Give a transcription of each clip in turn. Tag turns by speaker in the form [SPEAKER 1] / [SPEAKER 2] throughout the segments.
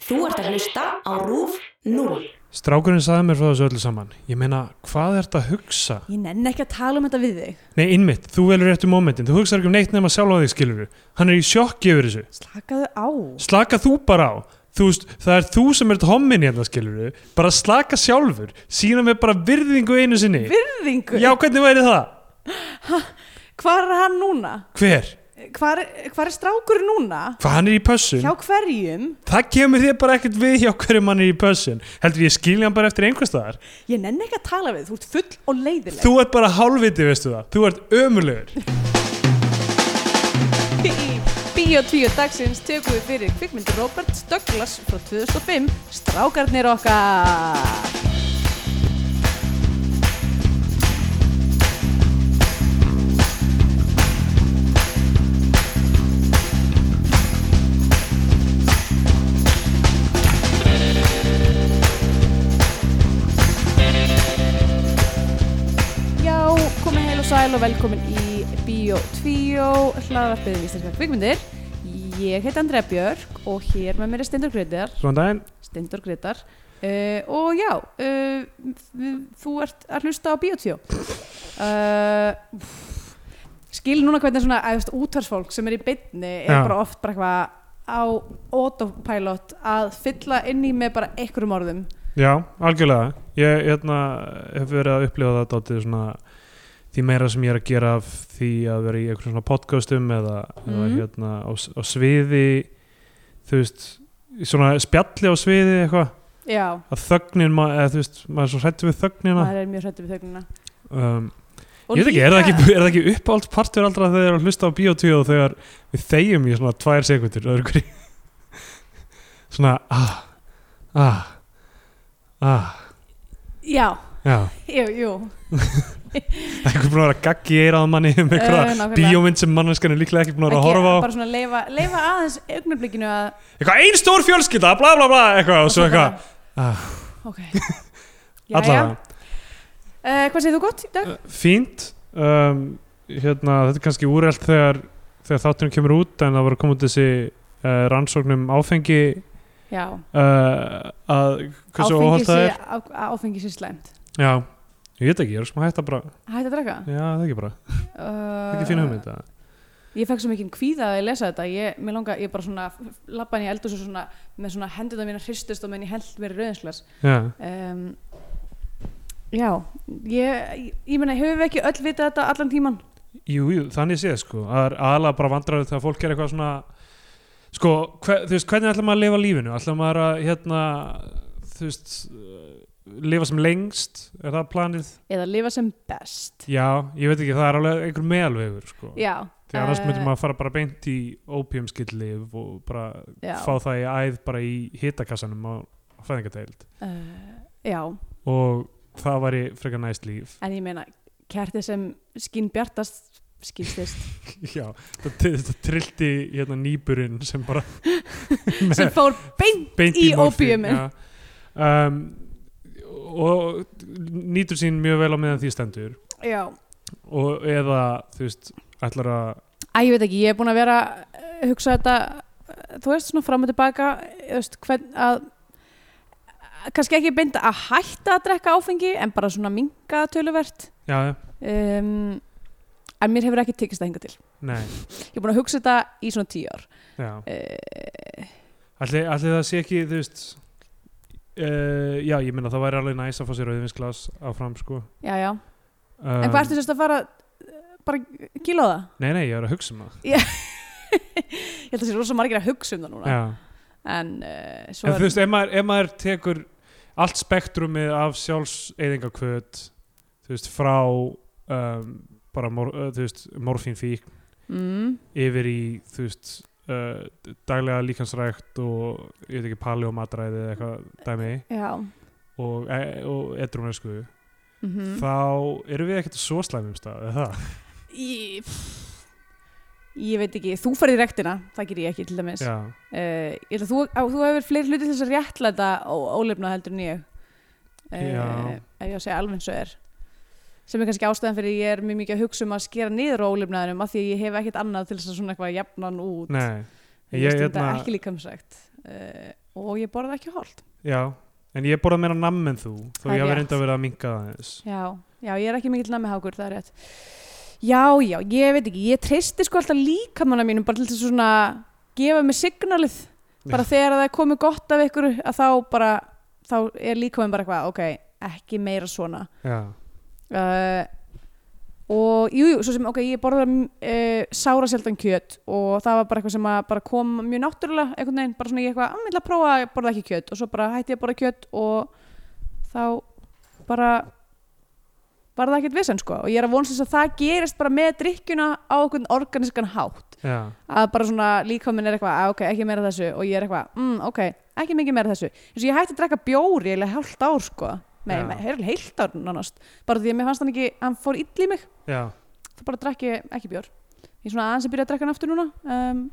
[SPEAKER 1] Þú ert að hlusta á RÚF 0.
[SPEAKER 2] Strákurinn saði mér frá þessu öllu saman. Ég meina, hvað ert að hugsa?
[SPEAKER 3] Ég nenni ekki að tala um þetta við þig.
[SPEAKER 2] Nei, innmitt, þú velur réttu mómentin. Þú hugsar ekki um neitt nema sjálf á þig, skilur Hann er í sjokki yfir þessu.
[SPEAKER 3] Slakaðu á.
[SPEAKER 2] Slaka þú bara á. Þú veist, það er þú sem ert hommin hérna, skilur Bara slaka sjálfur. Sína mig bara virðingu einu sinni.
[SPEAKER 3] Virðingu.
[SPEAKER 2] Já, hvernig væri það?
[SPEAKER 3] Hvar er hann núna?
[SPEAKER 2] Hver?
[SPEAKER 3] Hvar, hvar er strákur núna?
[SPEAKER 2] Hvað hann er í pössun?
[SPEAKER 3] Hjá hverjum?
[SPEAKER 2] Það kemur þér bara ekkert við hjá hverju mann er í pössun. Heldur ég skilja hann bara eftir einhvers staðar?
[SPEAKER 3] Ég nenni ekki að tala við, þú ert full og leiðileg.
[SPEAKER 2] Þú ert bara hálfviti, veistu það. Þú ert ömulegur.
[SPEAKER 3] Í Bíó 2 dagsins tökum við fyrir kvikmyndi Robert Douglas frá 2005, Strákarnir okkar. Já, komið heil og sæl og velkomin í Bíó 2, hlaðarpið um íslenska kvikmyndir. Ég heit Andrea Björk og hér með mér er Steindur Greitar,
[SPEAKER 2] Svona daginn,
[SPEAKER 3] Steindur Greitar. Uh, og já, uh, við- þú ert að hlusta á Bíó 2. Uh, pff, skil núna hvernig svona eh, æðast útvarsfólk sem er í beinni er
[SPEAKER 2] Já.
[SPEAKER 3] bara oft bara eitthvað á autopilot að fylla inn í með bara einhverjum orðum.
[SPEAKER 2] Já, algjörlega. Ég hérna, hef verið að upplifa það dálítið svona því meira sem ég er að gera af því að vera í einhverjum svona podcastum eða, eða
[SPEAKER 3] Mhm.
[SPEAKER 2] hérna á, s- á sviði þú veist, í svona spjalli á sviði eitthvað,
[SPEAKER 3] Já,
[SPEAKER 2] að þögnin ma- eða þú veist, maður er svo hrættu við þögnina
[SPEAKER 3] maður er mjög hrættu við þögnina.
[SPEAKER 2] um,
[SPEAKER 3] Og
[SPEAKER 2] Hérna. Ég veit ekki, er það
[SPEAKER 3] líka-
[SPEAKER 2] ekki, er það ekki uppáld partur aldrei að þeir eru að hlusta á bíotíu og þegar við þegjum í svona tvær sekundur öðru hverju svona ah, ah, ah
[SPEAKER 3] Já,
[SPEAKER 2] Já,
[SPEAKER 3] jú, jú.
[SPEAKER 2] Það er eitthvað búin að vera gaggi í eirað á manni um
[SPEAKER 3] Eh,
[SPEAKER 2] einhverja
[SPEAKER 3] nákvæmlega.
[SPEAKER 2] bíómynd sem manneskan er líklega ekki búin að vera að
[SPEAKER 3] Ekki,
[SPEAKER 2] horfa á
[SPEAKER 3] bara svona leifa, leifa aðeins augnablikinu að
[SPEAKER 2] eitthvað ein stór fjölskylda, bla bla bla eitthvað og svo eitthvað,
[SPEAKER 3] ok Jæja,
[SPEAKER 2] allavega
[SPEAKER 3] uh, hvað segir þú gott í dag?
[SPEAKER 2] Eh, fínt um, hérna, þetta er kannski úrelt þegar, þegar þáttunum kemur út en það var að koma út þessi uh, rannsóknum áfengi
[SPEAKER 3] já,
[SPEAKER 2] uh, að hversu
[SPEAKER 3] áfengi
[SPEAKER 2] óholt það
[SPEAKER 3] sé-
[SPEAKER 2] er
[SPEAKER 3] á- á- áfengi sé slæmt
[SPEAKER 2] Já, ég veit ekki, ég er svona hægt að bara
[SPEAKER 3] hætti að draka
[SPEAKER 2] Já, það er ekki bara, það
[SPEAKER 3] uh,
[SPEAKER 2] er ekki fín hugmynd eða?
[SPEAKER 3] ég fekk svo mikinn kvíða að ég lesa þetta ég, mér langa, ég bara svona lappa inn í eldur svona, með svona hendurna mína hristust og meðan ég held mér í rauðinslas
[SPEAKER 2] Já,
[SPEAKER 3] um, já ég, ég, ég meina, höfum við ekki öll vitað þetta allan tíman?
[SPEAKER 2] Jú, jú, þannig séð sko það er aðalega bara vandræður þegar fólk er eitthvað svona sko, hver, þú veist, hvernig ætlar maður að lifa lífinu? ætlar maður að, hérna þú veist, uh, lifa sem lengst er það planið?
[SPEAKER 3] eða lifa sem best
[SPEAKER 2] Já, ég veit ekki, það er alveg einhver meðalvegur sko,
[SPEAKER 3] já,
[SPEAKER 2] því annars
[SPEAKER 3] eh,
[SPEAKER 2] myndum maður að fara bara beint í opiumskillif og bara
[SPEAKER 3] já,
[SPEAKER 2] fá það í æð bara í hitakassanum á, á fæðingateild
[SPEAKER 3] uh, já.
[SPEAKER 2] og það væri frekar næst líf
[SPEAKER 3] En ég meina, kertið sem skín bjartast skýrstist
[SPEAKER 2] já, þetta, þetta trillti hérna nýburinn sem bara
[SPEAKER 3] sem fór beint
[SPEAKER 2] beint
[SPEAKER 3] Í
[SPEAKER 2] í morfín,
[SPEAKER 3] ópíumi.
[SPEAKER 2] já. um, og nýtur sín mjög vel á meðan því stendur
[SPEAKER 3] Já,
[SPEAKER 2] og eða þú veist ætlar að
[SPEAKER 3] að ég veit ekki, ég er búin að vera eh, hugsa þetta, eh, þú veist svona fram og tilbaka, eh, þú veist, hvern að að kannski ekki beint að hætta að drekka áfengi en bara svona minga töluvert
[SPEAKER 2] já, já,
[SPEAKER 3] um, en mér hefur ekki tekist það hinga til
[SPEAKER 2] nei,
[SPEAKER 3] ég er búin að hugsa þetta í svona tíu ár
[SPEAKER 2] já
[SPEAKER 3] uh,
[SPEAKER 2] allir, allir það sé ekki, þú veist uh, já, ég minna það væri alveg næs að fá sér auðvinsglas áfram sko
[SPEAKER 3] já, já,
[SPEAKER 2] um,
[SPEAKER 3] en hvað ertu sérst að fara eh, bara kíla á það?
[SPEAKER 2] nei, nei, ég er að hugsa um það
[SPEAKER 3] Ég held að það sé rosa margir að hugsa um það núna
[SPEAKER 2] já.
[SPEAKER 3] en uh, svo
[SPEAKER 2] en þú veist, ef maður, ef maður tekur allt spektrumið af sjálfseyðingakvöt þú veist, frá um, bara, mor, uh, þú veist, morfínfík
[SPEAKER 3] mm,
[SPEAKER 2] yfir í þú veist uh, daglega líkansrækt og ég veit ekki pali og matræði eða eitthvað dæmi
[SPEAKER 3] já
[SPEAKER 2] og, e og edrúnesku
[SPEAKER 3] mm
[SPEAKER 2] þá erum við ekkert á svo slæmum stað eða það?
[SPEAKER 3] ég, pff, ég veit ekki, þú farið í rektina það ger ég ekki til dæmis uh,
[SPEAKER 2] Já,
[SPEAKER 3] ég held að þú, á, þú hefur fleiri hluti til þess að réttlæta og ólefna heldur en ég
[SPEAKER 2] Já.
[SPEAKER 3] uh, ef ég á að segja alveg eins og er sem er kannski ástæðan fyrir ég er mjög mikið að hugsa um að skera niður á ólefnaðinum af því að ég hef ekkert annað til þess að svona eitthvað jafnan út
[SPEAKER 2] nei
[SPEAKER 3] ég,
[SPEAKER 2] ég,
[SPEAKER 3] stunda
[SPEAKER 2] hérna-
[SPEAKER 3] ekki líkamsrækt uh, og ég borða ekki holt
[SPEAKER 2] já, en ég borða meira namm en þú þó
[SPEAKER 3] Það er
[SPEAKER 2] ég hafi
[SPEAKER 3] rétt.
[SPEAKER 2] reynda verið að minka það aðeins
[SPEAKER 3] já, já, ég er ekki mikill namihákur, það er rétt já, já, ég veit ekki, ég treysti sko alltaf líkamanna mínum bara til þess að svona gefa mig signalið bara þegar það er komið gott af ykkur að þá bara, þá er líkamann bara eitthvað, ok, ekki meira svona
[SPEAKER 2] já,
[SPEAKER 3] uh, og jú, jú, svo sem ok, ég borða uh, sára sjaldan kjöt og það var bara eitthvað sem að bara kom mjög náttúrulega einhvern veginn, bara svona ég eitthvað, að ég ætla að prófa að borða ekki kjöt og svo bara hætti ég að borða kjöt og þá bara var það ekkert vissan sko og ég er að vonst þess að það gerist bara með drikkjuna á einhvern organiskan hátt
[SPEAKER 2] já,
[SPEAKER 3] að bara svona líka minn er eitthvað að ok, ekki meira af þessu og ég er eitthvað, mm, ok, ekki mikið meira af þessu eins og ég hætti að drekka bjóri eða hálft ár sko,
[SPEAKER 2] Já.
[SPEAKER 3] með heilt, heilt ár nánast, bara því að mér fannst hann ekki hann fór ill í mig,
[SPEAKER 2] já,
[SPEAKER 3] þá bara drekk ég ekki bjór ég er svona aðeins að byrja að drekka hann aftur núna um,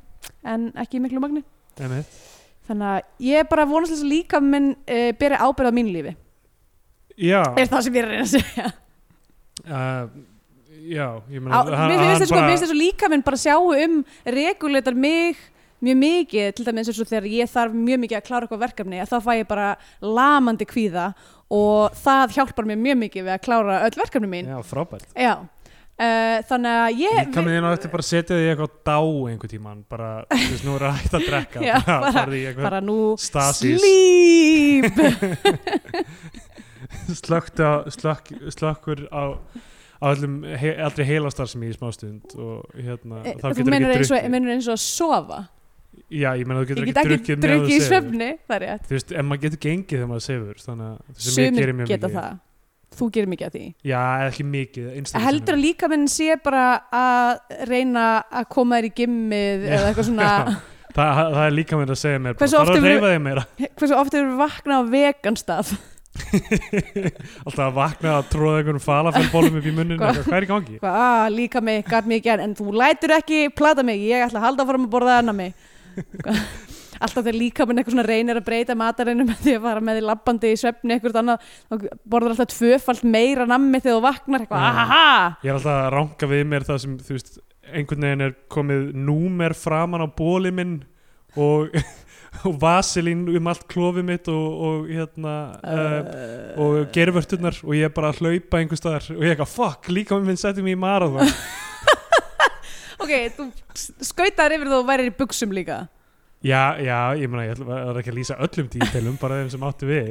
[SPEAKER 3] en ekki í miklu magni
[SPEAKER 2] emitt
[SPEAKER 3] þannig að ég er bara vonast þess að líka minn uh, beri ábyrð á mínu lífi
[SPEAKER 2] já,
[SPEAKER 3] er það sem ég er að reyna að segja
[SPEAKER 2] uh, já, ég meina
[SPEAKER 3] Á,
[SPEAKER 2] hann-
[SPEAKER 3] mér
[SPEAKER 2] hann
[SPEAKER 3] finnst þess sko,
[SPEAKER 2] bara-
[SPEAKER 3] mér finnst þess að líka minn bara sjáu um reguletar mig mjög mikið, til dæmis eins og þegar ég þarf mjög mikið að klára eitthvað verkefni, að þá fæ ég bara lamandi kvíða og það hjálpar mér mjög mikið við að klára öll verkefni mín.
[SPEAKER 2] já, frábært
[SPEAKER 3] Já. Uh, þannig að ég...
[SPEAKER 2] Líka með þín á eftir bara setja því eitthvað dá einhver tíman, bara, þú veist, nú er það hægt að drekka
[SPEAKER 3] Já, bara-
[SPEAKER 2] farðu í eitthvað
[SPEAKER 3] bara nú
[SPEAKER 2] stasis.
[SPEAKER 3] sleep
[SPEAKER 2] slökkt á, slökk, slökkur á, á öllum, he, allri heilastar sem ég í smástund og hérna,
[SPEAKER 3] Eh,
[SPEAKER 2] þá
[SPEAKER 3] þú
[SPEAKER 2] getur
[SPEAKER 3] meinar
[SPEAKER 2] ekki
[SPEAKER 3] eins, og-
[SPEAKER 2] drukkið.
[SPEAKER 3] meinar eins og að sofa
[SPEAKER 2] Já, ég meina þú getur
[SPEAKER 3] ég
[SPEAKER 2] ekki
[SPEAKER 3] get ekki
[SPEAKER 2] drukkið meðan
[SPEAKER 3] drukkið
[SPEAKER 2] þú
[SPEAKER 3] í
[SPEAKER 2] sefur.
[SPEAKER 3] svefni það er rétt,
[SPEAKER 2] Þú veist, en maður getur gengið þegar maður sefur, þannig að sem ég
[SPEAKER 3] sumir
[SPEAKER 2] gerir mjög
[SPEAKER 3] geta
[SPEAKER 2] mikið.
[SPEAKER 3] það þú gerir mikið að því
[SPEAKER 2] Já, eða ekki mikið, einstaklega.
[SPEAKER 3] heldur að líka minn sé bara að reyna að koma þér í gimmið
[SPEAKER 2] Já,
[SPEAKER 3] eða eitthvað svona
[SPEAKER 2] Það, það er líka meira að segja mér,
[SPEAKER 3] Hversu
[SPEAKER 2] bara fara
[SPEAKER 3] oft
[SPEAKER 2] að
[SPEAKER 3] hefur-
[SPEAKER 2] reyfa þig meira.
[SPEAKER 3] hversu ofta eru vaknað á vegan stað
[SPEAKER 2] Alltaf að vakna að tróða einhvern falafelbólum upp í munninu,
[SPEAKER 3] Hvað?
[SPEAKER 2] eitthvað, hvað er í gangi?
[SPEAKER 3] Hvað, ah, líka mig, gaf mig ekki en, en þú lætur ekki plata mig, ég ætla að halda fram að borða enna mig Hvað? alltaf þegar líka minn eitthvað svona reynir að breyta matarinu með því að fara með því labbandi í svefni eitthvað annað, þá borðar alltaf tvöfalt meira nammi þegar þú vaknar eitthvað,
[SPEAKER 2] Já.
[SPEAKER 3] ahaha
[SPEAKER 2] Ég er alltaf að ranka við mér það sem, þú veist, einhvern veginn er komið númer framan á bóli minn og, og vasilín um allt klófið mitt og, og hérna, uh,
[SPEAKER 3] Eh.
[SPEAKER 2] og gervörturnar og ég er bara að hlaupa einhver staðar og ég er eitthvað, fuck, líka minn setti mig í marathon
[SPEAKER 3] ok, þú skautar yfir þú og værir í buksum líka
[SPEAKER 2] Já, já, ég meina, ég ætla- var ekki að lýsa öllum dítilum, bara þeim sem áttu við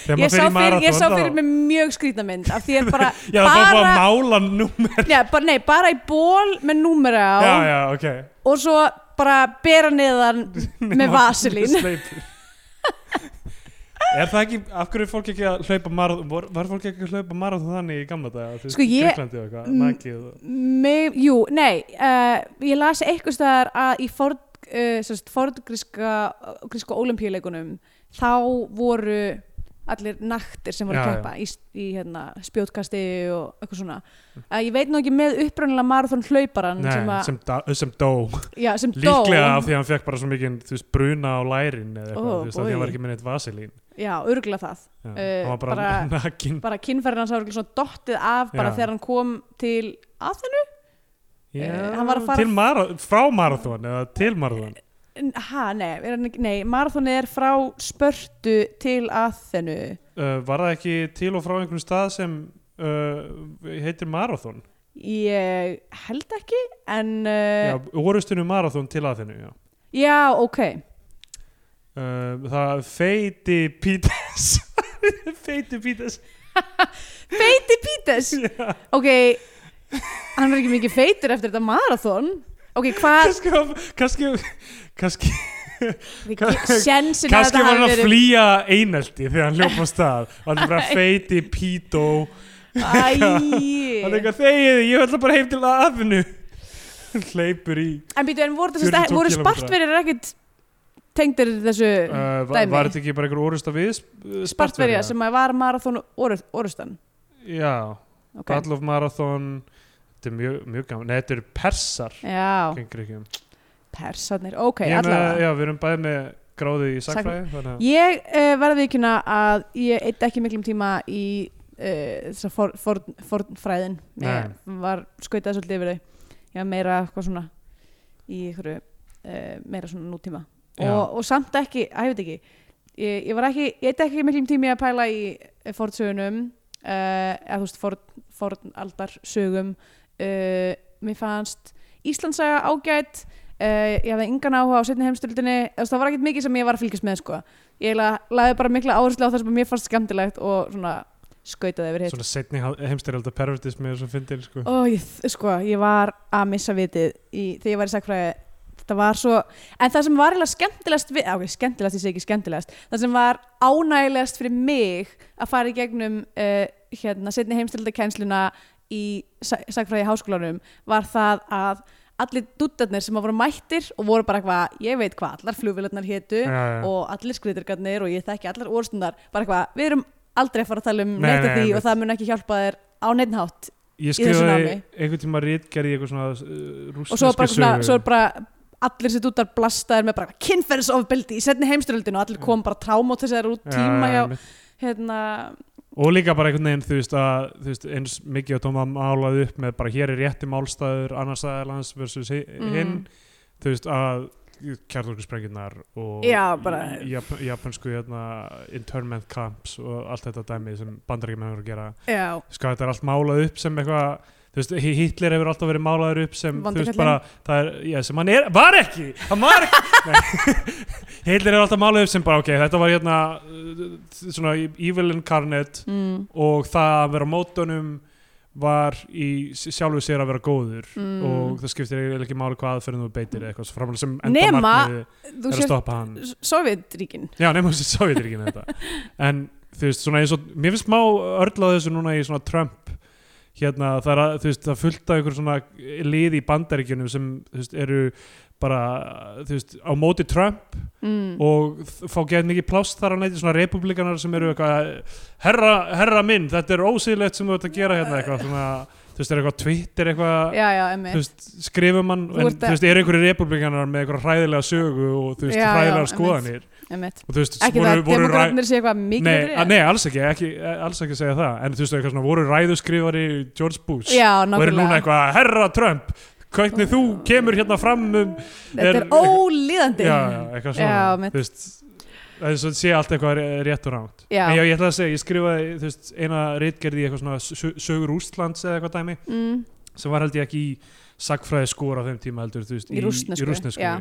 [SPEAKER 2] Þegar
[SPEAKER 3] ég
[SPEAKER 2] maður
[SPEAKER 3] sá,
[SPEAKER 2] fer í
[SPEAKER 3] fyrir, ég sá
[SPEAKER 2] marathon,
[SPEAKER 3] fyrir
[SPEAKER 2] þá-
[SPEAKER 3] mig mjög skrýtna mynd af því er bara,
[SPEAKER 2] Já, það var bara
[SPEAKER 3] bara,
[SPEAKER 2] að mála númer
[SPEAKER 3] já, bara, nei, bara í ból með númera á
[SPEAKER 2] Já, já, ok
[SPEAKER 3] og svo bara bera niðan með vaselín
[SPEAKER 2] Sleipur. Er það ekki, af hverju er fólk ekki að hlaupa marathon, var, var fólk ekki að hlaupa marathon þannig í gamla daga, þú veist,
[SPEAKER 3] Sko, ég-
[SPEAKER 2] Greiklandi og eitthvað, nakið og
[SPEAKER 3] Mig, jú, nei, uh, ég las eitthvað staðar að í ford, uh, sérst, fordgríska gríska olimpíuleikunum þá voru allir naktir sem voru
[SPEAKER 2] Já,
[SPEAKER 3] að keppa í, í hérna, spjótkasti og eitthvað svona uh, ég veit nú ekki með upprunnilega marathon hlauparan
[SPEAKER 2] Nei,
[SPEAKER 3] sem, að,
[SPEAKER 2] sem, da, sem dó,
[SPEAKER 3] já, sem dó
[SPEAKER 2] líklega af því að hann fekk bara svo mikið, þú veist, bruna á lærin eða eitthvað,
[SPEAKER 3] Ó,
[SPEAKER 2] þú veist, af því að hann
[SPEAKER 3] boy.
[SPEAKER 2] var ekki með neitt vasilín
[SPEAKER 3] já, örgulega það
[SPEAKER 2] Já,
[SPEAKER 3] Eh,
[SPEAKER 2] hann var bara,
[SPEAKER 3] bara-
[SPEAKER 2] nakin
[SPEAKER 3] bara kynferðin hans hafði svona dottið af bara
[SPEAKER 2] Já.
[SPEAKER 3] þegar hann kom til aðinu
[SPEAKER 2] Já,
[SPEAKER 3] eh, hann var að fara-
[SPEAKER 2] til mara, frá marathon eða til marathon
[SPEAKER 3] ha, nei, er hann ekki- nei marathonið er frá spörtu til aðinu
[SPEAKER 2] uh, var það ekki til og frá einhvern stað sem uh, heitir marathon
[SPEAKER 3] ég held ekki en
[SPEAKER 2] já,
[SPEAKER 3] uh,
[SPEAKER 2] orustinu marathon til að þennu já.
[SPEAKER 3] já. ok
[SPEAKER 2] Uh, það feiti Pítas feiti Pítas
[SPEAKER 3] feiti Pítes
[SPEAKER 2] Já.
[SPEAKER 3] ok, hann er ekki mikið feitur eftir þetta marathon ok, hvað
[SPEAKER 2] kannski kannski, kannski, kannski
[SPEAKER 3] sensin að þetta
[SPEAKER 2] var hann
[SPEAKER 3] hafi
[SPEAKER 2] að
[SPEAKER 3] verið
[SPEAKER 2] flýja einelti þegar hann ljópa á stað og hann er bara feiti Pító hann er
[SPEAKER 3] Æ.
[SPEAKER 2] eitthvað þegið, ég ætla bara heim til aðinu hleypur í
[SPEAKER 3] en býtu, en voru, þessast,
[SPEAKER 2] 42
[SPEAKER 3] voru
[SPEAKER 2] kílómetra.
[SPEAKER 3] spartverðir ekkit tengdir þessu
[SPEAKER 2] uh, var,
[SPEAKER 3] dæmi.
[SPEAKER 2] var þetta ekki bara einhver orusta við uh,
[SPEAKER 3] spartverja sem að var marathon orust, orustan
[SPEAKER 2] já,
[SPEAKER 3] okay.
[SPEAKER 2] Battle of Marathon þetta er mjög, mjög gaman, nei þetta eru persar
[SPEAKER 3] Já,
[SPEAKER 2] gengur ekki um
[SPEAKER 3] persarnir, ok,
[SPEAKER 2] Ég er með,
[SPEAKER 3] allavega
[SPEAKER 2] já, við erum bæði með gráði í
[SPEAKER 3] Sagfræði.
[SPEAKER 2] sagfræði þannig að
[SPEAKER 3] Ég uh, verði ekki að ég eitt ekki miklum tíma í uh, þess að forn for, for, fræðin ég var skautað svolítið yfir þau ég var meira eitthvað svona í einhverju uh, meira svona nútíma
[SPEAKER 2] Já.
[SPEAKER 3] og, og samt ekki, að ég veit ekki ég, ég var ekki, ég eitthvað ekki miklum tími að pæla í eh, fornsögunum uh, eða þú veist forn, fornaldarsögum uh, mér fannst Íslandsaga ágætt uh, ég hafði engan áhuga á setni heimstöldinni þú veist það var ekkert mikið sem ég var að fylgjast með sko ég eiginlega lagði bara mikla áherslu á það sem mér fannst skemmtilegt og svona skautaði yfir hitt
[SPEAKER 2] svona setni heimstyrjaldar pervertismi og svo fyndir sko.
[SPEAKER 3] Ó, ég, sko, ég var að missa vitið í, þegar ég var í sakfræði þetta var svo, en það sem var eiginlega skemmtilegast við, á, ok, skemmtilegast, ég segi ekki skemmtilegast það sem var ánægilegast fyrir mig að fara í gegnum uh, hérna, setni heimstildakennsluna í sa- sakfræði í háskólanum var það að allir dúttarnir sem voru mættir og voru bara eitthvað, ég veit hvað allar flugvélarnar hétu
[SPEAKER 2] Já, já.
[SPEAKER 3] og allir skriðurgarnir og ég þekki allar orðstundar bara eitthvað, við erum aldrei að fara að tala um
[SPEAKER 2] Nei,
[SPEAKER 3] neitt af
[SPEAKER 2] nei,
[SPEAKER 3] því
[SPEAKER 2] einmitt.
[SPEAKER 3] og það mun ekki hjálpa þér á neitt hátt
[SPEAKER 2] ég
[SPEAKER 3] þessu
[SPEAKER 2] skrifaði
[SPEAKER 3] námi.
[SPEAKER 2] einhvern tíma rítgerð í eitthvað svona uh,
[SPEAKER 3] og svo er bara,
[SPEAKER 2] rússneski
[SPEAKER 3] svona, svo er
[SPEAKER 2] sögu
[SPEAKER 3] bara allir sér dútar blastaðir með bara kynferðisofbeldi í setni heimsturöldinu og allir kom bara trámót þessar út
[SPEAKER 2] Já,
[SPEAKER 3] tíma hjá
[SPEAKER 2] einmitt.
[SPEAKER 3] hérna,
[SPEAKER 2] og líka bara einhvern veginn þú veist að þú veist, eins mikið að tóma málaði upp með bara hér er rétti málstæður annars aðeins versus hi-
[SPEAKER 3] Mm.
[SPEAKER 2] hinn þú veist að kjartorkusprengjurnar og
[SPEAKER 3] Já, bara-
[SPEAKER 2] í- jap japansku hérna, internment camps og allt þetta dæmi sem bandaríkjumenn voru að gera
[SPEAKER 3] já,
[SPEAKER 2] sko þetta er allt málað upp sem eitthvað þú veist, Hi- Hitler hefur alltaf verið málaður upp sem þú veist
[SPEAKER 3] Vondikallinn.
[SPEAKER 2] bara, það er, já, sem hann er var ekki, hann var ekki Nei. Hitler hefur alltaf málaður upp sem bara, ok, þetta var hérna uh, svona evil incarnate
[SPEAKER 3] mm,
[SPEAKER 2] og það að vera á mótunum var í s- sjálfu sér að vera góður
[SPEAKER 3] Mm.
[SPEAKER 2] og það skiptir eiginlega ekki máli hvað aðferðin þú beitir eða eitthvað svo framlega sem
[SPEAKER 3] Nema-
[SPEAKER 2] endamarkmiði
[SPEAKER 3] þú
[SPEAKER 2] er að
[SPEAKER 3] sést
[SPEAKER 2] stoppa hann
[SPEAKER 3] Sovjetríkin
[SPEAKER 2] Já, nema þessi Sovjetríkin þetta En þú veist, svona eins og Mér finnst smá örlað þessu núna í svona Trump Hérna, það er að, þú veist, það er fullt af ykkur svona lið í bandaríkjunum sem, þú veist, eru bara, þú veist, á móti Trump
[SPEAKER 3] mm,
[SPEAKER 2] og þ- fá geðið mikið pláss þar að neyti svona republikanar sem eru eitthvað herra, herra minn, þetta er ósýðlegt sem þú ert að gera hérna eitthvað svona, þú veist, er eitthvað Twitter eitthvað,
[SPEAKER 3] já, já,
[SPEAKER 2] þú
[SPEAKER 3] emmi
[SPEAKER 2] veist, skrifum hann,
[SPEAKER 3] Þú
[SPEAKER 2] en
[SPEAKER 3] ert að-
[SPEAKER 2] þú veist, eru einhverju republikanar með eitthvað hræðilega sögu og þú veist,
[SPEAKER 3] Já, já,
[SPEAKER 2] hræðilega
[SPEAKER 3] einmitt.
[SPEAKER 2] skoðanir
[SPEAKER 3] ekki
[SPEAKER 2] og þú veist,
[SPEAKER 3] það að
[SPEAKER 2] ræ-
[SPEAKER 3] demokratnir sé eitthvað mikið
[SPEAKER 2] Nei,
[SPEAKER 3] betri,
[SPEAKER 2] að,
[SPEAKER 3] en-
[SPEAKER 2] nei, alls ekki, ekki, e- alls ekki að segja það En þú veist, eitthvað svona, voru ræðuskrifari George Bush
[SPEAKER 3] já,
[SPEAKER 2] og eru núna
[SPEAKER 3] nákvæmlega
[SPEAKER 2] eitthvað Herra Trump, hvernig þú kemur hérna fram um
[SPEAKER 3] þetta er
[SPEAKER 2] er-
[SPEAKER 3] ólíðandi
[SPEAKER 2] Já, já, eitthvað svona
[SPEAKER 3] Já, mitt.
[SPEAKER 2] Þú veist, það er svo sé allt eitthvað ré- rétt og rátt
[SPEAKER 3] Já.
[SPEAKER 2] En já, ég ætla að segja, ég skrifaði þú veist, eina ritgerði í eitthvað svona sö- sögur Úslands eða eitthvað dæmi
[SPEAKER 3] Mm,
[SPEAKER 2] sem var held ég ekki í sagfræði skóra á þeim tíma heldur, þú veist,
[SPEAKER 3] Í rússnesku,
[SPEAKER 2] í rússnesku
[SPEAKER 3] já.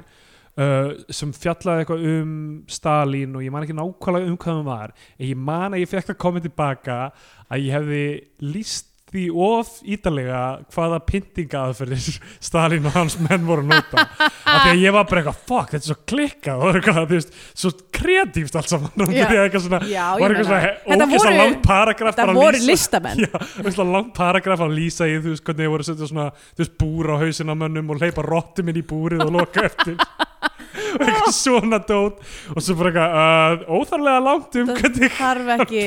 [SPEAKER 2] uh, sem fjallaði eitthvað um Stalin og ég man ekki nákvæmlega um hvað hann var en ég man að ég fekk að koma tilbaka að ég hefði líst því of ítalega hvaða pyntingaðferðir Stalin og hans menn voru að nota af því að ég var bara eitthvað, fuck, þetta er svo klikkað og eitthvað, þú veist, svo kreatíft allt saman og
[SPEAKER 3] Já.
[SPEAKER 2] byrjaði eitthvað svona
[SPEAKER 3] já, ég
[SPEAKER 2] var eitthvað
[SPEAKER 3] meina,
[SPEAKER 2] svona
[SPEAKER 3] þetta
[SPEAKER 2] ógæsla
[SPEAKER 3] voru-
[SPEAKER 2] langt paragraf
[SPEAKER 3] þetta voru listamenn
[SPEAKER 2] Já, ógeðslega langt paragraf að lýsa í þú veist hvernig þið voru að setja svona þú veist búr á hausina mönnum og leipa rottum inn í búrið og loka eftir og eitthvað svona dót og svo bara eitthvað uh, óþarlega langt um
[SPEAKER 3] Það-
[SPEAKER 2] hvernig
[SPEAKER 3] þarf ekki,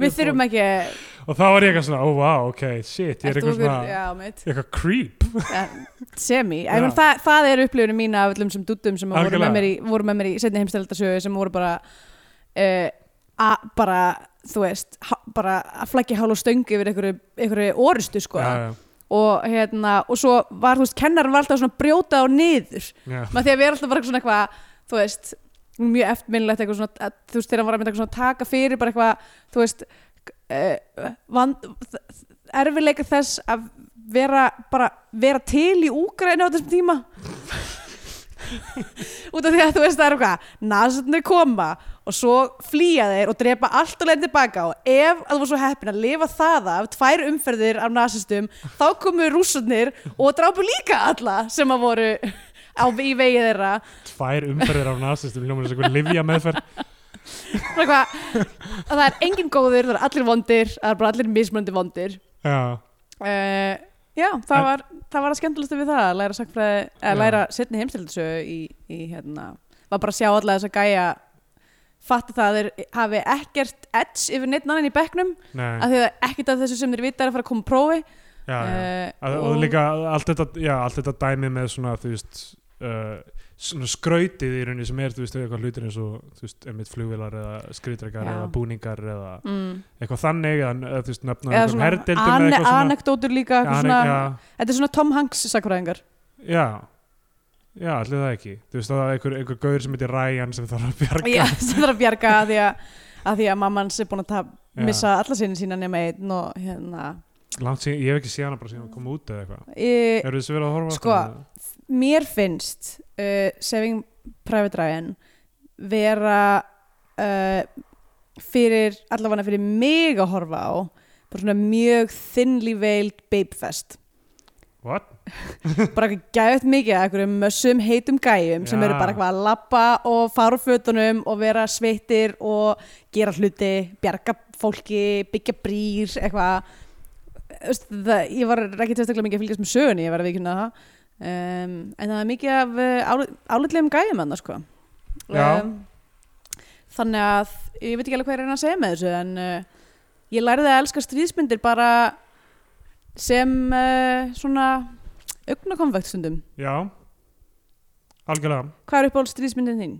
[SPEAKER 3] við þurfum ekki
[SPEAKER 2] og þá var ég eitthvað svona, ó oh, wow, ok, shit ég er
[SPEAKER 3] Ert þú
[SPEAKER 2] eitthvað
[SPEAKER 3] okkur-
[SPEAKER 2] svona,
[SPEAKER 3] já, mitt
[SPEAKER 2] eitthvað creep
[SPEAKER 3] Ja, semi,
[SPEAKER 2] Já.
[SPEAKER 3] ég meina, það, það er upplifunum mína af öllum sem dúttum sem voru
[SPEAKER 2] Algjörlega.
[SPEAKER 3] með, mér í, voru með mér í setni heimstældasögu sem voru bara uh, a, bara, þú veist há, bara að flækja hál og stöngu yfir einhverju, einhverju orustu sko
[SPEAKER 2] já,
[SPEAKER 3] og hérna, og svo var, þú veist, kennarinn var alltaf svona að brjóta á niður
[SPEAKER 2] já, já,
[SPEAKER 3] maður því að við erum alltaf bara eitthvað svona eitthvað þú veist, mjög eftirminnlegt eitthvað svona, að, þú veist, þegar hann var að mynda eitthvað svona að taka fyrir bara eitthvað, þú veist uh, vand, erfileika þess að vera bara vera til í Úgræna á þessum tíma út af því að þú veist það er eitthvað nasarnir koma og svo flýja þeir og drepa allt og leiðin tilbaka og ef að þú var svo heppin að lifa það af tvær umferðir af nasistum þá komu rússarnir og drápu líka alla sem að voru á, í vegi þeirra
[SPEAKER 2] tvær umferðir af nasistum hljómar þess að eitthvað livja meðferð
[SPEAKER 3] Bara eitthvað, að það er engin góður, það er allir vondir það er bara allir mismunandi vondir
[SPEAKER 2] já,
[SPEAKER 3] uh, Já, það var, það var að skemmtilegsta við það að læra sakfræði,
[SPEAKER 2] Já.
[SPEAKER 3] að læra setni heimstildisögu í, í hérna, var bara að sjá alla þess að gæja fatta það að þeir hafi ekkert edge yfir neitt annan í bekknum
[SPEAKER 2] nei,
[SPEAKER 3] af því að ekkert af þessu sem þeir vita er að fara að koma prófi
[SPEAKER 2] já, já
[SPEAKER 3] Eh,
[SPEAKER 2] Að- og líka allt þetta, já, allt þetta dæmi með svona, þú veist uh, svona skrautið í rauninni sem er, þú veist, eitthvað hlutir eins og þú veist, einmitt flugvilar eða skrýtrekar
[SPEAKER 3] Já.
[SPEAKER 2] eða búningar eða
[SPEAKER 3] mm,
[SPEAKER 2] eitthvað þannig eða, eða þú veist, nöfna
[SPEAKER 3] eða
[SPEAKER 2] einhverjum
[SPEAKER 3] svona
[SPEAKER 2] herdeildum eða
[SPEAKER 3] ane,
[SPEAKER 2] eitthvað svona
[SPEAKER 3] anekdótur líka eitthvað
[SPEAKER 2] Anek-
[SPEAKER 3] svona, þetta er svona Tom Hanks sakfræðingar
[SPEAKER 2] já, já, já, allir það ekki þú veist að það er einhver, einhver gaur sem heitir Ryan sem þarf að bjarga
[SPEAKER 3] Já, sem þarf að bjarga að því að, að því að mammans er búin að tap,
[SPEAKER 2] Já.
[SPEAKER 3] missa alla sinni sína nema einn og hérna
[SPEAKER 2] langt síðan, ég hef ekki séð hana bara síðan að koma út eða eitthvað
[SPEAKER 3] e,
[SPEAKER 2] eru þessi verið að horfa á
[SPEAKER 3] Sko,
[SPEAKER 2] aftur eða?
[SPEAKER 3] Mér finnst uh, Saving Private Ryan vera uh, fyrir, allavega fyrir mig að horfa á bara svona mjög thinly veiled babefest
[SPEAKER 2] what?
[SPEAKER 3] bara eitthvað gæðið mikið að einhverjum mössum heitum gæjum sem
[SPEAKER 2] Já.
[SPEAKER 3] eru bara eitthvað að lappa og fara úr fötunum og vera sveittir og gera hluti bjarga fólki, byggja brýr eitthvað Þú veist, það, ég var ekki tilstaklega mikið að fylgjast með sögunni ég var að vikna það um, en það er mikið af uh, álitlegum gæjum annars sko Um,
[SPEAKER 2] Já.
[SPEAKER 3] þannig að ég veit ekki alveg hvað ég reyna að segja með þessu en uh, ég læriði að elska stríðsmyndir bara sem uh, svona augnakonvekt stundum
[SPEAKER 2] já algjörlega
[SPEAKER 3] Hvað er uppáhald stríðsmyndin þín?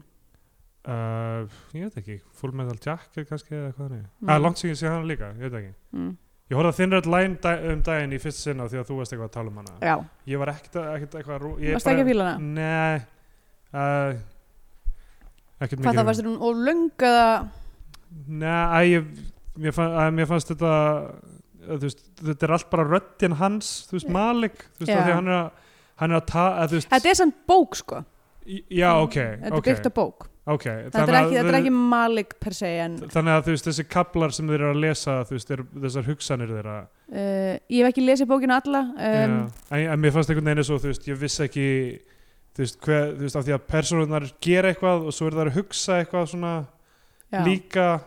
[SPEAKER 2] uh, ég veit ekki, Full Metal Jacket kannski eða hvað hann er,
[SPEAKER 3] Mm.
[SPEAKER 2] mm. langt síðan sé hana líka ég veit ekki,
[SPEAKER 3] Mm.
[SPEAKER 2] ég horfði að þinn rætt læn dæ um daginn í fyrst sinna því að þú varst eitthvað að tala um hana
[SPEAKER 3] Já,
[SPEAKER 2] ég var ekkert, að- ekkert eitthvað rú- ég
[SPEAKER 3] varst ekki að fíla hana?
[SPEAKER 2] Nei uh, Ekkert
[SPEAKER 3] Hvað það
[SPEAKER 2] mikið
[SPEAKER 3] varst hún og lung eða
[SPEAKER 2] Nei, æ, ég, mér, fann, að, mér fannst þetta að, þú veist, Þetta er allt bara röddin hans Þú veist, Malik Þú veist,
[SPEAKER 3] Já.
[SPEAKER 2] yeah. því að hann er að Hann er að ta að, þú veist,
[SPEAKER 3] Þetta er samt bók sko
[SPEAKER 2] í- Já, ok,
[SPEAKER 3] Þetta er
[SPEAKER 2] ok,
[SPEAKER 3] byggt að bók
[SPEAKER 2] ok
[SPEAKER 3] Þetta er
[SPEAKER 2] að-
[SPEAKER 3] ekki, þetta er ekki malik per se en uh,
[SPEAKER 2] Þannig að þú veist, þessi kaplar sem þeir eru að lesa þú veist, er, þessar hugsanir þeirra
[SPEAKER 3] eh, Ég hef ekki lesið bókinu alla um,
[SPEAKER 2] Já. en, en mér fannst einhvern veginn svo, þú veist, ég vissi ekki þú veist, hver, þú veist, af því að persónunar gera eitthvað og svo er það að hugsa eitthvað svona
[SPEAKER 3] já.
[SPEAKER 2] líka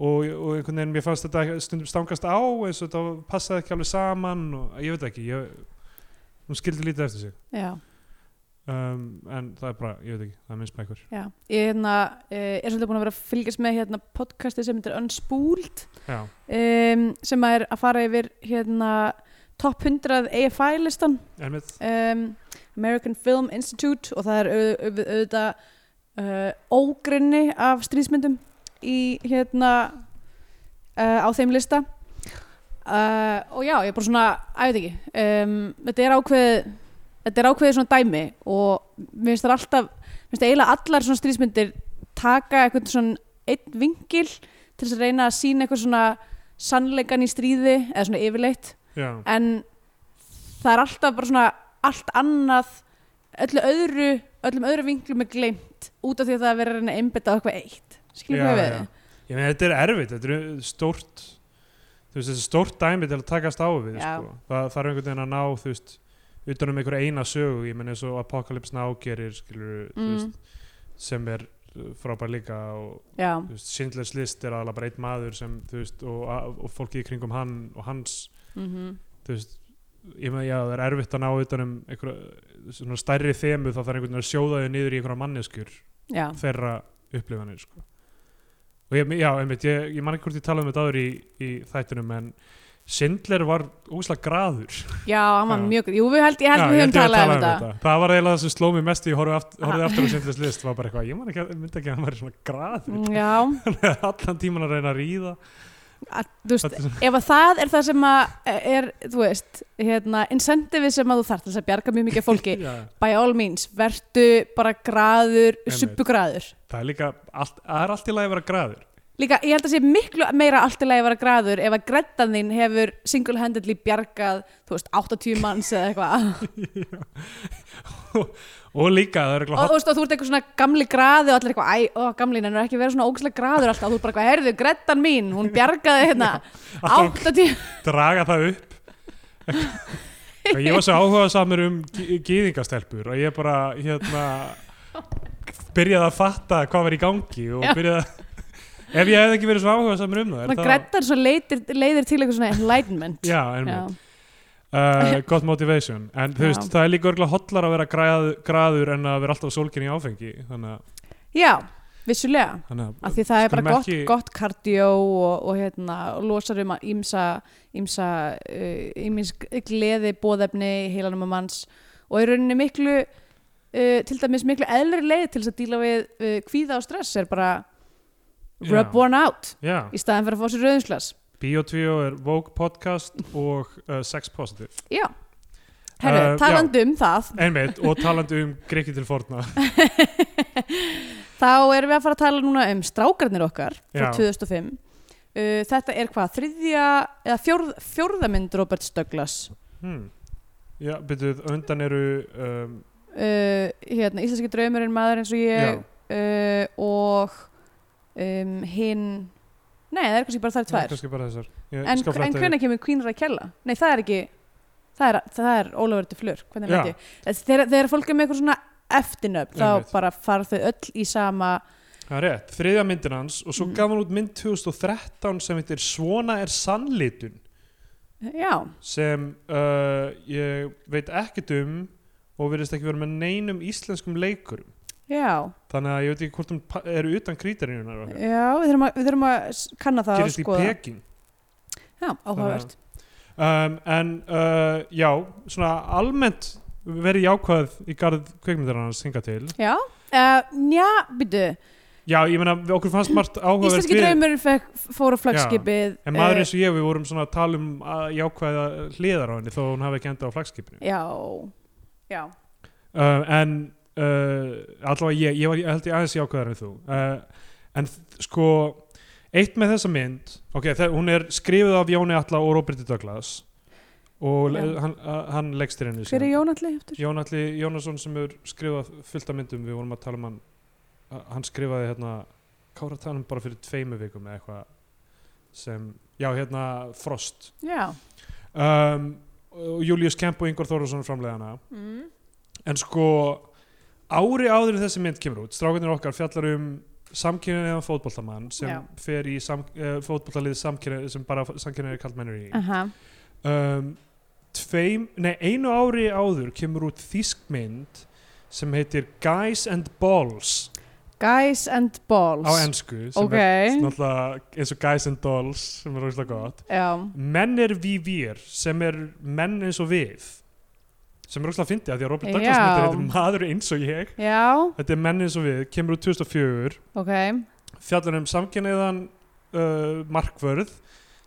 [SPEAKER 2] og, og einhvern veginn mér fannst þetta stundum stangast á eins og þetta passaði ekki alveg saman og ég veit ekki ég, hún skildi lítið eftir sig
[SPEAKER 3] já.
[SPEAKER 2] um, en það er bara, ég veit ekki, það er minnst bækur
[SPEAKER 3] Já, ég hérna, uh, er svolítið búin að vera að fylgjast með hérna, podcasti sem heitir Unspúld
[SPEAKER 2] já,
[SPEAKER 3] um, sem er að fara yfir hérna, top 100 AFI-listan
[SPEAKER 2] en mitt
[SPEAKER 3] um, American Film Institute og það er au- au- auðvitað uh, ógrinni af stríðsmyndum í hérna uh, á þeim lista uh, og já, ég er bara svona, að ég veit ekki um, þetta er ákveð þetta er ákveðið svona dæmi og mér finnst það alltaf, mér finnst eiginlega allar svona stríðsmyndir taka eitthvað svona einn vingil til þess að reyna að sína eitthvað svona sannleikan í stríði eða svona yfirleitt
[SPEAKER 2] já,
[SPEAKER 3] en það er alltaf bara svona allt annað öllu öðru, öllum öðru vinglum er gleymt út af því að það er verið að reyna að einbytta á eitthvað eitt skilur
[SPEAKER 2] já,
[SPEAKER 3] hvað við Mm.
[SPEAKER 2] já. Ég meina, þetta er erfitt, þetta er stórt þú veist, þessi stórt dæmi til að takast á við
[SPEAKER 3] Já.
[SPEAKER 2] sko. það þarf einhvern veginn að ná þú veist, utan um einhverja eina sögu ég meina eins og Apocalypse Now gerir skilur, þú
[SPEAKER 3] Mm.
[SPEAKER 2] veist, sem er uh, frábær líka og
[SPEAKER 3] já,
[SPEAKER 2] þú veist, Schindlers list er aðalega bara einn maður sem, þú veist, og, og fólki í kringum hann og hans,
[SPEAKER 3] mm
[SPEAKER 2] þú veist ég með, já, það er erfitt að ná utan um einhverja svona stærri þemu þá þarf einhvern veginn að sjóða þau niður í einhverja manneskjur
[SPEAKER 3] já.
[SPEAKER 2] þeirra upplifanir, sko og ég, já, einmitt, ég, ég man ekki hvort ég talaði um þetta áður í, í þættinum en Schindler var óslega graður
[SPEAKER 3] já, hann var
[SPEAKER 2] Já.
[SPEAKER 3] mjög jú, við held, ég held
[SPEAKER 2] Já,
[SPEAKER 3] við
[SPEAKER 2] ég held ég
[SPEAKER 3] höfum
[SPEAKER 2] hafi
[SPEAKER 3] talað um þetta Ah.
[SPEAKER 2] það var eiginlega það sem sló mér mest í horfið aft, horfði aftur á Schindlers list var bara eitthvað, ég man ekki, myndi ekki að hann væri svona graður
[SPEAKER 3] Mm, já,
[SPEAKER 2] allan tíman að reyna að ríða
[SPEAKER 3] að, þú veist,
[SPEAKER 2] Þetta er
[SPEAKER 3] ef að það er það sem að e, er, þú veist, hérna incentive sem að þú þarft til þess að bjarga mjög mikið af fólki
[SPEAKER 2] já,
[SPEAKER 3] by all means, vertu bara graður,
[SPEAKER 2] Einmitt.
[SPEAKER 3] subbugraður
[SPEAKER 2] Það er líka, allt, það er allt í lagi að vera graður.
[SPEAKER 3] Líka, ég held að sé miklu meira allt í lagi að vera graður ef að grættan þín hefur single-handedly bjargað, þú veist, 80 manns eða eitthvað.
[SPEAKER 2] Og líka, það er eitthvað
[SPEAKER 3] Og þú
[SPEAKER 2] hot,
[SPEAKER 3] veist, og þú ert eitthvað svona gamli graði og allir eitthvað, æ, ó, gamlin, hann er ekki verið svona ógæslega graður alltaf. Þú ert bara eitthvað, heyrðu, grættan mín, hún bjargaði hérna
[SPEAKER 2] alltaf
[SPEAKER 3] 80...
[SPEAKER 2] draga það upp. Og ég var svo áhuga samur um gy- gyðingastelpur og ég bara, hérna, byrjaði að fatta hvað var í gangi og
[SPEAKER 3] Já.
[SPEAKER 2] byrjaði að, ef ég hefði ekki verið svo áhuga samur um það. er
[SPEAKER 3] Þannig að grættan svo leiðir, leiðir til eitthvað svona enlightenment.
[SPEAKER 2] Já,
[SPEAKER 3] Já.
[SPEAKER 2] einmitt. Uh, gott motivation. En þú
[SPEAKER 3] Já.
[SPEAKER 2] veist, það er líka örgulega hotlar að vera grað, graður en að vera alltaf sólkinni í áfengi. Þannig að,
[SPEAKER 3] Já, vissulega.
[SPEAKER 2] þannig
[SPEAKER 3] Af því það er bara
[SPEAKER 2] Skulum
[SPEAKER 3] gott,
[SPEAKER 2] ekki-
[SPEAKER 3] gott kardió og, og hérna, og losar um að ímsa, ímsa, uh, ímsk gleði, bóðefni, heilanum að manns og í rauninni miklu, uh, til dæmis miklu eðlari leið til þess að díla við uh, kvíða og stress er bara rub
[SPEAKER 2] Já.
[SPEAKER 3] one out
[SPEAKER 2] að, já.
[SPEAKER 3] í staðan fyrir að fá sér rauðinslas.
[SPEAKER 2] eh, Bíotvíó er Vogue podcast og uh, Sex Positive.
[SPEAKER 3] Já, Herru,
[SPEAKER 2] Eh,
[SPEAKER 3] talandi um það,
[SPEAKER 2] Einmitt, og talandi um greiki til forna
[SPEAKER 3] þá erum við að fara að tala núna um strákarnir okkar frá
[SPEAKER 2] Já.
[SPEAKER 3] 2005. Uh, þetta er hvað, þriðja, eða fjórð, fjórðamynd Robert Douglas.
[SPEAKER 2] hmm. Já, byrjuð, undan eru um,
[SPEAKER 3] Uh, hérna, Íslenski draumurinn maður eins og ég uh, og um, hinn, nei það er kannski bara þær tvær.
[SPEAKER 2] kannski bara þessar Ég
[SPEAKER 3] En,
[SPEAKER 2] skal fletta
[SPEAKER 3] en
[SPEAKER 2] yfir.
[SPEAKER 3] hvernig kemur Queen Raquella? Nei, það er ekki það er, það er Ólafur Duflur hvernig
[SPEAKER 2] Já.
[SPEAKER 3] veit ég? Þess- Þegar, þegar fólk er með eitthvað svona eftirnöfn þá
[SPEAKER 2] Einmitt.
[SPEAKER 3] bara fara þau öll í sama
[SPEAKER 2] Það er rétt, þriðja myndin hans og svo
[SPEAKER 3] Mm.
[SPEAKER 2] gaf hann út mynd 2013 sem heitir Svona er sannlitun
[SPEAKER 3] já,
[SPEAKER 2] sem uh, ég veit ekkert um og virðist ekki vera með neinum íslenskum leikurum
[SPEAKER 3] já,
[SPEAKER 2] þannig að ég veit ekki hvort hún pa- eru utan krítarinnunar og
[SPEAKER 3] já við þurfum að, við þurfum að s- kanna það
[SPEAKER 2] gerist í
[SPEAKER 3] skoða.
[SPEAKER 2] Peking
[SPEAKER 3] já, áhugavert
[SPEAKER 2] um, en uh, já, svona almennt verið jákvæð í garð kveikmyndar hans hinga til
[SPEAKER 3] já, uh, njá, byrju
[SPEAKER 2] já, ég meina, við- okkur fannst margt áhugaverð
[SPEAKER 3] Íslenski
[SPEAKER 2] við,
[SPEAKER 3] draumurinn fekk, fór á flagskipið
[SPEAKER 2] en
[SPEAKER 3] eh,
[SPEAKER 2] maður eins og ég, við vorum svona að tala um að jákvæða hliðar á henni þó hún hafi ekki enda á flagskipinu
[SPEAKER 3] já, já,
[SPEAKER 2] uh, en uh, allavega ég, ég, var, ég held ég aðeins jákvæðar en þú uh, en þ- sko eitt með þessa mynd ok, þe- hún er skrifuð af Jóni Alla og Roberti Douglas og le-
[SPEAKER 3] Já.
[SPEAKER 2] hann, a- hann leggst henni
[SPEAKER 3] hver er Jónalli eftir?
[SPEAKER 2] Jón Alli Jónasson sem er skrifað fullt af myndum, við vorum að tala um hann a- hann skrifaði hérna Kára Tanum bara fyrir tveimu vikum eða eitthvað sem, já hérna Frost
[SPEAKER 3] já,
[SPEAKER 2] um, og Július Kemp og Ingvar Þóruðsson framleiða hana
[SPEAKER 3] mm.
[SPEAKER 2] en sko ári áður en þessi mynd kemur út, strákunir okkar fjallar um samkynniðan fótboltamann sem
[SPEAKER 3] Já.
[SPEAKER 2] fer í sam, uh, fótboltalið samkynnið sem bara samkynniðar kallmennir í
[SPEAKER 3] aha,
[SPEAKER 2] um, tveim, nei, einu ári áður kemur út þýskmynd sem heitir Guys and Balls
[SPEAKER 3] guys and balls
[SPEAKER 2] á ensku sem
[SPEAKER 3] ok,
[SPEAKER 2] er náttúrulega eins og Guys and Dolls sem er óslega gott
[SPEAKER 3] já
[SPEAKER 2] Menn er vívír sem er menn eins og við sem er óslega fyndið af því að Robert Douglas
[SPEAKER 3] Já.
[SPEAKER 2] myndir þetta er maður eins og ég
[SPEAKER 3] Já,
[SPEAKER 2] þetta er menn eins og við, kemur út 2004
[SPEAKER 3] ok,
[SPEAKER 2] fjallar um samkynniðan uh, markvörð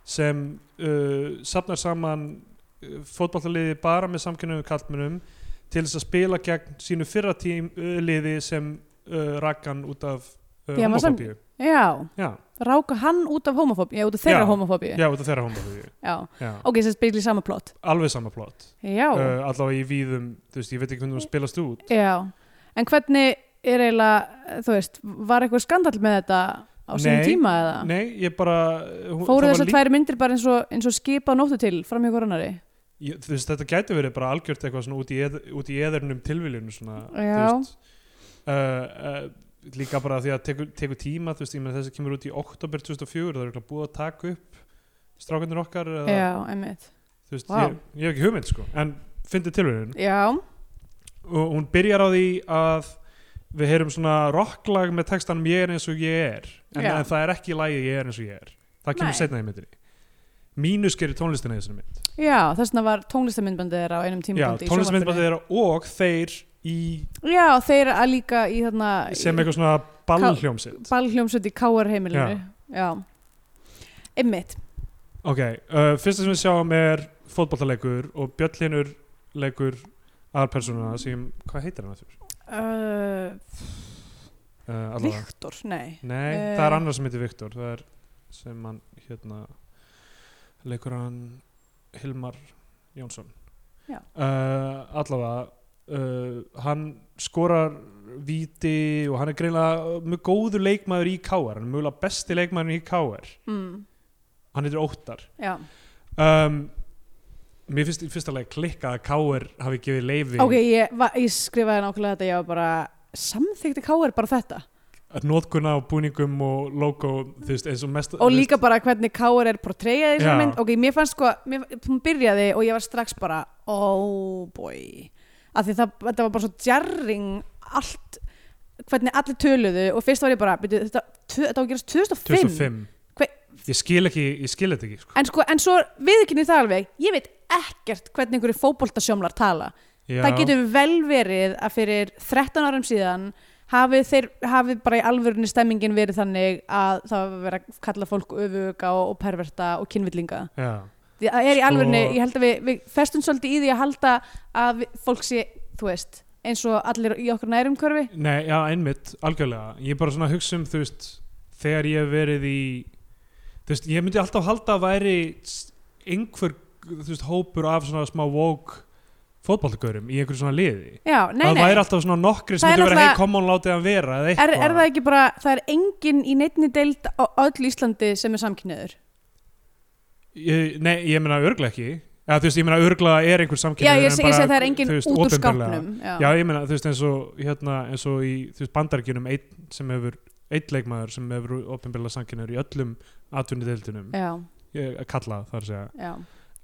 [SPEAKER 2] sem uh, safnar saman uh, fótballtaliði bara með samkynniðum kallmennum til þess að spila gegn sínu fyrra tím, uh, liði sem uh, rakkan út af uh,
[SPEAKER 3] Já, maður sam-
[SPEAKER 2] homofóbíu
[SPEAKER 3] já,
[SPEAKER 2] já,
[SPEAKER 3] ráka hann út af homofóbíu, já, út af þeirra
[SPEAKER 2] Já.
[SPEAKER 3] homofóbíu, já.
[SPEAKER 2] já, út af þeirra homofóbíu já.
[SPEAKER 3] ok, sem spil í sama plott,
[SPEAKER 2] alveg sama plott
[SPEAKER 3] já,
[SPEAKER 2] uh, allavega í víðum, þú veist, ég veit ekki hvernig hún spilast út
[SPEAKER 3] já, en hvernig er eiginlega, þú veist, var eitthvað skandall með þetta á sínum
[SPEAKER 2] Nei,
[SPEAKER 3] tíma eða?
[SPEAKER 2] nei, ég bara eh, hún,
[SPEAKER 3] Ah. Fóru
[SPEAKER 2] það
[SPEAKER 3] þessar
[SPEAKER 2] var lí-
[SPEAKER 3] tvær myndir bara eins og, eins og skipa á nóttu til fram hjá koronari?
[SPEAKER 2] ég, þú veist, þetta gæti verið bara algjört eitthvað svona út í, eð, út í eðernum tilviljun svona, þú
[SPEAKER 3] Já.
[SPEAKER 2] veist uh, uh, líka bara því að tekur, tekur tíma, þú veist, ég með þessi kemur út í oktober 2004, það er eitthvað búið að taka upp strákanir okkar eða,
[SPEAKER 3] Já, einmitt.
[SPEAKER 2] þú veist,
[SPEAKER 3] Vá.
[SPEAKER 2] ég, ég hef ekki hugmynd sko, en fyndi tilviljun
[SPEAKER 3] Já,
[SPEAKER 2] og hún byrjar á því að við heyrum svona rocklag með textanum ég er eins og ég er en,
[SPEAKER 3] Já.
[SPEAKER 2] en það er ekki lagið ég er eins og ég er það kemur
[SPEAKER 3] Nei.
[SPEAKER 2] setna í myndinni mínus gerir tónlistina í þessari mynd
[SPEAKER 3] já, þess vegna var tónlistamindbandið þeirra á einum
[SPEAKER 2] Já,
[SPEAKER 3] tímapunkti í
[SPEAKER 2] tónlistamindbandi
[SPEAKER 3] sjónvarpinu.
[SPEAKER 2] þeirra og þeir í,
[SPEAKER 3] Já, þeir að líka í þarna
[SPEAKER 2] sem eitthvað svona ballhljómsitt
[SPEAKER 3] ballhljómsveit í KR heimilinu. Já. Einmitt.
[SPEAKER 2] Ok, uh, fyrsta sem við sjáum er fótballtaleikur og Björn Linur leikur aðalpersónuna sem, hvað heitir hann aftur?
[SPEAKER 3] Uh,
[SPEAKER 2] Uh, allavega,
[SPEAKER 3] Viktor, nei.
[SPEAKER 2] nei,
[SPEAKER 3] Eh.
[SPEAKER 2] það er annar sem heitir Viktor, það er sem hann hérna leikur hann Hilmar Jónsson
[SPEAKER 3] Já.
[SPEAKER 2] uh, allavega uh, hann skorar víti og hann er greinlega mjög góður leikmaður í KR, hann er mjögulega besti leikmaður í KR,
[SPEAKER 3] Mm,
[SPEAKER 2] hann heitir Óttar
[SPEAKER 3] já.
[SPEAKER 2] um, mér finnst í fyrsta leik klikka að KR hafi gefið leifi
[SPEAKER 3] Ok, ég, va- ég skrifaði nákvæmlega þetta, ég var bara samþykti KR bara þetta.
[SPEAKER 2] að nótkuna og búningum og logo þú veist, eins og mest
[SPEAKER 3] Og líka bara hvernig KR er portreyjað í
[SPEAKER 2] Já.
[SPEAKER 3] þessari mynd. Ok, mér fannst sko, mér, hún byrjaði og ég var strax bara, oh boy. Af því það, þetta var bara svo jarring allt, hvernig allir töluðu og fyrst var ég bara, byrju, þetta, tvö- þetta á að gerast 2005.
[SPEAKER 2] 2005
[SPEAKER 3] Hve-
[SPEAKER 2] ég skil ekki, ég skil þetta ekki sko.
[SPEAKER 3] En sko, en svo viðkynni það alveg, ég veit ekkert hvernig einhverju fótboltasjómlar tala.
[SPEAKER 2] Já.
[SPEAKER 3] það getur vel verið að fyrir 13 árum síðan hafið þeir, hafið bara í alvörunni stemmingin verið þannig að það var verið að kalla fólk öfuga og, og perverta og kynvillinga
[SPEAKER 2] Já.
[SPEAKER 3] það er í
[SPEAKER 2] Sko-
[SPEAKER 3] alvegni, ég held að við, við festum svolítið í því að halda að við, fólk sé, þú veist eins og allir í okkur nærumkörfi
[SPEAKER 2] Nei, já, einmitt, algjörlega Ég er bara svona að hugsa um, þú veist Þegar ég hef verið í Þú veist, ég myndi alltaf halda að væri s- einhver, þú veist, hópur af svona smá vók fótballgörum í einhverju svona liði
[SPEAKER 3] já, nei,
[SPEAKER 2] Það
[SPEAKER 3] nei,
[SPEAKER 2] væri alltaf svona nokkri sem
[SPEAKER 3] Það er
[SPEAKER 2] myndi vera
[SPEAKER 3] náttúrulega-
[SPEAKER 2] hei, kom on, látið hann vera eða
[SPEAKER 3] er,
[SPEAKER 2] eitthvað
[SPEAKER 3] er það ekki bara það er engin í neittni deild á öll Íslandi sem er samkynniður
[SPEAKER 2] ég, Nei, ég meina örgla ekki Já, þú veist, ég meina örgla er einhver
[SPEAKER 3] já,
[SPEAKER 2] samkynhneigður
[SPEAKER 3] ég,
[SPEAKER 2] en
[SPEAKER 3] seg- ég
[SPEAKER 2] bara,
[SPEAKER 3] segi það er engin
[SPEAKER 2] þú veist,
[SPEAKER 3] út úr
[SPEAKER 2] opinberlega.
[SPEAKER 3] skápnum já,
[SPEAKER 2] Já, ég meina, þú veist, eins og, hérna, eins og í þú veist, bandaríkjunum einn sem hefur einn leikmaður sem hefur opinbjörlega sankinnur í öllum atvinnideildunum
[SPEAKER 3] já,
[SPEAKER 2] ég, kalla þar að segja
[SPEAKER 3] já,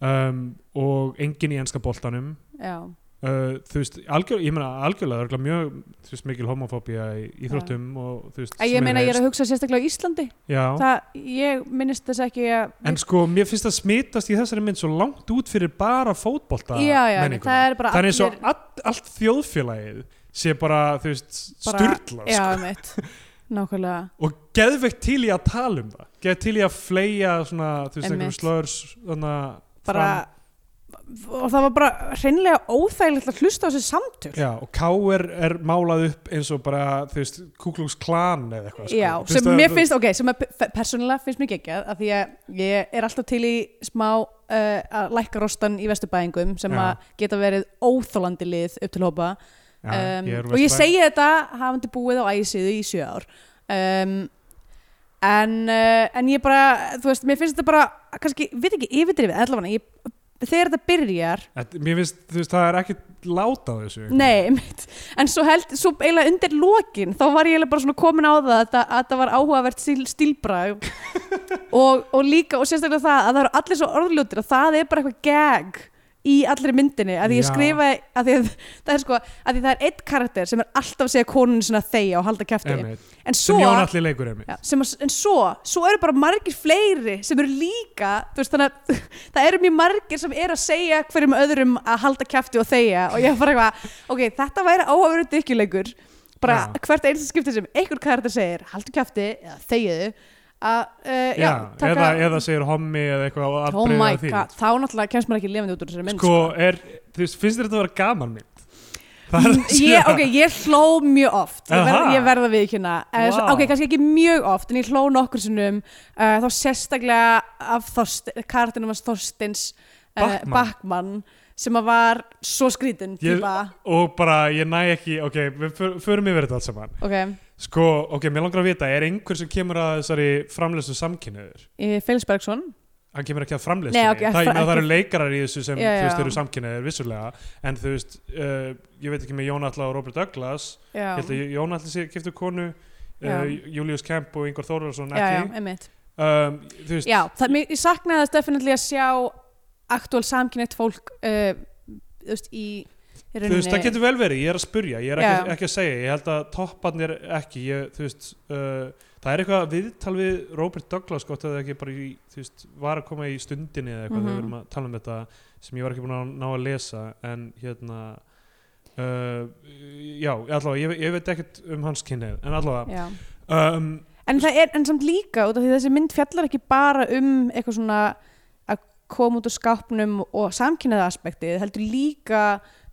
[SPEAKER 2] um, og engin í enska boltanum
[SPEAKER 3] já.
[SPEAKER 2] uh, þú veist, algjör, ég meina algjörlega örgulega mjög, þú veist, mikil homofóbía í íþróttum og þú veist
[SPEAKER 3] Að ég
[SPEAKER 2] sem
[SPEAKER 3] meina ég er
[SPEAKER 2] reist.
[SPEAKER 3] að hugsa sérstaklega á Íslandi
[SPEAKER 2] Já,
[SPEAKER 3] það, ég minnist þess ekki að
[SPEAKER 2] en sko, mér finnst það smitast í þessari mynd svo langt út fyrir bara fótbolta
[SPEAKER 3] já, já, nei,
[SPEAKER 2] menninguna.
[SPEAKER 3] það er bara
[SPEAKER 2] það er eins og
[SPEAKER 3] allir-
[SPEAKER 2] all, allt þjóðfélagið sé bara, þú veist,
[SPEAKER 3] Bara-
[SPEAKER 2] sturla
[SPEAKER 3] já, mitt, nákvæmlega
[SPEAKER 2] og geðveikt til í að tala um það geðveikt til í að fleia svona, þú veist, einhverjum
[SPEAKER 3] Einmitt.
[SPEAKER 2] slörs þannig
[SPEAKER 3] bara og það var bara hreinlega óþægilegt að hlusta á þessi samtöl
[SPEAKER 2] já, og K.R. er málað upp eins og bara, þú veist, Kuklungs klan eða eitthvað, sko.
[SPEAKER 3] Já,
[SPEAKER 2] Þú veist,
[SPEAKER 3] sem
[SPEAKER 2] það-
[SPEAKER 3] mér finnst, ok, sem að pe- persónulega finnst mér geggjað af því að ég er alltaf til í smá uh, að lækka rostan í vesturbæðingum sem
[SPEAKER 2] Já.
[SPEAKER 3] að geta verið óþólandi lið upp til hópa
[SPEAKER 2] já,
[SPEAKER 3] um,
[SPEAKER 2] er
[SPEAKER 3] og ég
[SPEAKER 2] vesturbæ-
[SPEAKER 3] segi þetta hafandi búið á æsiðu í sjö ár um, en, uh, en ég bara þú veist, mér finnst þetta bara kannski, við ekki yfirdrifið, allavega ég, þegar þetta byrjar,
[SPEAKER 2] Þetta- mér finnst, þú veist, það er ekki látað þessu einhvern
[SPEAKER 3] nei mitt, en svo held, svo eiginlega undir lokin þá var ég eiginlega bara svona komin á það að, það- að það var áhugavert stíl, stílbrag og, og líka, og sérstaklega það að það eru allir svo orðljótir og það er bara eitthvað gag í allri myndinni, að því ég
[SPEAKER 2] Já.
[SPEAKER 3] skrifa að því að það er sko, að því það er eitt karakter sem er alltaf að segja konunni sinna þegja og halda kæfti,
[SPEAKER 2] Einmitt.
[SPEAKER 3] en
[SPEAKER 2] sem
[SPEAKER 3] svo
[SPEAKER 2] Jón Alli leikur einmitt
[SPEAKER 3] Já, sem að, en svo, svo eru bara margir fleiri sem eru líka, þú veist þannig að það eru mjög margir sem eru að segja hverjum öðrum að halda kæfti og þegja og ég er bara eitthvað, ok, þetta væri áhafur dykjuleikur, bara
[SPEAKER 2] Já.
[SPEAKER 3] hvert einsta skipti sem einhver karakter segir haldu kæfti eða þegju að, uh, já,
[SPEAKER 2] já,
[SPEAKER 3] taka
[SPEAKER 2] eða, eða segir hommi eða eitthvað og
[SPEAKER 3] oh
[SPEAKER 2] afbrigði
[SPEAKER 3] my
[SPEAKER 2] af því.
[SPEAKER 3] god, þá náttúrulega kemst maður ekki lifandi út úr þessari mynd
[SPEAKER 2] sko, er, þú veist, finnst þér þetta að vera gaman mynd? Það er
[SPEAKER 3] Ég- Mm, ég, ok, ég hló mjög oft ég verð,
[SPEAKER 2] Aha.
[SPEAKER 3] ég verð að viðkynna wow.
[SPEAKER 2] Vá.
[SPEAKER 3] hérna. Eh, ok, kannski ekki mjög oft, en ég hló nokkur sinnum uh, þá sérstaklega af Þorst, kartinum hans Þorstins uh,
[SPEAKER 2] Backman.
[SPEAKER 3] Backman sem að var svo skrítin
[SPEAKER 2] Ég-
[SPEAKER 3] típa,
[SPEAKER 2] og bara ég næ ekki, ok, við för- förum yfir þetta allt saman
[SPEAKER 3] ok,
[SPEAKER 2] sko, ok, mér langar að vita, er einhver sem kemur að þessari framleyslu samkynniður?
[SPEAKER 3] Eh, Felix Bergson
[SPEAKER 2] hann kemur ekki að
[SPEAKER 3] Nei,
[SPEAKER 2] framleyslunni
[SPEAKER 3] ok,
[SPEAKER 2] það, ég meina,
[SPEAKER 3] ekki-
[SPEAKER 2] það eru leikarar í þessu sem
[SPEAKER 3] Já,
[SPEAKER 2] þú veist
[SPEAKER 3] já.
[SPEAKER 2] eru samkynniður vissulega en þú veist, uh, ég veit ekki með Jón Atla og Robert Douglas
[SPEAKER 3] já,
[SPEAKER 2] ég held að Jón Atli sé giftu konu
[SPEAKER 3] Já.
[SPEAKER 2] uh, Julius Kemp og Ingvar Þórarsson
[SPEAKER 3] já, já,
[SPEAKER 2] ekki
[SPEAKER 3] einmitt
[SPEAKER 2] um, þú veist,
[SPEAKER 3] já, það, mér, ég saknaði þess definitely að sjá aktúal samkynett fólk uh, þú veist, í í
[SPEAKER 2] þú veist,
[SPEAKER 3] rauninni-
[SPEAKER 2] það getur vel verið, ég er að spurja ég er ekki,
[SPEAKER 3] Já.
[SPEAKER 2] ekki að segja, ég held að topparnir ekki, ég, þú veist uh, það er eitthvað viðtal við Robert Douglas gott að það ekki bara í, þú veist var að koma í stundinni eða eitthvað
[SPEAKER 3] Mhm.
[SPEAKER 2] þegar við erum að tala um þetta sem ég var ekki búin að ná að lesa en hérna uh, já, allavega, ég, ég veit ekkert um hans kynnið, en allavega
[SPEAKER 3] já.
[SPEAKER 2] um,
[SPEAKER 3] En það er, en samt líka, út af því þessi mynd fjallar ekki bara um eitthvað svona að koma út úr skápnum og samkynnaða aspektið, heldur líka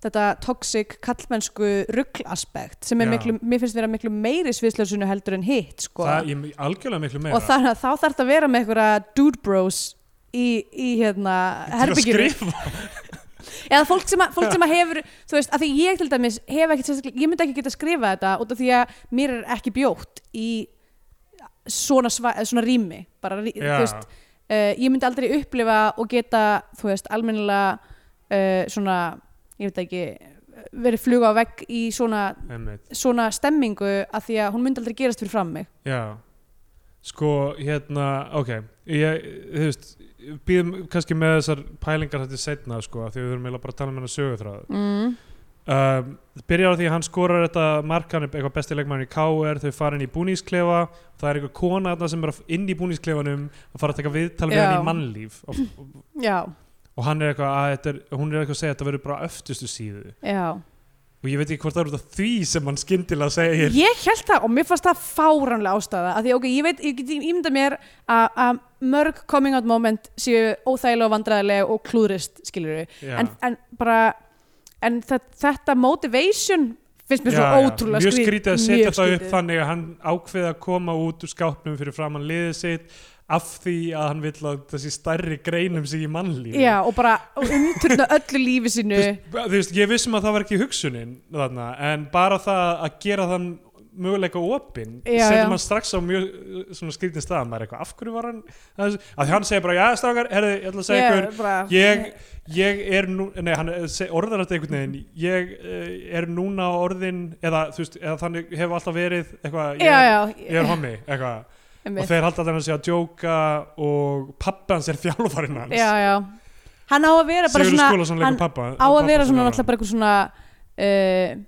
[SPEAKER 3] þetta toxic kallmennsku ruggl aspekt sem er
[SPEAKER 2] Já.
[SPEAKER 3] miklu, mér finnst vera miklu meiri sviðslösunu heldur en hitt, sko.
[SPEAKER 2] það, ég algjörlega miklu meira
[SPEAKER 3] og þannig að þá þarf það að vera með einhverja dude bros í, í hérna
[SPEAKER 2] Til að
[SPEAKER 3] herbygginu.
[SPEAKER 2] skrifa.
[SPEAKER 3] eða fólk sem, að, fólk sem að hefur þú veist, að því ég til dæmis hef ekki sérstaklega- ég myndi ekki geta skrifað þetta út af því að mér er ekki bjótt í svona, sva, eða svona rými bara, rí-
[SPEAKER 2] Já,
[SPEAKER 3] þú veist, uh, ég myndi aldrei upplifa og geta, þú veist, almennilega uh, svona, ég veit ekki verið fluga á vegg í svona,
[SPEAKER 2] einmitt,
[SPEAKER 3] svona stemmingu að því að hún myndi aldrei gerast fyrir fram mig
[SPEAKER 2] já sko, hérna, ok ég, þú veist, býðum kannski með þessar pælingar þetta setna sko, af því við þurfum eiginlega bara að tala um hennar sögutráð
[SPEAKER 3] mm.
[SPEAKER 2] um, byrjar á því að hann skorar þetta mark, hann er eitthvað besti leikmann í KR þau fara inn í búningsklefa það er eitthvað kona þarna sem er að- inn í búningsklefanum að fara að taka viðtal við
[SPEAKER 3] Já.
[SPEAKER 2] hann í mannlíf og,
[SPEAKER 3] já,
[SPEAKER 2] og hann er eitthvað að þetta er, hún er eitthvað að segja að þetta verður bara á öftustu síðu
[SPEAKER 3] já
[SPEAKER 2] og ég veit ekki hvort það eru þetta því sem hann skyndilega segir
[SPEAKER 3] Ég held það og mér fannst það fáránlega ástæða að því ok, ég veit, ég get ímynda mér að, að mörg coming out moment séu óþægilega og vandræðilega og klúðrist skilur við,
[SPEAKER 2] Já.
[SPEAKER 3] en, en bara en þetta, þetta motivation finnst mér svo ótrúlega
[SPEAKER 2] mjög
[SPEAKER 3] skrít-
[SPEAKER 2] skrítið að setja
[SPEAKER 3] mjög
[SPEAKER 2] það upp
[SPEAKER 3] skrítið.
[SPEAKER 2] þannig að hann ákveði að koma út úr skápnum fyrir framann liðið sitt af því að hann vill að þessi stærri greinum sig í mannlífi
[SPEAKER 3] Já, og bara umturna öllu lífi
[SPEAKER 2] Þú
[SPEAKER 3] sínu
[SPEAKER 2] veist, þú veist, ég vissum að það var ekki hugsunin þarna, en bara það að gera þann möguleika opinn
[SPEAKER 3] Já, já.
[SPEAKER 2] setur mann strax á mjög uh, svona skrítin stað maður er eitthvað, af hverju var hann að því hann segir bara, já strákar, herri, ég ætla að segja ykkur
[SPEAKER 3] bara-
[SPEAKER 2] ég, ég er nú nei, hann eh, se- orðar þetta einhvern veginn ég uh, er núna orðin eða, þú veist, eða þannig hefur alltaf verið eitthvað, ég,
[SPEAKER 3] já, já,
[SPEAKER 2] ég er hommi eitthvað,
[SPEAKER 3] einmitt.
[SPEAKER 2] og þeir halda þannig að segja að djóka og pappi hans er þjálfarinn hans
[SPEAKER 3] já, já. hann á að vera bara
[SPEAKER 2] Sigurður Skúlason
[SPEAKER 3] svona
[SPEAKER 2] leikur
[SPEAKER 3] hann
[SPEAKER 2] pappa
[SPEAKER 3] á að vera svona
[SPEAKER 2] alltaf
[SPEAKER 3] náttúrulega bara eitthvað svona uh,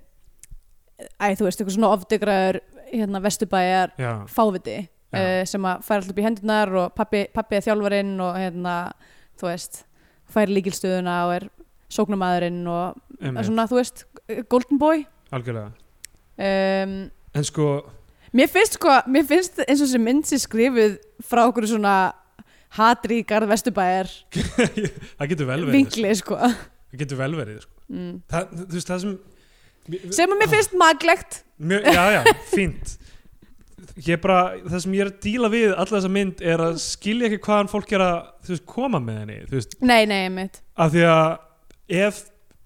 [SPEAKER 3] æ, þú veist, eitthvað svona ofdegraður hérna vesturbæjar
[SPEAKER 2] Já,
[SPEAKER 3] fáviti
[SPEAKER 2] Já.
[SPEAKER 3] uh, sem að fær alltaf upp í hendunar og pappi, pappi er þjálfarinn og hérna, þú veist fær líkilstöðuna og er sóknumæðurinn og
[SPEAKER 2] einmitt.
[SPEAKER 3] svona, þú veist, golden boy
[SPEAKER 2] algjörlega
[SPEAKER 3] um,
[SPEAKER 2] en sko,
[SPEAKER 3] Mér finnst sko, mér finnst eins og sem mynd sé skrifuð frá okkur svona hatri í garð vesturbæjar
[SPEAKER 2] það getur vel verið sko.
[SPEAKER 3] vingli sko
[SPEAKER 2] það getur vel verið sko.
[SPEAKER 3] mm.
[SPEAKER 2] það, þú veist það sem
[SPEAKER 3] sem að mér finnst maglegt
[SPEAKER 2] mjög, já já, fínt ég bara, það sem ég er að díla við alla þessa mynd er að skilja ekki hvaðan fólk er að þú veist, koma með henni þú veist,
[SPEAKER 3] Nei, nei, mitt
[SPEAKER 2] af því að ef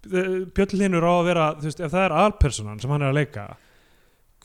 [SPEAKER 2] eh, Björn Linur á að vera þú veist, ef það er alpersonan sem hann er að leika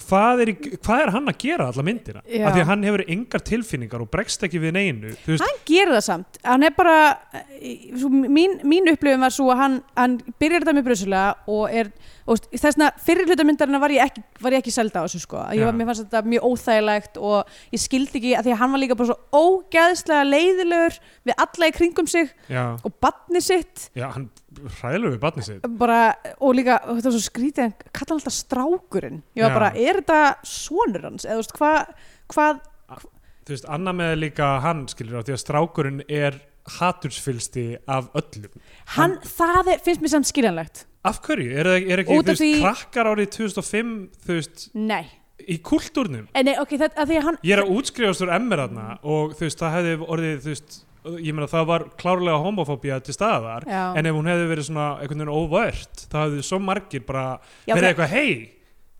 [SPEAKER 2] hvað er, í- hvað er hann að gera alla myndina,
[SPEAKER 3] Já.
[SPEAKER 2] af því að hann hefur engar tilfinningar og bregst ekki við neinu þú veist,
[SPEAKER 3] Hann gerir það samt, hann er bara eh, svo, mín, mín upplifun var svo að hann, hann byrjar þetta með brusulega og er, og veist, þessna fyrir hlutamyndarina var ég ekki, var ég ekki selda á þessu sko Að ég
[SPEAKER 2] Já.
[SPEAKER 3] var, mér fannst þetta mjög óþægilegt og ég skildi ekki að því að hann var líka bara svo ógeðslega leiðilegur við alla í kringum sig
[SPEAKER 2] já,
[SPEAKER 3] og batni sitt
[SPEAKER 2] já, hann hræðilegu við barnið sitt
[SPEAKER 3] bara, og líka, og þetta var svo skrítið hann kalla hann alltaf strákurinn ég var
[SPEAKER 2] Já.
[SPEAKER 3] bara, er þetta sonur hans eða þú veist, hvað, hvað
[SPEAKER 2] þú veist, annað með líka hann skilur á því að strákurinn er hatursfylsti af öllum
[SPEAKER 3] hann, það er, finnst mér samt skiljanlegt
[SPEAKER 2] af hverju? Er, það- er ekki, þú
[SPEAKER 3] Út af
[SPEAKER 2] veist,
[SPEAKER 3] því-
[SPEAKER 2] krakkar árið 2005 þú veist,
[SPEAKER 3] nei,
[SPEAKER 2] í kultúrnum
[SPEAKER 3] en nei, ok, þetta, að því að hann
[SPEAKER 2] ég er að útskrifast úr emmer þarna og þú veist, það hefði orðið þú veist, ég meina það var klárlega homofóbía til staðar,
[SPEAKER 3] já,
[SPEAKER 2] en ef hún hefði verið svona einhvern veginn óvört, það hefði svo margir bara
[SPEAKER 3] já,
[SPEAKER 2] verið
[SPEAKER 3] ok,
[SPEAKER 2] eitthvað hei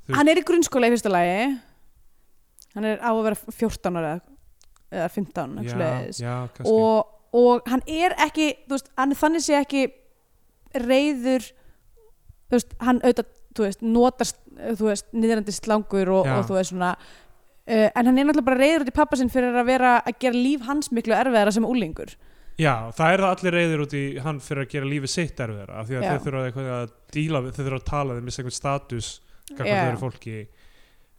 [SPEAKER 2] þú-
[SPEAKER 3] hann er í grunnskóla í fyrsta lagi hann er á að vera 14 ára eða- eða 15 eitthvað svoleiðis.
[SPEAKER 2] já, kannski
[SPEAKER 3] og, og hann er ekki þú veist, hann er þannig sé ekki reyður þú veist, hann auðvitað, þú veist, notast þú veist, niðrandi slangur og,
[SPEAKER 2] Já.
[SPEAKER 3] og þú veist svona uh, en hann er náttúrulega bara reyður út í pappa sinn fyrir að vera að gera líf hans miklu erfiðara sem úlingur
[SPEAKER 2] Já, það er það allir reyðir út í hann fyrir að gera lífið sitt erfiðara af því að
[SPEAKER 3] Já.
[SPEAKER 2] þeir þurfa eitthvað að díla við, þeir þurfa að tala þeir missa einhvern status gagvart
[SPEAKER 3] Já.
[SPEAKER 2] þeirra fólki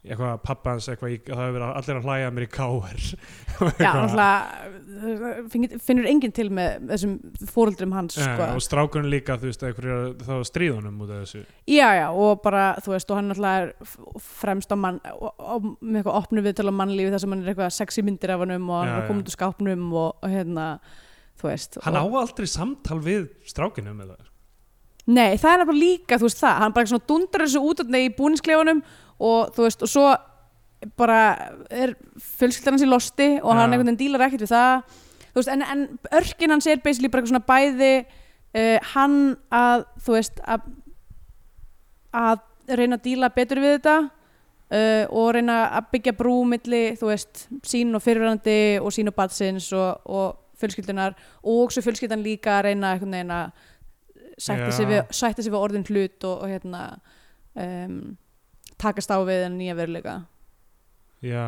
[SPEAKER 2] eitthvað pappa hans eitthvað, í, það hefur verið allir að hlæja að mér í káar
[SPEAKER 3] já, náttúrulega finn- finnur enginn til með þessum fóruldrum hans sko.
[SPEAKER 2] Eh, og strákurinn líka þú veist, eitthvað er þá stríðunum út af þessu
[SPEAKER 3] já, já, og bara, þú veist, og hann náttúrulega er f- fremst á mann og, og, með eitthvað opnu viðtölu á mannlífi þar sem hann er eitthvað sexy myndir af hannum og
[SPEAKER 2] Já,
[SPEAKER 3] hann er að
[SPEAKER 2] já.
[SPEAKER 3] koma út úr skápnum og, og hérna, þú veist
[SPEAKER 2] hann á
[SPEAKER 3] og,
[SPEAKER 2] aldrei samtal við um strákinum með það
[SPEAKER 3] Nei, það er nefnilega líka, þú veist það hann bara svona dundrar þessu út þarna í búningsklefunum og þú veist, og svo bara er fjölskyldan hans í losti og
[SPEAKER 2] Já.
[SPEAKER 3] hann einhvern veginn dílar ekkert við það þú veist, en, en örkin hans er basically bara eitthvað svona bæði uh, hann að, þú veist að, að reyna að díla betur við þetta uh, og reyna að byggja brú milli, þú veist, sín og fyrirverandi og sín og batsins og, og fjölskyldunar og svo fjölskyldan líka að reyna einhvern veginn að sætta
[SPEAKER 2] Já.
[SPEAKER 3] sig, við, sætta sig við orðin hlut og, og hérna um, takast á við en nýja veruleika
[SPEAKER 2] já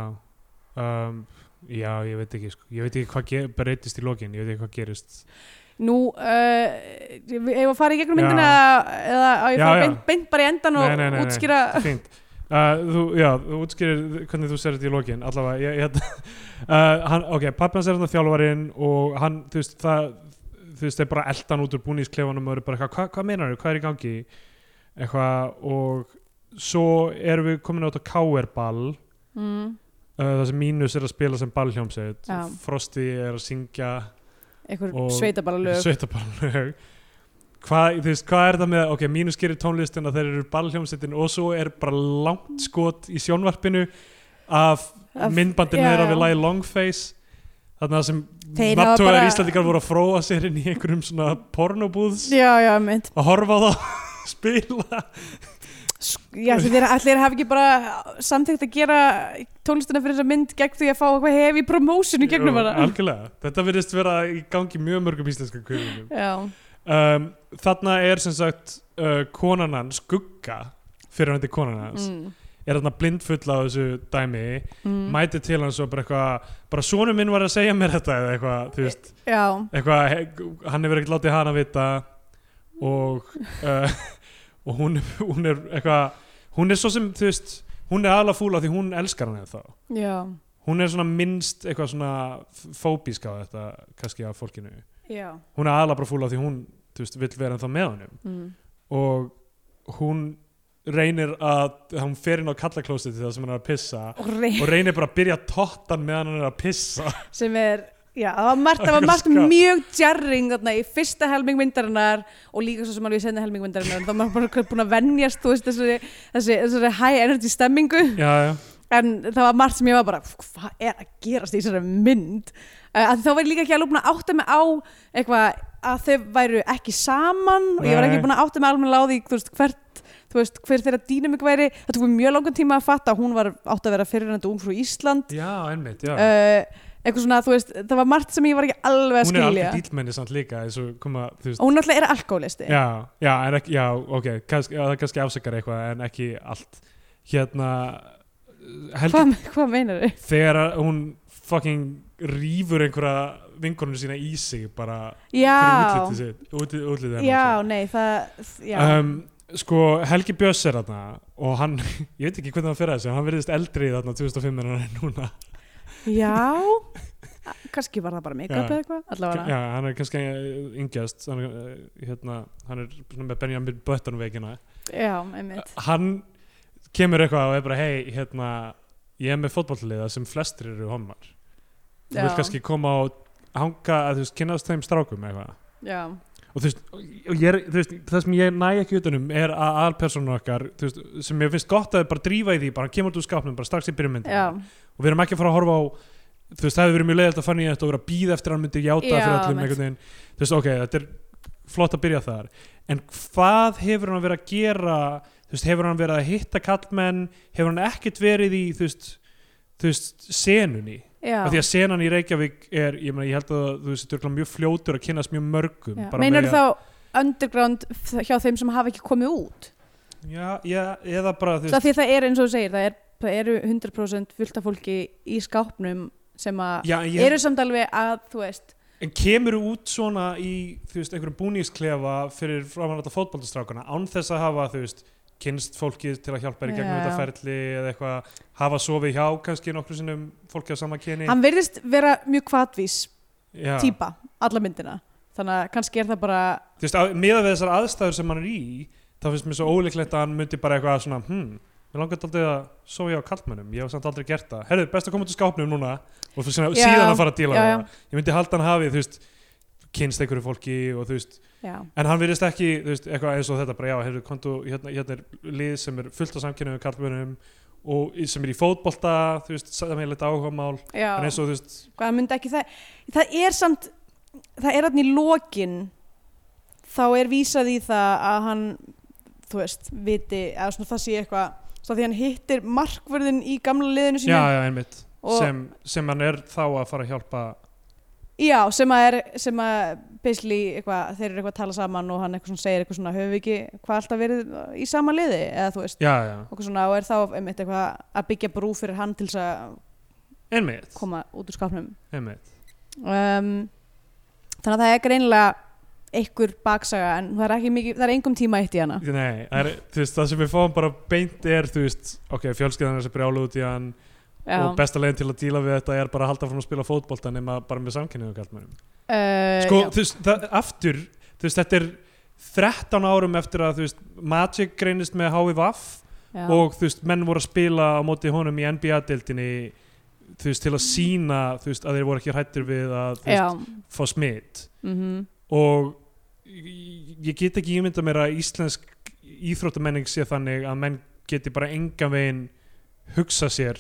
[SPEAKER 2] um, já, ég veit ekki sko. ég veit ekki hvað ge- breytist í lokin ég veit ekki hvað gerist
[SPEAKER 3] Nú, uh, við eigum að fara í gegnum
[SPEAKER 2] Já.
[SPEAKER 3] myndina eða, eða á ég
[SPEAKER 2] Já,
[SPEAKER 3] fara
[SPEAKER 2] já.
[SPEAKER 3] beint, beint bara í endan og
[SPEAKER 2] Nei, nei, nei, nei.
[SPEAKER 3] útskýra
[SPEAKER 2] fínt Uh, þú, já, þú útskýrir hvernig þú sér þetta í lokin allavega ég, ég, uh, hann, ok, pappi hans er þetta þjálfarinn og hann, þú veist, það þú veist, þeir bara eldan út úr búningsklefanum og eru bara eitthvað, "Hva- hvað meinar þau, hvað er í gangi eitthvað og svo erum við komin át á K.R.ball uh,
[SPEAKER 3] mm,
[SPEAKER 2] það sem Mínus er að spila sem ballhjómsveit
[SPEAKER 3] Já.
[SPEAKER 2] Frosti er að syngja
[SPEAKER 3] einhver
[SPEAKER 2] Og-
[SPEAKER 3] sveitabalalög
[SPEAKER 2] sveitaballalög hvað, þú veist, hvað er það með ok, mínus gerir tónlistina, þeir eru ballhjómsettin og svo er bara langt skot í sjónvarpinu af,
[SPEAKER 3] Af-
[SPEAKER 2] myndbandinu
[SPEAKER 3] já,
[SPEAKER 2] þeirra
[SPEAKER 3] já.
[SPEAKER 2] við lagi Longface þarna sem
[SPEAKER 3] Þeir hafa
[SPEAKER 2] nattóðar
[SPEAKER 3] bara-
[SPEAKER 2] íslendingar voru að fróa sér inn í einhverjum svona pornobúðs
[SPEAKER 3] já, já, mynd
[SPEAKER 2] að horfa á það spila
[SPEAKER 3] já, ætli þeir, allir hafa ekki bara samtíkt að gera tónlistina fyrir þessa mynd gegn því að fá eitthvað hefi promósinu gegnum
[SPEAKER 2] Jú,
[SPEAKER 3] hana
[SPEAKER 2] algjörlega, þetta virðist vera í gangi í mjög mörgum íslenska kveðunum
[SPEAKER 3] já,
[SPEAKER 2] um, þarna er sem sagt uh, konan hans skugga fyrir hann til konan hans
[SPEAKER 3] mm,
[SPEAKER 2] er þarna blindfull á þessu dæmi
[SPEAKER 3] mm,
[SPEAKER 2] mæti til hans og bara eitthvað bara sonu minn var að segja mér þetta eða eitthvað, þú veist,
[SPEAKER 3] já
[SPEAKER 2] eitthvað he- hann hefur ekkert látið hana vita og uh, og hún, hún er eitthvað hún er svo sem, þú veist, hún er aðla fúla því hún elskar hann eða þá
[SPEAKER 3] já,
[SPEAKER 2] hún er svona minnst eitthvað svona f- fóbísk á þetta, kannski af fólkinu
[SPEAKER 3] já
[SPEAKER 2] hún er aðla bara fúla því hún, þú veist, vill vera en þá með honum
[SPEAKER 3] mm.
[SPEAKER 2] og hún reynir að hún fer inn á kallaklósið til það sem hann er að pissa
[SPEAKER 3] og rey,
[SPEAKER 2] og reynir bara að byrja tottan meðan hann er að pissa
[SPEAKER 3] sem er já, það var margt, það var margt
[SPEAKER 2] Skap.
[SPEAKER 3] mjög jarring þarna í fyrsta helming myndarinnar og líka svo sem alveg í senna helming myndarinnar þá er maður bara búin að venjast þú veist, þessari, þessari, þessari high energy stemmingu
[SPEAKER 2] já, já,
[SPEAKER 3] en það var margt sem ég var bara hvað er að gerast í þessari mynd uh, að þá var ég líka ekki alveg búin að átta mig á eitthvað að þau væru ekki saman og ég var
[SPEAKER 2] Nei.
[SPEAKER 3] ekki búin að átta mig alveg á því þú veist, hvert þú veist, hver þeirra dýnamik væri það tók mér mjög langan tíma að fatta að hún var átt að vera fyrirrændu ungfrú Ísland
[SPEAKER 2] já, einmitt já.
[SPEAKER 3] uh, eitthvað svona, þú veist, það var margt sem ég var ekki alveg
[SPEAKER 2] hún
[SPEAKER 3] að
[SPEAKER 2] er
[SPEAKER 3] skilja
[SPEAKER 2] alveg dýlmenni samt líka eins og koma, þú veist
[SPEAKER 3] og hún náttúrulega er alkoholisti
[SPEAKER 2] já, já, en ekki, já, ok, kannski, já, það kannski afsakar eitthvað en ekki allt hérna, heldur
[SPEAKER 3] hvað, hvað meinar þau?
[SPEAKER 2] þegar að hún fucking rýfur einhverja vinkoninu sína í sig bara fyrir
[SPEAKER 3] já,
[SPEAKER 2] útlitið sitt, útlitið, útlitið hennar,
[SPEAKER 3] já,
[SPEAKER 2] sorry.
[SPEAKER 3] nei, það já,
[SPEAKER 2] um, sko Helgi Björns er þarna og hann, ég veit ekki hvernig hann fyrir þessu hann verðist eldri þarna 2005 en hann er núna
[SPEAKER 3] já kannski var það bara make-up
[SPEAKER 2] Já.
[SPEAKER 3] eða eitthvað allavega
[SPEAKER 2] já, hann er kannski yngjast hann, eh, hérna, hann er svona með Benjamin Button veikina
[SPEAKER 3] já, einmitt
[SPEAKER 2] hann kemur eitthvað og er bara hei, hérna, ég er með fótballliða sem flestir eru homar þú
[SPEAKER 3] Já.
[SPEAKER 2] vil kannski koma og hanga að þú veist, kynast þeim strákum eitthvað
[SPEAKER 3] já,
[SPEAKER 2] og þú veist, og ég er, þú veist það sem ég næ ekki utanum er að alpersonu okkar þú veist, sem ég finnst gott að þau bara drífa í því bara kemur út úr skápnum, bara strax í byrjumyndin
[SPEAKER 3] já,
[SPEAKER 2] og við erum ekki að fara að horfa á þú veist, það hefur verið mjög leiðilegt að fann ég þetta og vera að býða eftir að hann myndi játa
[SPEAKER 3] Já,
[SPEAKER 2] fyrir öllum
[SPEAKER 3] mitt.
[SPEAKER 2] einhvern veginn þú veist, ok, þetta er flott að byrja þar en hvað hefur hann verið að gera þú veist, hefur hann verið að hitta kallmenn hefur hann ekkert verið í þú veist, þú veist, senunni
[SPEAKER 3] já.
[SPEAKER 2] af því að senan í Reykjavík er ég, meina, ég held að þú veist, þú er mjög fljótur að kynast mjög mörgum
[SPEAKER 3] já.
[SPEAKER 2] bara með
[SPEAKER 3] meinar
[SPEAKER 2] því að-
[SPEAKER 3] þá underground f- hjá þeim sem hafa ekki komið út
[SPEAKER 2] Já, já, eða bara þú
[SPEAKER 3] það
[SPEAKER 2] veist
[SPEAKER 3] því að það er eins og þú segir það, er, það eru 100% fullt af fólki í skápnum sem að
[SPEAKER 2] já, en ég,
[SPEAKER 3] eru samt alveg að, þú veist
[SPEAKER 2] En kemur út svona í þú veist, einhverjum búningsklefa fyrir framanrætta fótbollastrákana án þess að hafa þú veist, kynst fólkið til að hjálpa þér í gegnum
[SPEAKER 3] Já.
[SPEAKER 2] þetta ferli eða eitthvað hafa sofið hjá kannski nokkru sinnum fólki á sama kyni
[SPEAKER 3] hann virðist vera mjög kvatvís
[SPEAKER 2] Já.
[SPEAKER 3] típa, alla myndina þannig að kannski er það bara
[SPEAKER 2] Þú veist, að- miðað við þessar aðstæður sem hann er í þá finnst mér svo ólíklegt að hann myndi bara eitthvað svona hm, mér langar aldrei að sofa hjá kallmennum ég hef samt aldrei gert það, herðu, best að koma út úr skápnum núna og fyrir sína,
[SPEAKER 3] Já,
[SPEAKER 2] síðan að fara að díla
[SPEAKER 3] já,
[SPEAKER 2] við
[SPEAKER 3] já.
[SPEAKER 2] það ég myndi halda hann hafið, þú veist kynst einhverju fólki og þú veist
[SPEAKER 3] já,
[SPEAKER 2] En hann virðist ekki, þú veist, eitthvað eins og þetta bara, já, heyrðu, kontu, hérna, hérna er lið sem er fullt af samkynnuðum kallmennum og í- sem er í fótbolta, þú veist, samheilegt áhugamál,
[SPEAKER 3] já.
[SPEAKER 2] en eins og, þú veist,
[SPEAKER 3] hvað myndi ekki það það er samt, það er hann í lokin þá er vísað í það að hann þú veist, viti, eða svona það sé eitthvað svo því hann hittir markvörðin í gamla liðinu
[SPEAKER 2] já,
[SPEAKER 3] sínu
[SPEAKER 2] já, einmitt,
[SPEAKER 3] Mhm. Og-
[SPEAKER 2] sem, sem hann er þá að fara að hjálpa,
[SPEAKER 3] já, sem að er sem að basically eitthvað, þeir eru eitthvað að tala saman og hann eitthvað svona segir eitthvað svona höfum við ekki hvað alltaf verið í sama liði eða þú veist,
[SPEAKER 2] já, já,
[SPEAKER 3] og, svona, og er þá einmitt eitthvað að byggja brú fyrir hann til þess að
[SPEAKER 2] einmitt,
[SPEAKER 3] koma út úr skapnum
[SPEAKER 2] einmitt,
[SPEAKER 3] um, þannig að það er greinilega einhver baksaga en það er, ekki mikið, það er engum tíma eitt í hana
[SPEAKER 2] nei, það er, þú veist, það sem við fáum bara beint er, þú veist, ok, fjölskyldan er sem brjálu út í hann og
[SPEAKER 3] já.
[SPEAKER 2] besta leiðin til að díla við þetta er bara að halda frá að spila fótbolta nema bara með samkynnuðum kallmennum.
[SPEAKER 3] Uh,
[SPEAKER 2] sko,
[SPEAKER 3] já.
[SPEAKER 2] þú veist, það, aftur þú veist, þetta er 13 árum eftir að, þú veist, Magic greinist með HVVF
[SPEAKER 3] já.
[SPEAKER 2] og, þú veist, menn voru að spila á móti honum í NBA-deildinni þú veist, til að sína, þú veist, að þeir voru ekki hrættir við að, þú
[SPEAKER 3] já.
[SPEAKER 2] veist, fá smitt
[SPEAKER 3] mhm,
[SPEAKER 2] og ég ég get ekki ímynda mér að íslensk íþróttamenning sé þannig að menn geti bara engan veginn hugsa sér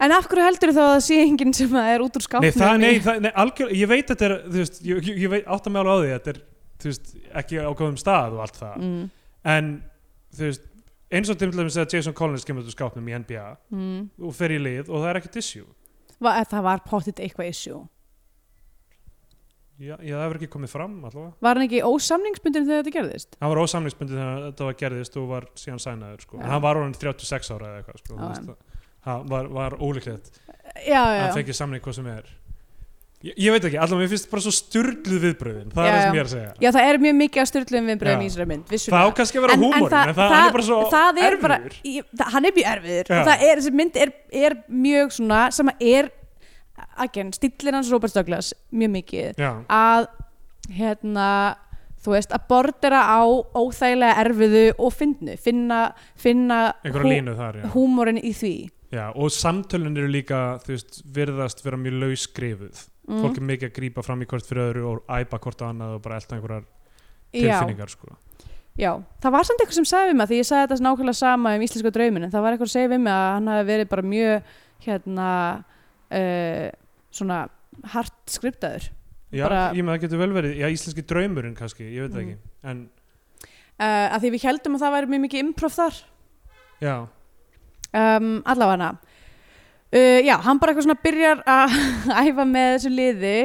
[SPEAKER 3] En af hverju heldur þá að það sé enginn sem að er út úr skápnum?
[SPEAKER 2] nei, það, nei, það, nei algjör, ég veit þetta er þú veist, ég, ég- ég veit, átta mig alveg á því þetta er þú veist, ekki á góðum stað og allt það
[SPEAKER 3] Mm,
[SPEAKER 2] en þú veist eins og til dæmis að Jason Collins kemur út úr skápnum í NBA
[SPEAKER 3] mm.
[SPEAKER 2] og fer í lið og það er ekkert issue
[SPEAKER 3] Va, það var pottit eitthvað issue.
[SPEAKER 2] já, já, það hefur ekki komið fram allavega
[SPEAKER 3] Var hann ekki ósamningsbundin þegar þetta gerðist?
[SPEAKER 2] hann var ósamlingsbundið þegar þetta var gerðist og var síðan sænaður sko.
[SPEAKER 3] Já.
[SPEAKER 2] en hann var orðin 36 ára eða eitthvað sko.
[SPEAKER 3] Já,
[SPEAKER 2] Þú veist, það- það var, var ólíklegt
[SPEAKER 3] Já, já,
[SPEAKER 2] hann
[SPEAKER 3] já.
[SPEAKER 2] fengi samning hvað sem er ég, ég veit ekki, allavega mér finnst bara svo styrluð viðbröðin það
[SPEAKER 3] Já,
[SPEAKER 2] er það
[SPEAKER 3] já.
[SPEAKER 2] sem ég er að segja
[SPEAKER 3] Já, það er mjög mikið að styrluðum
[SPEAKER 2] Já.
[SPEAKER 3] viðbröðum í þessari mynd,
[SPEAKER 2] það á
[SPEAKER 3] vissulega.
[SPEAKER 2] kannski að vera húmórin en, það, hann er bara svo
[SPEAKER 3] það er
[SPEAKER 2] erfiður
[SPEAKER 3] bara, ég, það, hann er mjög erfiður
[SPEAKER 2] Já.
[SPEAKER 3] og það er, þessi mynd er, er mjög svona sem að er, again, stíllinn hans Robert Douglas mjög mikið
[SPEAKER 2] já,
[SPEAKER 3] að hérna, þú veist, að bordera á óþægilega erfiðu og finnu, finna, finna
[SPEAKER 2] einhverja línu þar já.
[SPEAKER 3] húmórin í því
[SPEAKER 2] já, og samtölun eru líka þú veist, virðast vera mjög lausskrifuð
[SPEAKER 3] Mm.
[SPEAKER 2] fólk er mikið að grípa fram í hvort fyrir öðru og æpa hvort á annað og bara elta einhverjar
[SPEAKER 3] Já.
[SPEAKER 2] tilfinningar sko.
[SPEAKER 3] Já, það var samt eitthvað sem sagði við mig því ég sagði þetta nákvæmlega sama um íslenska draumin en það var eitthvað að segja við mig að hann hafi verið bara mjög hérna uh, svona hart skriptaður
[SPEAKER 2] já,
[SPEAKER 3] Bara-
[SPEAKER 2] ég með það getur vel verið já, íslenski draumurinn kannski, ég veit það
[SPEAKER 3] Mm.
[SPEAKER 2] ekki en
[SPEAKER 3] uh, að því við heldum að það væri mjög mikið improv þar
[SPEAKER 2] Já,
[SPEAKER 3] um, allavega uh, Já, hann bara eitthvað svona byrjar að æfa með þessu liði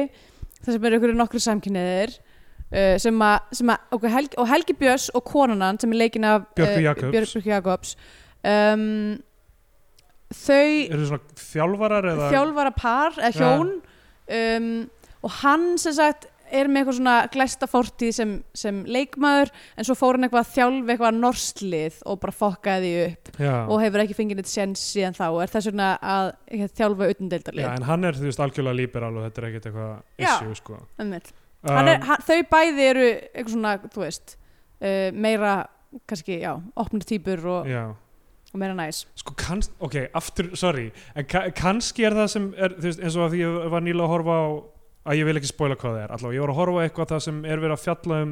[SPEAKER 3] þar sem eru ykkur nokkru samkynniðir uh, sem að, sem að og, Helgi, og Helgi Björns og konanan sem er leikin af
[SPEAKER 2] Björgu
[SPEAKER 3] eh,
[SPEAKER 2] Jakobs.
[SPEAKER 3] Björgu Jakobs um, þau
[SPEAKER 2] eru þið svona þjálfarar eða
[SPEAKER 3] þjálfara par eða
[SPEAKER 2] Já.
[SPEAKER 3] hjón um, og hann sem sagt er með eitthvað svona glæsta fórtíð sem, sem leikmaður en svo fór hann eitthvað að þjálfa eitthvað norslið og bara fokkaði því upp
[SPEAKER 2] Já.
[SPEAKER 3] og hefur ekki fengið neitt séns síðan þá og er þess vegna að hérna, þjálfa
[SPEAKER 2] Já,
[SPEAKER 3] utandeildarlið
[SPEAKER 2] en hann er þú veist algjörlega líberal og þetta er ekkert eitthvað
[SPEAKER 3] Já.
[SPEAKER 2] issue sko.
[SPEAKER 3] Einmitt.
[SPEAKER 2] um,
[SPEAKER 3] Hann er, hann, þau bæði eru eitthvað svona, þú veist uh, meira, kannski, já, opnir týpur og,
[SPEAKER 2] Um, Já,
[SPEAKER 3] og meira næs
[SPEAKER 2] sko kannski, ok, aftur, sorry en ka kannski er það sem er, þú veist, eins og að því ég var nýlega að horfa á að ég vil ekki spoila hvað það er, allavega ég var að horfa á eitthvað það sem er verið að fjalla um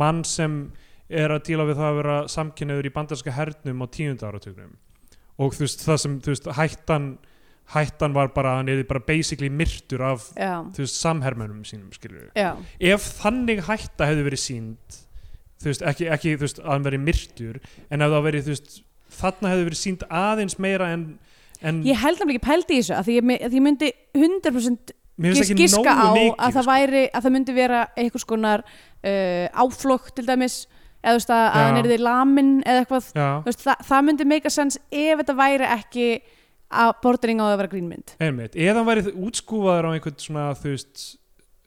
[SPEAKER 2] mann sem er að díla við það að vera samkynniður í bandarska hernum á tíunda áratugnum og þú veist, það sem, þú veist, hættan hættan var bara, að hann er bara basically myrtur af,
[SPEAKER 3] Já,
[SPEAKER 2] þú veist, samhermönum sínum, skilur
[SPEAKER 3] já,
[SPEAKER 2] ef þannig hætta hefði verið sínd þú veist, ekki, ekki þú veist, að hann verið myrtur en ef það verið, þú veist, þarna hefði verið sínd aðeins meira en, en
[SPEAKER 3] ég held nefnilega ekki pældi í þessu að því ég, my- að því ég myndi 100%
[SPEAKER 2] mér finnst
[SPEAKER 3] gis-
[SPEAKER 2] ekki
[SPEAKER 3] giska
[SPEAKER 2] nógu
[SPEAKER 3] á að
[SPEAKER 2] mikið sko.
[SPEAKER 3] það væri að það myndi vera einhvers konar uh, áflokk til dæmis eða þú veist að, að
[SPEAKER 2] Já.
[SPEAKER 3] hann er þið lamin eða eitthvað
[SPEAKER 2] já,
[SPEAKER 3] Þú veist, það, það myndi meika sens ef þetta væri ekki að bordering á það að vera grínmynd
[SPEAKER 2] einmitt, eða hann verið útskúfaður á einhvern svona, þú veist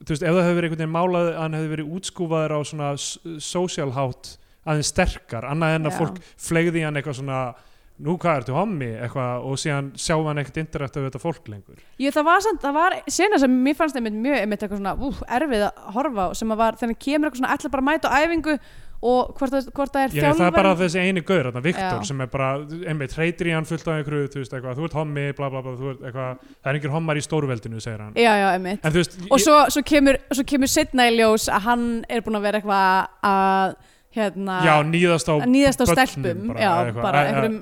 [SPEAKER 2] þú veist, ef það hefði verið einhvern veginn málað að hann hefði verið útskúfaður á svona s- social hátt aðeins sterkar, annað en að
[SPEAKER 3] Já.
[SPEAKER 2] fólk fleigði í hann eitthvað svona nú hvað ertu hommi, eitthvað og síðan sjá hann ekkert interakt af þetta fólk lengur
[SPEAKER 3] Ég, það var samt, það var sena sem mér fannst einmitt mjög einmitt eitthvað svona úf, erfið að horfa á sem að var þannig kemur eitthvað svona ætla bara að mæta á æfingu og hvort, það- hvort það er
[SPEAKER 2] Já, það er bara
[SPEAKER 3] þjálfar
[SPEAKER 2] þessi eini gaur, þarna, Viktor,
[SPEAKER 3] Já.
[SPEAKER 2] sem er bara, einmitt, hreytir í hann fullt af einhverju, þú veist, eitthvað, þú ert hommi, bla bla bla, þú ert eitthvað, það er einhver hommar í stórveldinu, segir hann.
[SPEAKER 3] Já, já, einmitt
[SPEAKER 2] En þú veist,
[SPEAKER 3] og svo, svo kemur, svo kemur setna í ljós að hann er búin að vera eitthvað að hérna,
[SPEAKER 2] já, nýðast á,
[SPEAKER 3] að nýðast á
[SPEAKER 2] börnum
[SPEAKER 3] stelpum
[SPEAKER 2] bara,
[SPEAKER 3] já,
[SPEAKER 2] eða eitthvað. Æ,
[SPEAKER 3] bara
[SPEAKER 2] æ,
[SPEAKER 3] einhverjum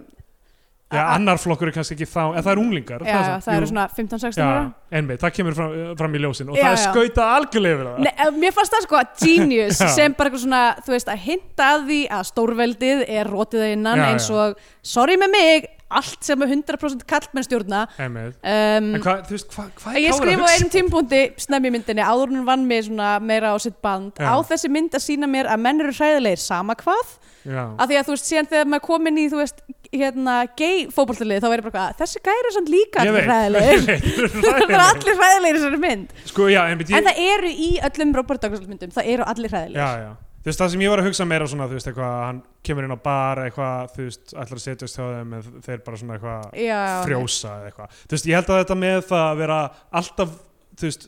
[SPEAKER 2] Já, annar flokkur er kannski ekki þá, en það er unglingar.
[SPEAKER 3] já, já,
[SPEAKER 2] sant,
[SPEAKER 3] það
[SPEAKER 2] jú.
[SPEAKER 3] eru svona 15-16 ára
[SPEAKER 2] Já, einmitt, það kemur fram, fram í ljósin og
[SPEAKER 3] Já,
[SPEAKER 2] það er
[SPEAKER 3] já.
[SPEAKER 2] skautað algjörlega yfir það.
[SPEAKER 3] Nei, eh, mér fannst það sko genius
[SPEAKER 2] Já.
[SPEAKER 3] sem bara eitthvað svona, þú veist, að hinta að því að stórveldið er rótið að innan
[SPEAKER 2] Já, já.
[SPEAKER 3] eins og, sorry með mig allt sem er 100% kallmenn stjórna
[SPEAKER 2] Einmitt.
[SPEAKER 3] um,
[SPEAKER 2] En hvað, þú veist, hvað, hvað
[SPEAKER 3] ég
[SPEAKER 2] Kári
[SPEAKER 3] skrifa á einum tímpúndi snemmi í myndinni, áður en hún vann mig svona meira á sitt band,
[SPEAKER 2] Já.
[SPEAKER 3] á þessi mynd að sína mér að menn eru hræðilegir sama hvað
[SPEAKER 2] Já,
[SPEAKER 3] að því að þú veist, síðan þegar maður kom inn í þú veist, hérna, gay fótboltalið þá verður bara hvað, þessi gæri er samt líka
[SPEAKER 2] ég veit, ég
[SPEAKER 3] hræðilegir,
[SPEAKER 2] veit,
[SPEAKER 3] það er allir hræðilegir í þessari mynd,
[SPEAKER 2] Sko, já, einmitt, ég,
[SPEAKER 3] en það eru í öllum Robert Douglas myndum, það eru allir hræðilegir
[SPEAKER 2] já, já. Þú veist, það sem ég var að hugsa meira svona, þú veist, eitthvað, hann kemur inn á bar eitthvað, þú veist, ætlar að setjast hjá þeim en þeir bara svona eitthvað
[SPEAKER 3] já,
[SPEAKER 2] frjósa eða eitthvað. Þú veist, ég held að þetta með það að vera alltaf, þú veist,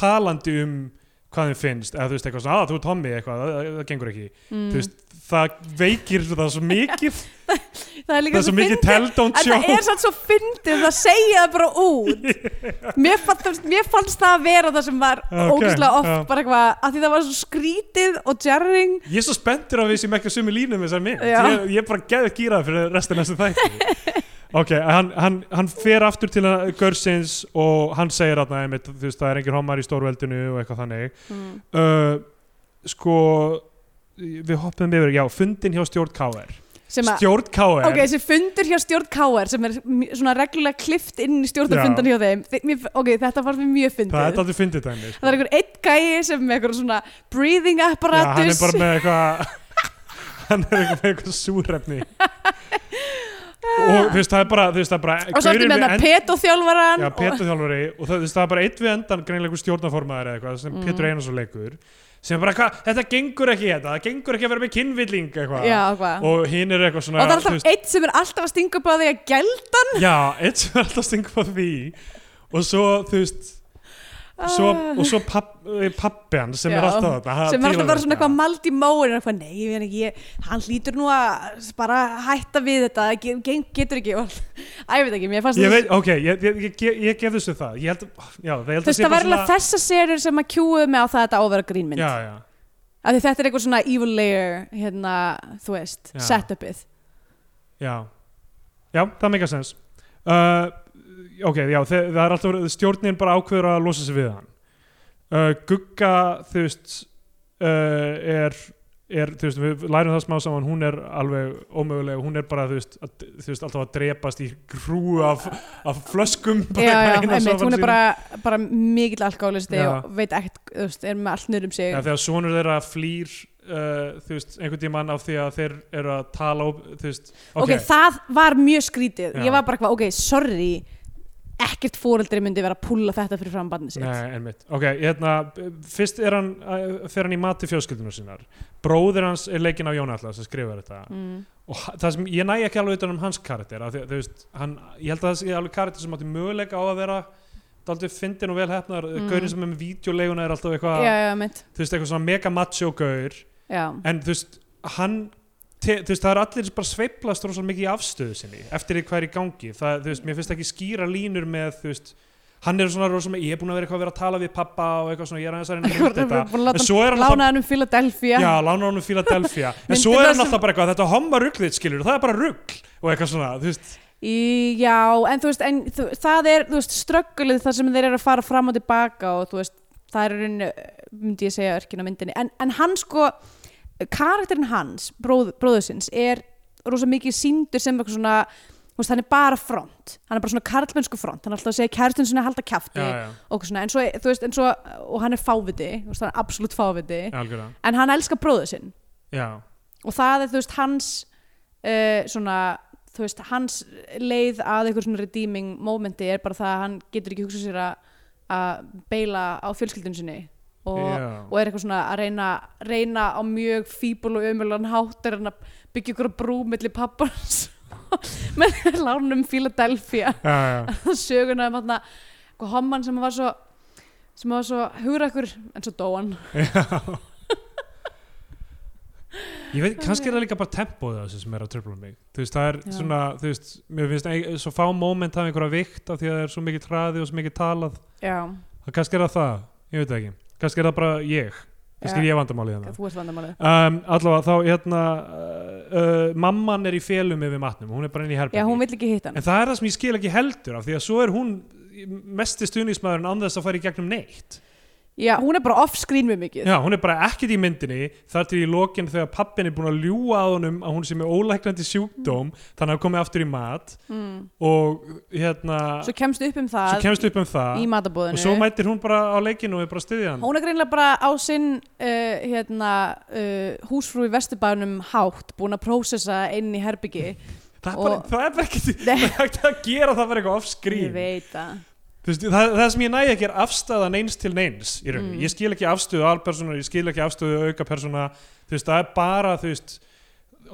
[SPEAKER 2] talandi um hvað þeim finnst, eða þú veist, eitthvað svona, að þú er Tommy eitthvað, það, það gengur ekki.
[SPEAKER 3] mm.
[SPEAKER 2] Þú veist, það veikir það svo mikið,
[SPEAKER 3] það er líka
[SPEAKER 2] það er svo mikið tell don't
[SPEAKER 3] En
[SPEAKER 2] show
[SPEAKER 3] það er samt svo fyndið, það segja það bara út mér fannst, mér fannst það að vera það sem var
[SPEAKER 2] Ok,
[SPEAKER 3] okay, ógæslega oft
[SPEAKER 2] já.
[SPEAKER 3] bara eitthvað, að því það var svo skrítið og jarring
[SPEAKER 2] Ég er svo spenntur á að við sem ekki á sömu línum þessar mynd,
[SPEAKER 3] Já.
[SPEAKER 2] ég, ég er bara geðið gýrað fyrir restina þessu þætti ok, hann, hann, hann fer aftur til að- Görsins og hann segir að einmitt, þú veist, það er engin homar í stórveldinu og eitthvað þannig
[SPEAKER 3] Mm.
[SPEAKER 2] uh, sko við hoppum yfir, já, fundin hjá stjórn KR
[SPEAKER 3] sem að,
[SPEAKER 2] stjórn KR
[SPEAKER 3] ok, þessi fundur hjá stjórn KR sem er m- svona reglulega klift inn í stjórnarfundan hjá þeim Þi- mér, ok, þetta fannst mér mjög
[SPEAKER 2] það er
[SPEAKER 3] fyndið
[SPEAKER 2] alltaf fyndið dæmi sko.
[SPEAKER 3] það er einhver einn gæi sem með einhver svona breathing
[SPEAKER 2] Já, hann er
[SPEAKER 3] apparatus
[SPEAKER 2] bara með eitthvað hann er eitthvað með eitthvað súrefni og þú veist það er bara þú veist það er bara
[SPEAKER 3] og svo
[SPEAKER 2] gaurinn
[SPEAKER 3] eftir með þetta petoþjálfaran
[SPEAKER 2] Já, Petur þjálfari og það, þú veist, það er bara einn við endan greinleikur stjórnaformaður eða eitthvað
[SPEAKER 3] Mm.
[SPEAKER 2] sem Petur Einarsson leikur sem er bara hvað, þetta gengur ekki þetta, það gengur ekki að vera með kynvilling
[SPEAKER 3] og,
[SPEAKER 2] eitthvað
[SPEAKER 3] já, hvað
[SPEAKER 2] og hinn er eitthvað svona
[SPEAKER 3] og það er
[SPEAKER 2] þú
[SPEAKER 3] alltaf einn sem er alltaf að stinga upp á því að gælda
[SPEAKER 2] já, einn sem er alltaf stingur á því og svo þú veist svo, og svo papp, pappi hann sem
[SPEAKER 3] Ah. Já,
[SPEAKER 2] er alltaf þarna, hann
[SPEAKER 3] sem er
[SPEAKER 2] dílar
[SPEAKER 3] alltaf
[SPEAKER 2] við
[SPEAKER 3] bara svona
[SPEAKER 2] þetta.
[SPEAKER 3] eitthvað mald í máin eitthvað, nei, ég veit ekki, ég, hann hlýtur nú að bara hætta við þetta það ge- ge- getur ekki, og- að ég veit ekki mér fannst
[SPEAKER 2] Ég
[SPEAKER 3] það-
[SPEAKER 2] veit, ok, ég, ég, ég, ég, ég gef þessu það Ég held, já, það held
[SPEAKER 3] þú veist, það var alveg þessa serjur sem að kjúuðu mig á það að þetta á að vera grínmynd
[SPEAKER 2] Já, já,
[SPEAKER 3] af því þetta er eitthvað svona evil layer hérna, þú veist,
[SPEAKER 2] Já.
[SPEAKER 3] setupið
[SPEAKER 2] já Já, það meika sens uh, Ok, já, þe- það er alltaf stjórnin bara ákveður að losa sig við hann uh, Gugga, þú veist uh, er, er þú veist, við lærum það smá saman hún er alveg ómöguleg hún er bara, þú veist, að, þú veist alltaf að drepast í grú af, af flöskum bara
[SPEAKER 3] já, já,
[SPEAKER 2] eitthvað eina
[SPEAKER 3] einmitt,
[SPEAKER 2] sofan
[SPEAKER 3] hún er
[SPEAKER 2] sínum.
[SPEAKER 3] bara, bara mikill alkoholisti
[SPEAKER 2] Já.
[SPEAKER 3] og veit ekkert, þú veist, er með allt nörum sig
[SPEAKER 2] Já, þegar sonur þeirra flýr uh, þú veist, einhvern tímann af því að þeir eru að tala og, þú veist, ok,
[SPEAKER 3] ok, það var mjög skrítið
[SPEAKER 2] Já.
[SPEAKER 3] ég var bara eitthvað, ok, sorry ekkert fóreldri myndi vera að púlla þetta fyrir fram barnið sitt
[SPEAKER 2] Nei, einmitt. Ok, hérna, b- fyrst er hann, eh, fer hann í mati fjölskyldunar sinnar. Bróðir hans er leikinn af Jón Atla sem skrifar þetta.
[SPEAKER 3] Mm.
[SPEAKER 2] Og ha- það sem, ég næ ekki alveg utan um hans karakter, af því, að, þú veist, hann, ég held að það sé alveg karakter sem átti möguleika á að vera daldið fyndin og velhefnar, mm.
[SPEAKER 3] Mm.
[SPEAKER 2] gaurin sem er með vídeoleguna er alltaf eitthvað,
[SPEAKER 3] já, já, mitt
[SPEAKER 2] þú veist, eitthvað svona mega macho gaur,
[SPEAKER 3] já.
[SPEAKER 2] en þú veist, hann te, þú veist, það er allir bara sveiflast rosa mikið í afstöðu sinni, eftir því hvað er í gangi það, þú veist, mér finnst ekki skýra línur með þú veist, hann er svona rosa mikið ég er búin að vera eitthvað að vera að tala við pappa og eitthvað svona ég er aðeins að reyna að mynda þetta en svo er hann alltaf-
[SPEAKER 3] lánaðan um Philadelphia
[SPEAKER 2] Já, lána honum Philadelphia En
[SPEAKER 3] Myndin
[SPEAKER 2] svo er
[SPEAKER 3] það
[SPEAKER 2] hann
[SPEAKER 3] sem-
[SPEAKER 2] alltaf bara eitthvað Þetta homma rugglið skilur, það er bara ruggl Og eitthvað svona, þú veist
[SPEAKER 3] Í, já, en þú veist en, þú, það er, þú veist, ströggulið þar sem þeir eru að fara fram og tilbaka og þú veist, það er raun myndi ég segja örkin á myndinni, en, en hann sko karakterinn hans, bróð, bróðusins er rosa mikið síndur sem eitthvað svona þú veist, hann er bara front, hann er bara svona karlmennsku front, hann er alltaf að segja kæristun sinni að halda kjafti
[SPEAKER 2] Já, já,
[SPEAKER 3] og eitthvað svona, en svo, þú veist, en svo og hann er fáviti, þú veist, hann er absolutt fáviti
[SPEAKER 2] já, algjörða
[SPEAKER 3] en hann elskar bróðu sinn
[SPEAKER 2] Já,
[SPEAKER 3] og það er þú veist hans uh, svona þú veist hans leið að einhver svona redeeming momenti er bara það að hann getur ekki hugsað sér að, að beila á fjölskyldun sinni og,
[SPEAKER 2] já,
[SPEAKER 3] og er eitthvað svona að reyna, reyna á mjög fíbul og ömulegan hátt er hann að byggja ykkur brú millir pappans með lánum Philadelphia
[SPEAKER 2] já, já,
[SPEAKER 3] söguna um hann eitthvað homman sem var svo sem var svo hugrakkur en svo dó hann
[SPEAKER 2] já. Ég veit, kannski er það líka bara tempóð þessu sem er að tröfla mig þú veist, það er
[SPEAKER 3] Já.
[SPEAKER 2] svona, þú veist, mér finnst ein, svo fá moment af einhverja vikt af því að það er svo mikið traði og svo mikið talað
[SPEAKER 3] já,
[SPEAKER 2] það kannski er það það, ég veit það ekki kannski er það bara ég, kannski er ég vandamálið hérna
[SPEAKER 3] þú ert vandamálið
[SPEAKER 2] um, allavega þá, hérna uh, uh, mamman er í félum yfir matnum, hún er bara inn í
[SPEAKER 3] já, hún
[SPEAKER 2] herbergi
[SPEAKER 3] vill ekki hitta hann
[SPEAKER 2] en það er það sem ég skil ekki heldur af því að svo er hún mesti stuðningsmaðurinn án þess að fara í gegnum neitt
[SPEAKER 3] Já, hún er bara off-screen með mikið.
[SPEAKER 2] Já, hún er bara ekkert í myndinni þar til í lokin þegar pappin er búin að ljúga að honum að hún sé með ólæknandi sjúkdóm þannig að hann komi aftur í mat
[SPEAKER 3] Mm.
[SPEAKER 2] og hérna,
[SPEAKER 3] Svo kemst upp um
[SPEAKER 2] svo
[SPEAKER 3] það
[SPEAKER 2] kemst upp um það
[SPEAKER 3] í matabóðinu.
[SPEAKER 2] og svo mætir hún bara á leikinu og er bara að styðja hann
[SPEAKER 3] Hún er greinlega bara á sinn uh, hérna, uh, húsfrú í vesturbænum hátt búin að prósessa inn í herbyggi.
[SPEAKER 2] það, er bara,
[SPEAKER 3] og-
[SPEAKER 2] það er bara ekki
[SPEAKER 3] Nei.
[SPEAKER 2] það er ekki að gera það verið eitthvað
[SPEAKER 3] Ég
[SPEAKER 2] off-screen
[SPEAKER 3] veit að.
[SPEAKER 2] Þú veist, það, það sem ég næði ekki er afstæðan eins til neins í rauninni,
[SPEAKER 3] Mm.
[SPEAKER 2] ég skil ekki afstöðu alpersóna, ég skil ekki afstöðu aukapersóna þú veist, það er bara, þú veist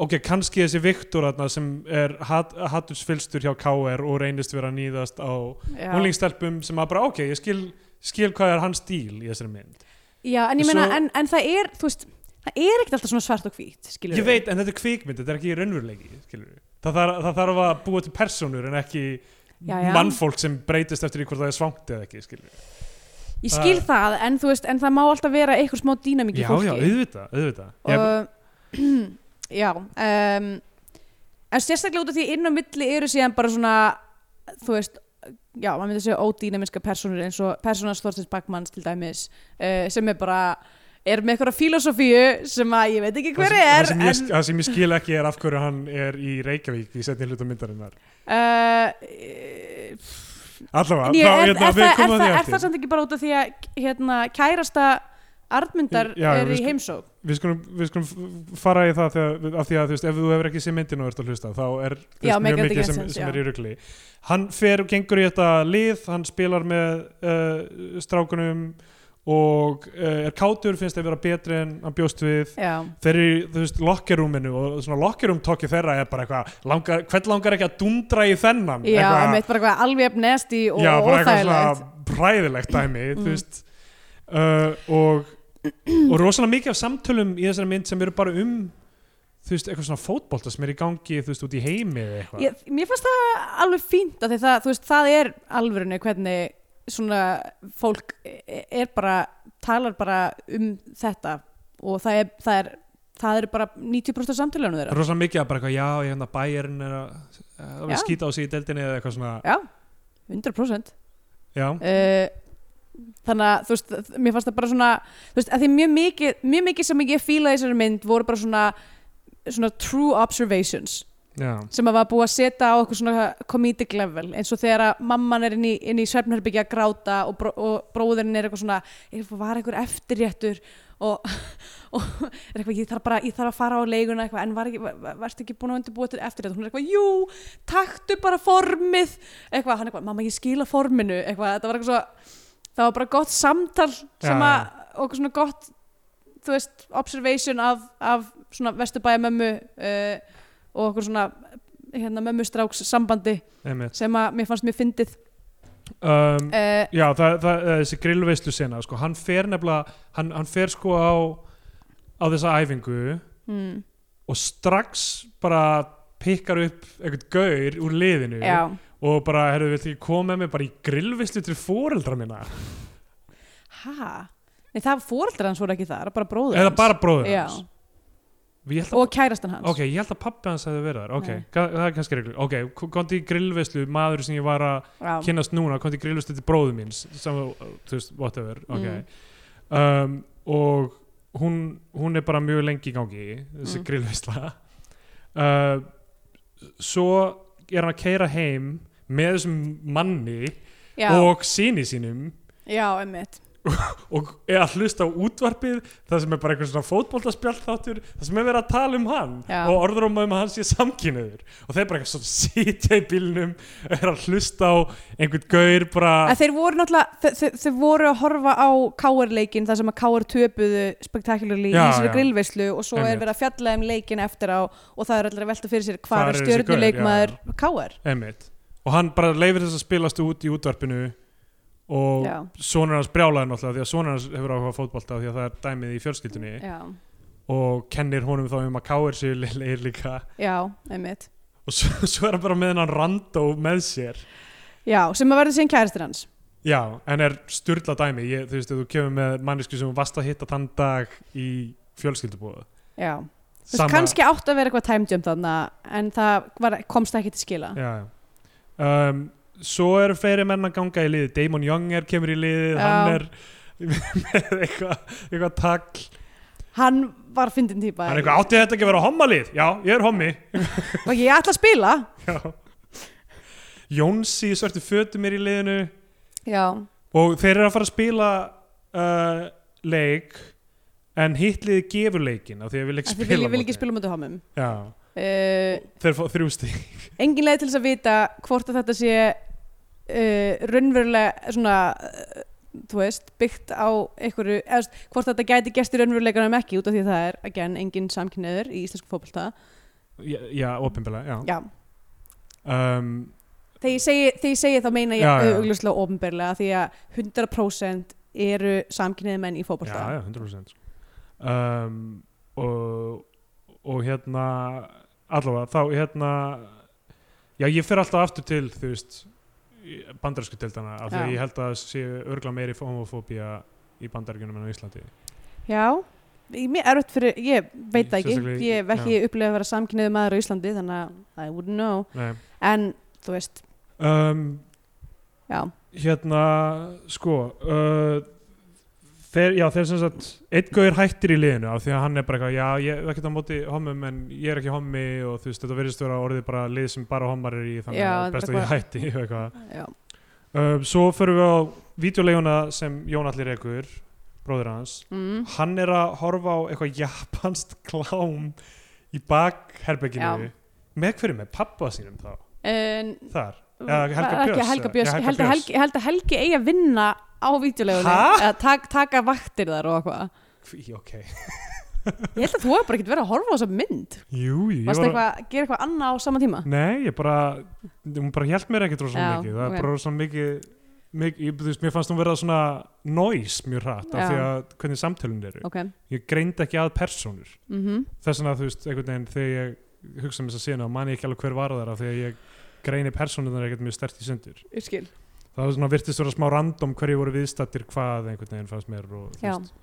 [SPEAKER 2] ok, kannski þessi Viktor þarna sem er hat, hattusfylstur hjá KR og reynist vera að nýðast á
[SPEAKER 3] Já.
[SPEAKER 2] unlingstelpum sem að bara, ok, ég skil skil hvað er hans stíl í þessari mynd
[SPEAKER 3] Já, en ég meina,
[SPEAKER 2] Svo-
[SPEAKER 3] en, en það er, þú veist, það er ekkert alltaf svona svart og hvít, skilur
[SPEAKER 2] ég veit, en þetta er kvikmynd, þetta er ekki raunveruleiki skilur við það þarf, það þarf að búa til persónur en ekki
[SPEAKER 3] Já, já.
[SPEAKER 2] mannfólk sem breytist eftir í hvort það er svangt eða ekki skilur.
[SPEAKER 3] Ég skil það, en þú veist, en það má alltaf vera eitthvað smá dýnamík
[SPEAKER 2] já,
[SPEAKER 3] í
[SPEAKER 2] já,
[SPEAKER 3] fólki.
[SPEAKER 2] auðvitað, auðvitað ég,
[SPEAKER 3] Og, já, um, en sérstaklega út af því inn á milli eru síðan bara svona, þú veist, já, maður myndi að segja ódýnamiska persónur eins og persónas Þorstins Bakmanns til dæmis, uh, sem er bara, er með eitthvað filosofíu sem að ég veit ekki hver
[SPEAKER 2] það,
[SPEAKER 3] er,
[SPEAKER 2] sem, það, sem ég, það sem ég skil ekki er af hverju hann er í Reykjavík í setni hluta myndarinnar
[SPEAKER 3] en, uh,
[SPEAKER 2] allavega,
[SPEAKER 3] eh,
[SPEAKER 2] þá,
[SPEAKER 3] En ég, er,
[SPEAKER 2] hérna,
[SPEAKER 3] er,
[SPEAKER 2] við
[SPEAKER 3] það, er,
[SPEAKER 2] komum að
[SPEAKER 3] það,
[SPEAKER 2] því
[SPEAKER 3] er það
[SPEAKER 2] eftir
[SPEAKER 3] samt ekki bara út af því að hérna, kærasta Arnmundar
[SPEAKER 2] Já, já, við
[SPEAKER 3] er í
[SPEAKER 2] skulum-
[SPEAKER 3] heimsók
[SPEAKER 2] við skulum, við skulum f- fara í það þegar, af því að þú veist, ef þú hefur ekki séð myndin og ert að hlusta þá er þú
[SPEAKER 3] Já,
[SPEAKER 2] veist,
[SPEAKER 3] make
[SPEAKER 2] mjög
[SPEAKER 3] it
[SPEAKER 2] mikið
[SPEAKER 3] make
[SPEAKER 2] sem,
[SPEAKER 3] sense,
[SPEAKER 2] sem
[SPEAKER 3] já.
[SPEAKER 2] er í rugli hann fer og gengur í þetta lið hann spilar með uh, strákunum og uh, er kátur, finnst þeir vera betri en hann bjóst við
[SPEAKER 3] Já,
[SPEAKER 2] þeir eru í, þú veist, lokkerúminu og svona lokkerúm tokki þeirra er bara eitthvað langar, hvern langar ekki að dundra í þennan
[SPEAKER 3] já
[SPEAKER 2] Eitthvað-
[SPEAKER 3] einmitt bara eitthvað alveg upp nesti og
[SPEAKER 2] já, bara eitthvað
[SPEAKER 3] óþægilegt Mm.
[SPEAKER 2] svona ræðilegt dæmi þú veist uh, og, og rosalega mikið af samtölum í þessari mynd sem eru bara um þú veist, eitthvað svona fótbolta sem er í gangi þú veist, út í heimi eða eitthvað
[SPEAKER 3] ég, Mér fannst það alveg fínt af því það, þú veist, það er alvörinu hvernig svona fólk e, er bara, talar bara um þetta og það er, það er það eru bara 90% af samtölunum þeirra
[SPEAKER 2] rosalega mikið af bara eitthvað, já, ég hefna bæjarinn er að, að
[SPEAKER 3] Já.
[SPEAKER 2] skýta á sig í deildinni eða eitthvað svona,
[SPEAKER 3] Já, 100%
[SPEAKER 2] já,
[SPEAKER 3] Eh, þannig að þú veist, mér fannst það bara svona þú veist, að því mjög mikið, mjög mikið sem ég fílaði í þessari mynd voru bara svona svona true observations
[SPEAKER 2] já
[SPEAKER 3] sem að var búið að setja á eitthvað svona comedic level eins og þegar að mamman er inn í, inn í svefnherbyggja að gráta og, bró, og bróðurinn er eitthvað svona "Ég var eitthvað eftirréttur og, og er eitthvað, ég þarf bara ég þarf að fara á leiguna eitthvað en var ekki, var, var- varstu ekki búin að undirbúa til eftirrétt hún er eitthvað, jú, taktu bara formið eitthvað, hann eitthvað, mamma ég skila forminu eitthvað, þetta var eitthvað svo það var bara gott samtal
[SPEAKER 2] Já,
[SPEAKER 3] sem að, og eitthvað svona gott þú veist, observation af, af svona vesturbæjamömmu uh, og okkur svona hérna mömmustráks sambandi
[SPEAKER 2] einmitt
[SPEAKER 3] sem að mér fannst mér fyndið
[SPEAKER 2] um,
[SPEAKER 3] uh,
[SPEAKER 2] Já, það, það, það þessi grillveislu sena sko, hann fer nefnilega hann, hann fer sko á, á þessa æfingu
[SPEAKER 3] mm,
[SPEAKER 2] og strax bara pikkar upp einhvern gaur úr liðinu
[SPEAKER 3] mm, já,
[SPEAKER 2] og bara, herru, vilt ekki koma með mér bara í grillveislu til foreldra minna
[SPEAKER 3] ha Nei, það fóreldrar hans voru ekki þar, bara bróður
[SPEAKER 2] eða bara bróður
[SPEAKER 3] Já.
[SPEAKER 2] hans Ég held að,
[SPEAKER 3] og kærastan hans
[SPEAKER 2] ok, ég held að pappi hans hefði verið þar ok,
[SPEAKER 3] Nei.
[SPEAKER 2] ga- það er kannski reglur ok, komði í grillveislu, maður sem ég var að
[SPEAKER 3] já,
[SPEAKER 2] kynnast núna, komði í grillveislu til bróður míns sem, þú veist, whatever ok
[SPEAKER 3] Mm.
[SPEAKER 2] um, og hún, hún er bara mjög lengi í gangi þessi
[SPEAKER 3] Mm.
[SPEAKER 2] grillveisla uh, svo er hann að keira heim með þessum manni
[SPEAKER 3] já,
[SPEAKER 2] og síni sínum
[SPEAKER 3] já, emmitt
[SPEAKER 2] og er að hlusta á útvarpið það sem er bara einhver svona fótboltaspjall þáttur það sem er verið að tala um hann
[SPEAKER 3] Já.
[SPEAKER 2] og orðróma um að hann sé samkynniður og þeir bara eitthvað svona sitja í bílnum er að hlusta á einhvern gaur bara
[SPEAKER 3] að þeir voru náttúrulega, þe- þe- þeir voru að horfa á káarleikin þar sem að káar töpuðu spektakularli í
[SPEAKER 2] Já,
[SPEAKER 3] þessari
[SPEAKER 2] já.
[SPEAKER 3] grillveislu og svo er
[SPEAKER 2] Einmitt.
[SPEAKER 3] verið að fjalla um leikin eftir á og það er allir að velta fyrir sér
[SPEAKER 2] Hvar er
[SPEAKER 3] hvað er
[SPEAKER 2] þessi gaur?
[SPEAKER 3] stjörnuleikmaður káar
[SPEAKER 2] Einmitt. Og hann bara leifir þess að spilast út í útvarpinu og
[SPEAKER 3] Já.
[SPEAKER 2] sonur hans brjálaði náttúrulega því að sonur hans hefur áhuga á fótbolta því að það er dæmið í fjölskyldunni
[SPEAKER 3] já,
[SPEAKER 2] og kennir honum þá um að káir sér leir líka
[SPEAKER 3] já, emmitt
[SPEAKER 2] og svo, svo er hann bara með hennan randó með sér
[SPEAKER 3] já, sem að verði síðan kærastin hans
[SPEAKER 2] Já, en er styrla dæmi Ég, þú veist, ef þú kemur með mannesku sem þú vast að hitta þann dag í fjölskyldubóðu
[SPEAKER 3] já Þú veist, kannski átt að vera eitthvað time jump þarna en það var, komst ekki til skila
[SPEAKER 2] Já, já. um, svo eru fleiri menn að ganga í liði Damon Young er kemur í liði
[SPEAKER 3] Já.
[SPEAKER 2] hann er með eitthvað eitthvað tagl
[SPEAKER 3] hann var fyndin típa
[SPEAKER 2] hann er eitthvað átti þetta ekki að vera hommalið já, ég er hommi
[SPEAKER 3] og ég ætla að spila
[SPEAKER 2] Já. Jónsi í svörtu fötum er í liðinu
[SPEAKER 3] já,
[SPEAKER 2] og þeir eru að fara að spila uh, leik en hitt liði gefur leikin af því að við ekki
[SPEAKER 3] af því
[SPEAKER 2] spila
[SPEAKER 3] vil, ég vil
[SPEAKER 2] móti.
[SPEAKER 3] ekki spila mútið homum
[SPEAKER 2] Já,
[SPEAKER 3] uh,
[SPEAKER 2] þeir fá þrjú stík
[SPEAKER 3] engin leið til þess að vita hvort að þetta sé uh, raunverulega svona uh, þú veist, byggt á einhverju, eða þú veist, hvort þetta gæti gæst í raunveruleikanum ekki út af því að það er again, engin samkynniður í íslensku fótbolta
[SPEAKER 2] Já, já opinbjörlega, já,
[SPEAKER 3] já,
[SPEAKER 2] Um,
[SPEAKER 3] þegar ég segi, þegar ég segi þá meina
[SPEAKER 2] Já, já,
[SPEAKER 3] ég
[SPEAKER 2] já.
[SPEAKER 3] augljóslega ofinberlega því að 100% eru samkynniði menn í fótbolta
[SPEAKER 2] já, já 100% sko. um, og, og hérna allavega þá hérna já ég fer alltaf aftur til þú veist bandarísku tildana af því að
[SPEAKER 3] Já.
[SPEAKER 2] ég held að það sé örgla meiri homofóbía í bandaríkunum en á Íslandi
[SPEAKER 3] Já, ég- mér er öll fyrir, ég veit það ekki,
[SPEAKER 2] Sérstaklega í-
[SPEAKER 3] ég hef ekki upplifað að vera samkynniðu maður á Íslandi þannig að I wouldn't know,
[SPEAKER 2] Nei.
[SPEAKER 3] en þú veist,
[SPEAKER 2] um,
[SPEAKER 3] já,
[SPEAKER 2] hérna sko uh, þeir, já þeir sem sagt einn gauður hættir í liðinu af því að hann er bara eitthvað já ég er ekkert á móti homum en ég er ekki homi og þú veist þetta verðist vera orðið bara lið sem bara homar er í þannig
[SPEAKER 3] Já,
[SPEAKER 2] að best að ég
[SPEAKER 3] bara-
[SPEAKER 2] hætti og eitthvað
[SPEAKER 3] já,
[SPEAKER 2] Um, svo förum við á videoleguna sem Jón Allir Ekur, bróður hans.
[SPEAKER 3] mm,
[SPEAKER 2] Hann er að horfa á eitthvað japanst klám í bakherberginu.
[SPEAKER 3] Já.
[SPEAKER 2] Með hverju með pappa sínum þá?
[SPEAKER 3] en
[SPEAKER 2] Þar. Ja, Helga
[SPEAKER 3] var ekki
[SPEAKER 2] Björns,
[SPEAKER 3] Helga
[SPEAKER 2] eða? Já, Helga
[SPEAKER 3] Björns, ég held að
[SPEAKER 2] Björns.
[SPEAKER 3] Helgi, ég held að Helgi eigi að vinna á vídeolegunni,
[SPEAKER 2] Ha?
[SPEAKER 3] að tak, taka vaktir þar og eitthvað,
[SPEAKER 2] Hví, ok.
[SPEAKER 3] ég held að þú hefur bara ekkert verið að horfa á þessa mynd,
[SPEAKER 2] Jú, ég
[SPEAKER 3] varst
[SPEAKER 2] var...
[SPEAKER 3] eitthvað að gera eitthvað annað á sama tíma?
[SPEAKER 2] Nei, ég bara, hún bara hjælt mér ekkert rosalega
[SPEAKER 3] Já,
[SPEAKER 2] mikið. Það
[SPEAKER 3] ok.
[SPEAKER 2] er bara rosalega mikið, mikið ég, þú veist, mér fannst hún vera svona noise mjög hratt af
[SPEAKER 3] Já.
[SPEAKER 2] því að hvernig samtölun eru.
[SPEAKER 3] Ok,
[SPEAKER 2] Ég greind ekki að persónur.
[SPEAKER 3] mhm,
[SPEAKER 2] þess vegna þú veist einhvern veginn þegar ég hugsa um þess að sína man ég ekki alveg hver var þar af því að ég greini persónunar ekkert mjög stert í sundur
[SPEAKER 3] ég skil,
[SPEAKER 2] það var svona virtist vera smá random hverju voru viðstattir hvað einhvern veginn fannst mér og þú
[SPEAKER 3] já,
[SPEAKER 2] veist.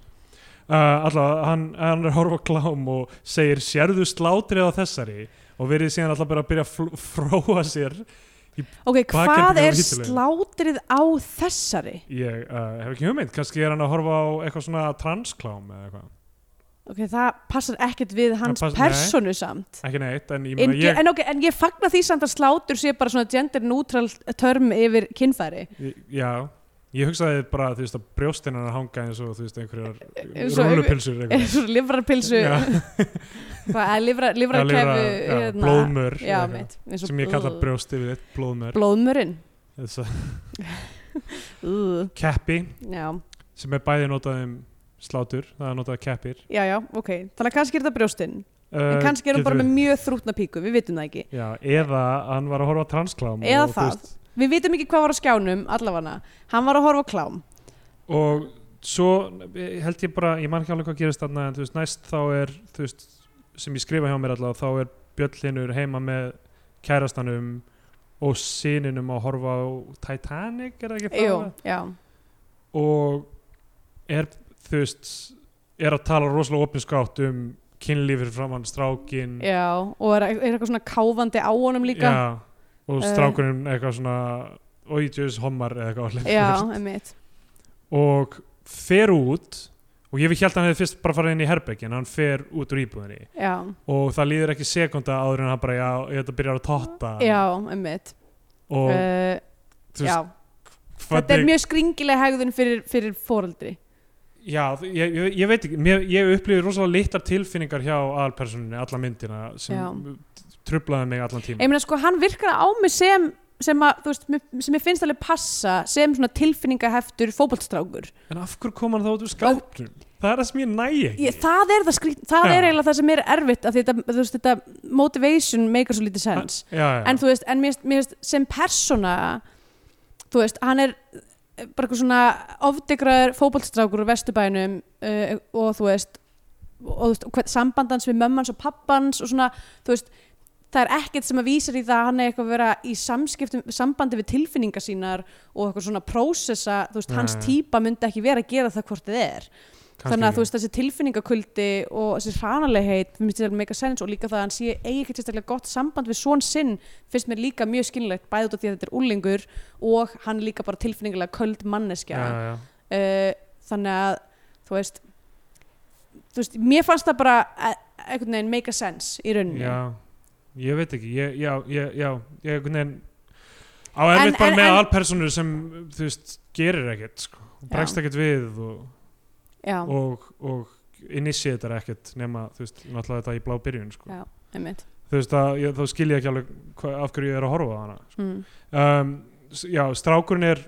[SPEAKER 2] uh, allavega hann, hann er að horfa á klám og segir sérðu slátrið á þessari og verið síðan alltaf bara að byrja að fl- fróa sér Hvað
[SPEAKER 3] ok, hvað
[SPEAKER 2] gerðu
[SPEAKER 3] er
[SPEAKER 2] við vídeóleiguna?
[SPEAKER 3] slátrið á þessari?
[SPEAKER 2] ég uh, hef ekki hugmynd, kannski er hann að horfa á eitthvað svona transklám eða eitthvað
[SPEAKER 3] Ok, það passar ekkert við hans
[SPEAKER 2] pass-
[SPEAKER 3] persónu samt.
[SPEAKER 2] ekki neitt, en ég
[SPEAKER 3] En,
[SPEAKER 2] meina ég,
[SPEAKER 3] en, okay, en ég fagna því samt að slátur sé bara svona gender neutral term yfir kynfæri.
[SPEAKER 2] Í- Já, ég hugsaði bara þú veist að brjóstinn hann hanga eins og þú veist
[SPEAKER 3] Eins
[SPEAKER 2] einhverjar
[SPEAKER 3] og-
[SPEAKER 2] rúlupilsur
[SPEAKER 3] Eða svona livrarpilsu, hvað, livra, livrakefu,
[SPEAKER 2] blóðmör
[SPEAKER 3] hérna. já,
[SPEAKER 2] eitthvað,
[SPEAKER 3] mitt, eins og
[SPEAKER 2] sem ég kalla
[SPEAKER 3] blóð-
[SPEAKER 2] brjósti við eitt blóðmör
[SPEAKER 3] Blóðmörinn,
[SPEAKER 2] þess að
[SPEAKER 3] Ugh,
[SPEAKER 2] keppi
[SPEAKER 3] já,
[SPEAKER 2] sem er bæði notað um slátur það er notað keppir
[SPEAKER 3] já, já, ok, þannig að kannski er þetta brjóstinn,
[SPEAKER 2] uh,
[SPEAKER 3] en kannski er hún
[SPEAKER 2] getur
[SPEAKER 3] bara
[SPEAKER 2] verið.
[SPEAKER 3] með mjög þrútna píku, við vitum það ekki.
[SPEAKER 2] Já, eða hann var að horfa á transklám
[SPEAKER 3] Eða
[SPEAKER 2] og, þú
[SPEAKER 3] það.
[SPEAKER 2] veist,
[SPEAKER 3] Við vitum ekki hvað var á skjánum, allavega, hann var að horfa á klám,
[SPEAKER 2] og svo eh, held ég bara, ég man ekki alveg hvað gerist þarna en þú veist, næst þá er þú veist, sem ég skrifa hjá mér allavega þá er Bjöllinur heima með kærastanum og sininum að horfa á Titanic er það ekki það?
[SPEAKER 3] jú, já,
[SPEAKER 2] og er þú veist, er að tala rosalega opinskátt um kynlífir framann strákin
[SPEAKER 3] já, og er, er eitthvað svona káfandi á honum líka,
[SPEAKER 2] Já, og
[SPEAKER 3] Eh.
[SPEAKER 2] strákurinn eitthvað svona oidjus hommar eða eitthvað
[SPEAKER 3] já,
[SPEAKER 2] orðið.
[SPEAKER 3] já einmitt.
[SPEAKER 2] og fer út og ég held að hann hefði fyrst bara farið inn í herbergi en hann fer út úr íbúðinni
[SPEAKER 3] Já,
[SPEAKER 2] og það líður ekki sekunda áður en hann bara já, þetta byrjar að totta
[SPEAKER 3] já, einmitt
[SPEAKER 2] og
[SPEAKER 3] uh,
[SPEAKER 2] þú
[SPEAKER 3] já.
[SPEAKER 2] veist,
[SPEAKER 3] Þetta er
[SPEAKER 2] hvernig-
[SPEAKER 3] mjög skringileg hegðun fyrir, fyrir foreldri
[SPEAKER 2] já, ég, ég, ég veit ekki, mér, ég upplýði rosalega litlar tilfinningar hjá aðalpersonunni alla myndina sem
[SPEAKER 3] Já.
[SPEAKER 2] trublaði mig allan tíma
[SPEAKER 3] Ég meina sko, hann virkar á mig sem sem, að, þú veist, mér- sem ég finnst alveg passa sem svona tilfinningaheftur fótboltstrákur
[SPEAKER 2] en af hverju kom hann þá út úr skápnum það er það sem ég næ ekki
[SPEAKER 3] ég, það er það skrýt, það
[SPEAKER 2] Já.
[SPEAKER 3] er eiginlega það sem er erfitt af því þetta, þú veist, þetta motivation maker svo lítið sens
[SPEAKER 2] já, já,
[SPEAKER 3] en þú veist, en mér, finnst- mér veist, sem persóna þú veist, hann er eh, bara eitthvað svona ofdegraður fótboltstrákur úr vesturbænum uh, og þú veist og þú veist, og hvern, sambandans við mömmans og pappans og svona, þú veist það er ekkert sem að vísar í það að hann er eitthvað að vera í samskiptum, sambandi við tilfinningar sínar og eitthvað svona prósessa þú veist,
[SPEAKER 2] Nei.
[SPEAKER 3] hans típa myndi ekki vera að gera það hvort þið er
[SPEAKER 2] kannski
[SPEAKER 3] þannig að
[SPEAKER 2] ekki.
[SPEAKER 3] þú veist þessi tilfinningakuldi og þessi hranalegheit finnst þetta meika sens og líka það að hann sé eigi ekkert sérstaklega gott samband við svon sinn finnst mér líka mjög skinnilegt bæði út af því að þetta er úlingur og hann er líka bara tilfinningalega köld manneskja
[SPEAKER 2] já, já.
[SPEAKER 3] uh, þannig að þú veist, þú veist mér fannst það bara eh, einhvern veginn meika sens í rauninni
[SPEAKER 2] Já, ég veit ekki ég, já, ég, já, ég einhvern veginn á
[SPEAKER 3] En-
[SPEAKER 2] erfitt bara
[SPEAKER 3] en-
[SPEAKER 2] með
[SPEAKER 3] en-
[SPEAKER 2] alpersonur sem þú veist, gerir ekkert sko, og
[SPEAKER 3] Já.
[SPEAKER 2] bregst ekkert við og,
[SPEAKER 3] já,
[SPEAKER 2] og, og initietar ekkert nema, þú veist, náttúrulega þetta í blá byrjun sko.
[SPEAKER 3] Já. einmitt
[SPEAKER 2] þú veist, að, ég, þá skil ég ekki alveg hva, af hverju ég er að horfa á hana sko.
[SPEAKER 3] mm.
[SPEAKER 2] um, s- já, strákurinn er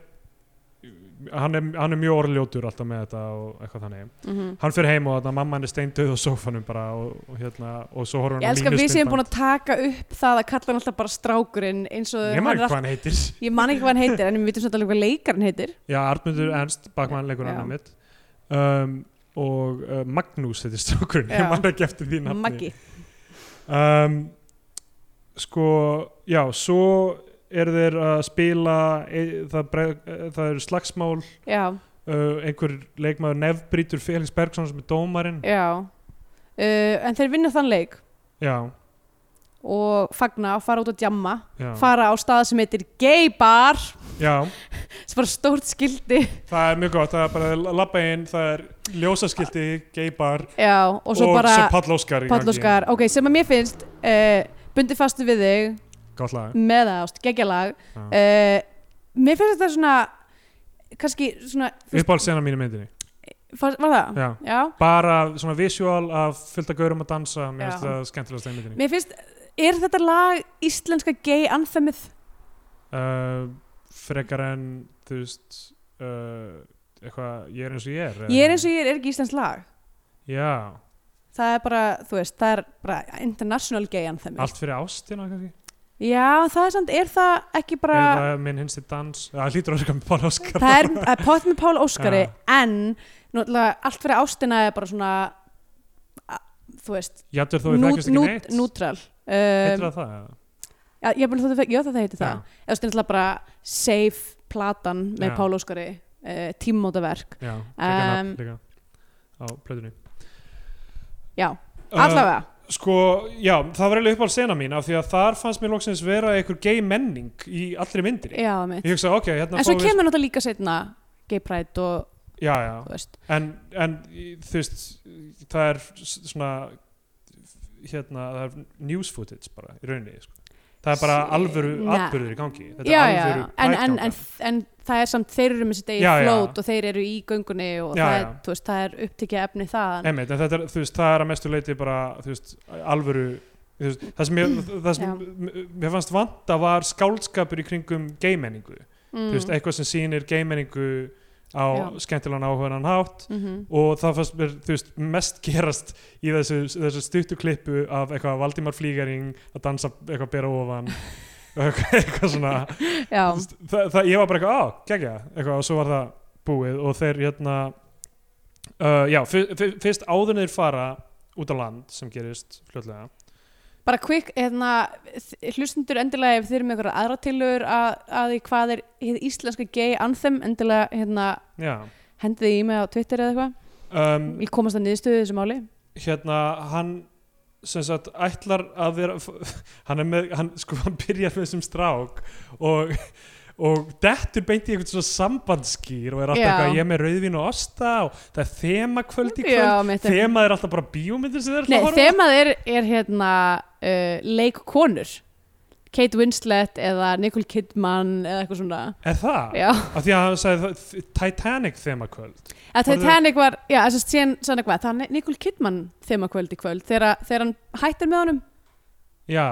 [SPEAKER 2] hann er, hann er mjög orðljótur alltaf með þetta og eitthvað þannig
[SPEAKER 3] Mm
[SPEAKER 2] hann fyrir heim og þarna, mamma hann er steindauð á sófanum bara og, og hérna og svo horfum
[SPEAKER 3] Ég elska að við séum búin að taka upp það að kalla hann alltaf bara strákurinn eins og
[SPEAKER 2] ég
[SPEAKER 3] hann
[SPEAKER 2] maður
[SPEAKER 3] er
[SPEAKER 2] hvað hann heitir
[SPEAKER 3] alltaf- ég man ekki hvað hann heitir en við vitum svolítið alveg hvað leikarinn heitir
[SPEAKER 2] Já, Arnmundur Ernst, bakmann leikur
[SPEAKER 3] Mm. Já.
[SPEAKER 2] hann mitt um, og uh, Magnús heitir strákurinn,
[SPEAKER 3] Já.
[SPEAKER 2] ég man ekki eftir því nafni
[SPEAKER 3] Maggi
[SPEAKER 2] um, sko, já, svo eru þeir að spila e, það, breg, það eru slagsmál
[SPEAKER 3] já,
[SPEAKER 2] uh, einhver leikmaður nefnbrítur Felix Bergson sem er dómarinn
[SPEAKER 3] já uh, en þeir vinna þann leik
[SPEAKER 2] já,
[SPEAKER 3] og fagna og fara út að djamma
[SPEAKER 2] já,
[SPEAKER 3] fara á stað sem heitir gay bar
[SPEAKER 2] já
[SPEAKER 3] sem bara stórt skildi
[SPEAKER 2] það er mjög gott, það er bara labba inn það er ljósaskilti, geibar
[SPEAKER 3] já, og svo
[SPEAKER 2] og
[SPEAKER 3] bara
[SPEAKER 2] sem pallóskar í gangi.
[SPEAKER 3] pallóskar, ok, sem að mér finnst uh, bundi fastu við þig
[SPEAKER 2] Gott lag.
[SPEAKER 3] með ást, geggjalag
[SPEAKER 2] Já.
[SPEAKER 3] uh, mér finnst þetta svona kannski svona
[SPEAKER 2] uppáhaldsena mínu myndinni
[SPEAKER 3] var, var það?
[SPEAKER 2] já.
[SPEAKER 3] Já.
[SPEAKER 2] bara svona visual af fylgta gaurum að dansa mér
[SPEAKER 3] Já.
[SPEAKER 2] finnst það skemmtilegast í myndinni
[SPEAKER 3] mér finnst, er þetta lag íslenska gay anthemið?
[SPEAKER 2] uh, frekar en þú veist uh, eitthvað, ég er eins og ég er
[SPEAKER 3] ég er eins og ég er, er ekki íslensk lag
[SPEAKER 2] já,
[SPEAKER 3] það er bara, þú veist, það er bara international gay anthemið
[SPEAKER 2] allt fyrir ástina kannski
[SPEAKER 3] já, það er samt, er það ekki bara
[SPEAKER 2] er það minn hinsti dans það hlýtur að skam bara Óskar
[SPEAKER 3] það er, það er pott með Pál Óskari
[SPEAKER 2] Já.
[SPEAKER 3] en, náttúrulega, allt fyrir ástina er bara svona a- þú veist,
[SPEAKER 2] Jættur þó við þekkjast
[SPEAKER 3] nút,
[SPEAKER 2] ekki
[SPEAKER 3] nút,
[SPEAKER 2] neitt
[SPEAKER 3] nútral
[SPEAKER 2] Heitir
[SPEAKER 3] um,
[SPEAKER 2] það það?
[SPEAKER 3] já, ég er búin að þú já, það heiti það eða stundin alltaf bara safe platan með
[SPEAKER 2] Já.
[SPEAKER 3] Pál Óskari uh, tímótaverk
[SPEAKER 2] Já, kekja um,
[SPEAKER 3] Um,
[SPEAKER 2] líka á plötunni
[SPEAKER 3] já,
[SPEAKER 2] Uh,
[SPEAKER 3] allavega
[SPEAKER 2] Sko, já, það var eiginlega uppáhald sena mín af því að þar fannst mér loksins vera einhver gay menning í allri myndinni
[SPEAKER 3] já, mitt
[SPEAKER 2] Ég hugsa, ok, hérna
[SPEAKER 3] en svo
[SPEAKER 2] fáum við-
[SPEAKER 3] kemur náttúrulega líka setna gay pride og,
[SPEAKER 2] Já, já,
[SPEAKER 3] þú veist,
[SPEAKER 2] en, en þú veist, það er s- svona hérna, það er news footage bara í rauninni, sko Það er bara
[SPEAKER 3] Sí,
[SPEAKER 2] alvöru
[SPEAKER 3] nei.
[SPEAKER 2] atbyrður í gangi Þetta
[SPEAKER 3] já,
[SPEAKER 2] er
[SPEAKER 3] já,
[SPEAKER 2] alvöru
[SPEAKER 3] en, en, en,
[SPEAKER 2] pride-gangan.
[SPEAKER 3] en það er samt þeir eru með sitt
[SPEAKER 2] Já, já.
[SPEAKER 3] eigin flót og þeir eru í göngunni og
[SPEAKER 2] Já,
[SPEAKER 3] það er,
[SPEAKER 2] já.
[SPEAKER 3] þú veist, það er upptekið efni þaðan
[SPEAKER 2] Einmitt, en þetta er, þú veist, það er að mestu leiti bara, þú veist, alvöru þú veist, það sem, ég, það sem mér fannst vanta var skáldskapur í kringum geimenningu,
[SPEAKER 3] mm.
[SPEAKER 2] þú veist, eitthvað sem sýnir geimenningu á
[SPEAKER 3] Já.
[SPEAKER 2] skemmtilegan áhugaðan hátt
[SPEAKER 3] mm
[SPEAKER 2] og það fannst mér, þú veist, mest gerast í þessu, þessu stuttu klippu af eitthvað Valdimar Flígaring að dansa eitthvað bera ofan og eitthvað, eitthvað svona
[SPEAKER 3] já,
[SPEAKER 2] Þú veist, það, það, ég var bara eitthvað, á, gegja eitthvað, og svo var það búið og þeir hérna uh, já, fyr- fyr- fyrst áður en þeir fara út á land sem gerist fljótlega
[SPEAKER 3] bara quick hérna, þ- hlustendur endilega ef þeir eru með einhverja aðra tilur að, að því hvað er hið íslenska gay anthem endilega hérna,
[SPEAKER 2] já,
[SPEAKER 3] hendið í mig á Twitter eða eitthvað,
[SPEAKER 2] um,
[SPEAKER 3] vil komast að niðurstöðu í þessu máli
[SPEAKER 2] hérna hann sem sagt ætlar að vera hann er með, hann sko hann byrjar með þessum strák og og dettur beint í einhvern svona sambandskýr og er alltaf
[SPEAKER 3] Já.
[SPEAKER 2] eitthvað ég er með rauðvín og osta og það er þemakvöld í kvöld
[SPEAKER 3] Já, mitt er-
[SPEAKER 2] þemað er alltaf bara bíómyndir sem þeir eru
[SPEAKER 3] Nei,
[SPEAKER 2] að horfa á.
[SPEAKER 3] þemað er, er hérna uh, leikkonur Kate Winslet eða Nicole Kidman eða eitthvað svona
[SPEAKER 2] er það?
[SPEAKER 3] Já,
[SPEAKER 2] af því að hann sagði það- þ- Titanic þemakvöld
[SPEAKER 3] að
[SPEAKER 2] Horfðu-
[SPEAKER 3] Titanic var, já, þess að síðan sann eitthvað, það er Nicole Kidman þemakvöld í kvöld þegar, þegar hann hættir með honum,
[SPEAKER 2] já,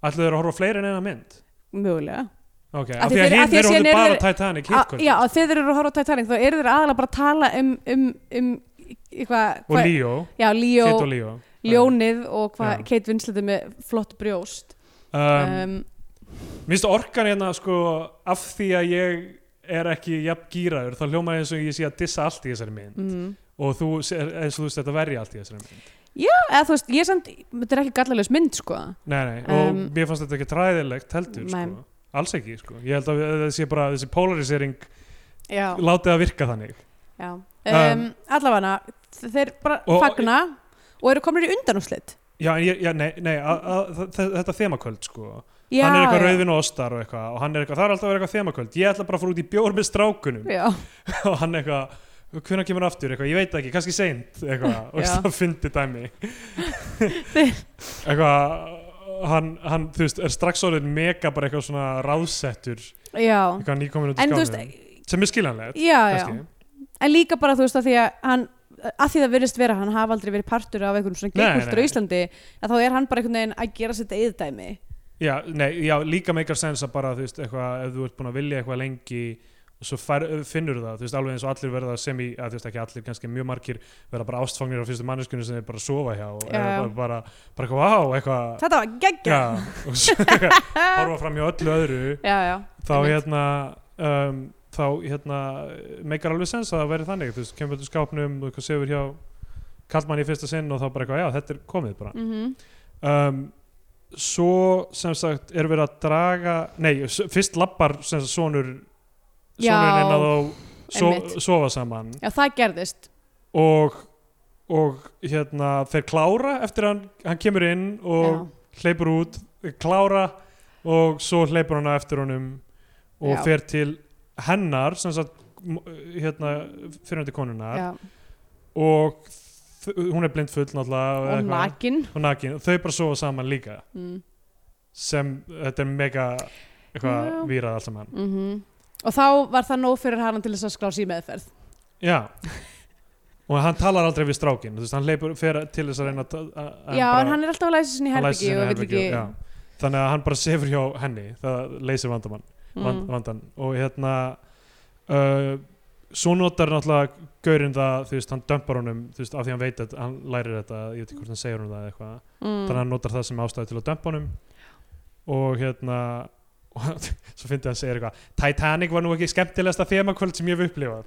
[SPEAKER 2] ætlaðu þeir að horfa á fleiri en eina mynd
[SPEAKER 3] mögulega
[SPEAKER 2] ok,
[SPEAKER 3] Af
[SPEAKER 2] af
[SPEAKER 3] því
[SPEAKER 2] því að
[SPEAKER 3] þeir-
[SPEAKER 2] hinn
[SPEAKER 3] af því að
[SPEAKER 2] þeir
[SPEAKER 3] síðan
[SPEAKER 2] horfðu
[SPEAKER 3] eru
[SPEAKER 2] bara á
[SPEAKER 3] þeir-
[SPEAKER 2] Titanic
[SPEAKER 3] A-
[SPEAKER 2] hitt
[SPEAKER 3] Já,
[SPEAKER 2] kvöld
[SPEAKER 3] þeir eru að horfa á Titanic þá eru þeir aðalega bara að tala um, um, um eitthvað
[SPEAKER 2] og
[SPEAKER 3] hvað-
[SPEAKER 2] Leo,
[SPEAKER 3] Já, Leo,
[SPEAKER 2] Kate og Leo
[SPEAKER 3] Ljónið og hvað
[SPEAKER 2] Já.
[SPEAKER 3] Kate Winslet er með flott brjóst
[SPEAKER 2] um,
[SPEAKER 3] um,
[SPEAKER 2] minnst orkan hérna sko af því að ég er ekki jafn gýraður, þá hljóma eins og ég sé að dissa allt í þessari mynd
[SPEAKER 3] mm.
[SPEAKER 2] og þú sé- eins og þú veist þetta verja allt í þessari mynd
[SPEAKER 3] Eða þú veist, ég samt, þetta er ekki gallalös mynd sko
[SPEAKER 2] nei, nei, og
[SPEAKER 3] Um,
[SPEAKER 2] mér fannst þetta ekki træðilegt heldur
[SPEAKER 3] Nei.
[SPEAKER 2] sko, alls ekki sko ég held að það sé bara þessi polarisering
[SPEAKER 3] Já,
[SPEAKER 2] látið að virka þannig
[SPEAKER 3] já um,
[SPEAKER 2] Um,
[SPEAKER 3] Allavega, þeir bara
[SPEAKER 2] Og-
[SPEAKER 3] fagna og eru komnir í undanúslit
[SPEAKER 2] Já, en ég, já, nei, nei a, a, þa- þa- þetta þemakvöld sko
[SPEAKER 3] Já,
[SPEAKER 2] hann er eitthvað
[SPEAKER 3] já.
[SPEAKER 2] rauðvin og ostar og eitthvað og hann er eitthvað, það er alltaf að vera eitthvað þemakvöld ég ætla bara að fara út í bjór með strákunum
[SPEAKER 3] Já,
[SPEAKER 2] og hann eitthvað, hvernig kemur hann aftur eitthvað, ég veit það ekki, kannski seint eitthvað, og
[SPEAKER 3] Já.
[SPEAKER 2] það fyndi dæmi eitthvað hann, hann, þú veist, er strax orðin mega bara eitthvað svona ráðsettur
[SPEAKER 3] já
[SPEAKER 2] eitthvað nýkominu
[SPEAKER 3] En þú
[SPEAKER 2] til
[SPEAKER 3] veist,
[SPEAKER 2] skánum sem er skiljanlegt,
[SPEAKER 3] já, já
[SPEAKER 2] kannski
[SPEAKER 3] En líka bara þú veist að því að hann að því það virðist vera, hann hafa aldrei verið partur af einhverjum svona
[SPEAKER 2] Nei,
[SPEAKER 3] geikultur
[SPEAKER 2] nei.
[SPEAKER 3] á Íslandi að þá er hann bara einhvern veginn að gera sitt eðdæmi
[SPEAKER 2] Já, nei, já, líka meikar sens að bara, þú veist, eitthvað, ef þú ert búin að vilja eitthvað lengi og svo fær, finnur það, þú veist, alveg eins og allir verða sem í, að, þú veist, ekki allir, kannski mjög margir verða bara ástfangnir á fyrstu manneskunni sem þeir bara sofa hjá og
[SPEAKER 3] Já.
[SPEAKER 2] eða bara, bara, bara eitthvað, vá, eitthvað
[SPEAKER 3] Þetta var geggja
[SPEAKER 2] Já, og svo eitthvað, horfa fram hjá öllu öðru
[SPEAKER 3] já, já,
[SPEAKER 2] þá
[SPEAKER 3] einmitt.
[SPEAKER 2] hérna um, þá hérna meikar alveg sens að það veri þannig, þú veist, kemur þetta skápnum og eitthvað sefur hjá
[SPEAKER 3] Mhm.
[SPEAKER 2] kallmann í fyrsta sinn og þá bara eitthvað, já, þetta er komið bara
[SPEAKER 3] mm
[SPEAKER 2] um, svo sem sagt er verið að draga nei, s- fyrst lappar sem sagt sonur
[SPEAKER 3] Já,
[SPEAKER 2] sonurinn inn að þá
[SPEAKER 3] einmitt.
[SPEAKER 2] so, sofa saman
[SPEAKER 3] Já, það gerðist
[SPEAKER 2] og, og hérna þeir klára eftir að hann, hann kemur inn og hleypur út klára og svo hleypur hann á eftir honum og
[SPEAKER 3] Já.
[SPEAKER 2] fer til hennar sem sagt m- hérna fyrirandi
[SPEAKER 3] Já,
[SPEAKER 2] konunar
[SPEAKER 3] já.
[SPEAKER 2] og þ- hún er blindfull náttúrulega og
[SPEAKER 3] Og
[SPEAKER 2] eitthvað.
[SPEAKER 3] nakin
[SPEAKER 2] og nakin og þau bara sofa saman líka
[SPEAKER 3] mm.
[SPEAKER 2] sem þetta er mega eitthvað
[SPEAKER 3] Já.
[SPEAKER 2] vírað allt saman
[SPEAKER 3] Mhm. Og þá var það nóg fyrir hann til þess að skrá sér meðferð
[SPEAKER 2] já og hann talar aldrei við strákin þú veist, hann leipur fer til þess að reyna að, að að
[SPEAKER 3] Já,
[SPEAKER 2] bara-
[SPEAKER 3] en hann er alltaf að læsa sinni í
[SPEAKER 2] hann læsir sig
[SPEAKER 3] herbyggi og
[SPEAKER 2] inn í
[SPEAKER 3] vil ekki
[SPEAKER 2] herbergi, já. þannig að hann bara sefur hjá henni það leysir vandamann mm.
[SPEAKER 3] mm.
[SPEAKER 2] vandan og hérna uh, svo notar náttúrulega gaurinn það, þú veist, hann dömpar honum þú veist, af því hann veit að hann lærir þetta ég veit ekki hvort hann segir honum það eða eitthvað þannig að
[SPEAKER 3] Mm.
[SPEAKER 2] hann notar það sem ástæði til að dömpa honum og hérna og svo fyndi hann segir eitthvað Titanic var nú ekki skemmtilegasta þemakvöld sem ég hef upplifað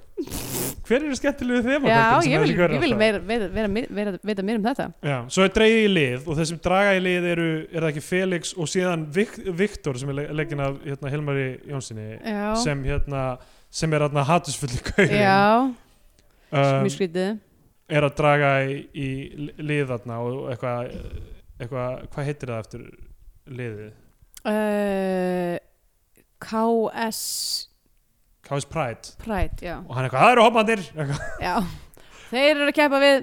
[SPEAKER 2] hver eru skemmtilegu
[SPEAKER 3] Já,
[SPEAKER 2] þemakvöldin sem
[SPEAKER 3] ég vil,
[SPEAKER 2] þessi gaur er
[SPEAKER 3] ég vil
[SPEAKER 2] alltaf?
[SPEAKER 3] meira, vera, vera, vera, vera mér um þetta
[SPEAKER 2] Já, svo er dreigið í lið og þeir sem draga í lið eru, er það ekki Felix og síðan Vik, Viktor sem er le- legginn af hérna, Helmari Jónssoni
[SPEAKER 3] Já,
[SPEAKER 2] sem, hérna, sem er hérna hatusfulli gaurin
[SPEAKER 3] já
[SPEAKER 2] um,
[SPEAKER 3] mjög skrítið
[SPEAKER 2] er að draga í, í li- lið þarna og eitthvað eitthva, hvað heitir það eftir liðið?
[SPEAKER 3] uh, KS
[SPEAKER 2] KS Pride
[SPEAKER 3] Pride, já,
[SPEAKER 2] og hann eitthvað, það eru hoppandir eitthvað.
[SPEAKER 3] já. Þeir eru að keppa við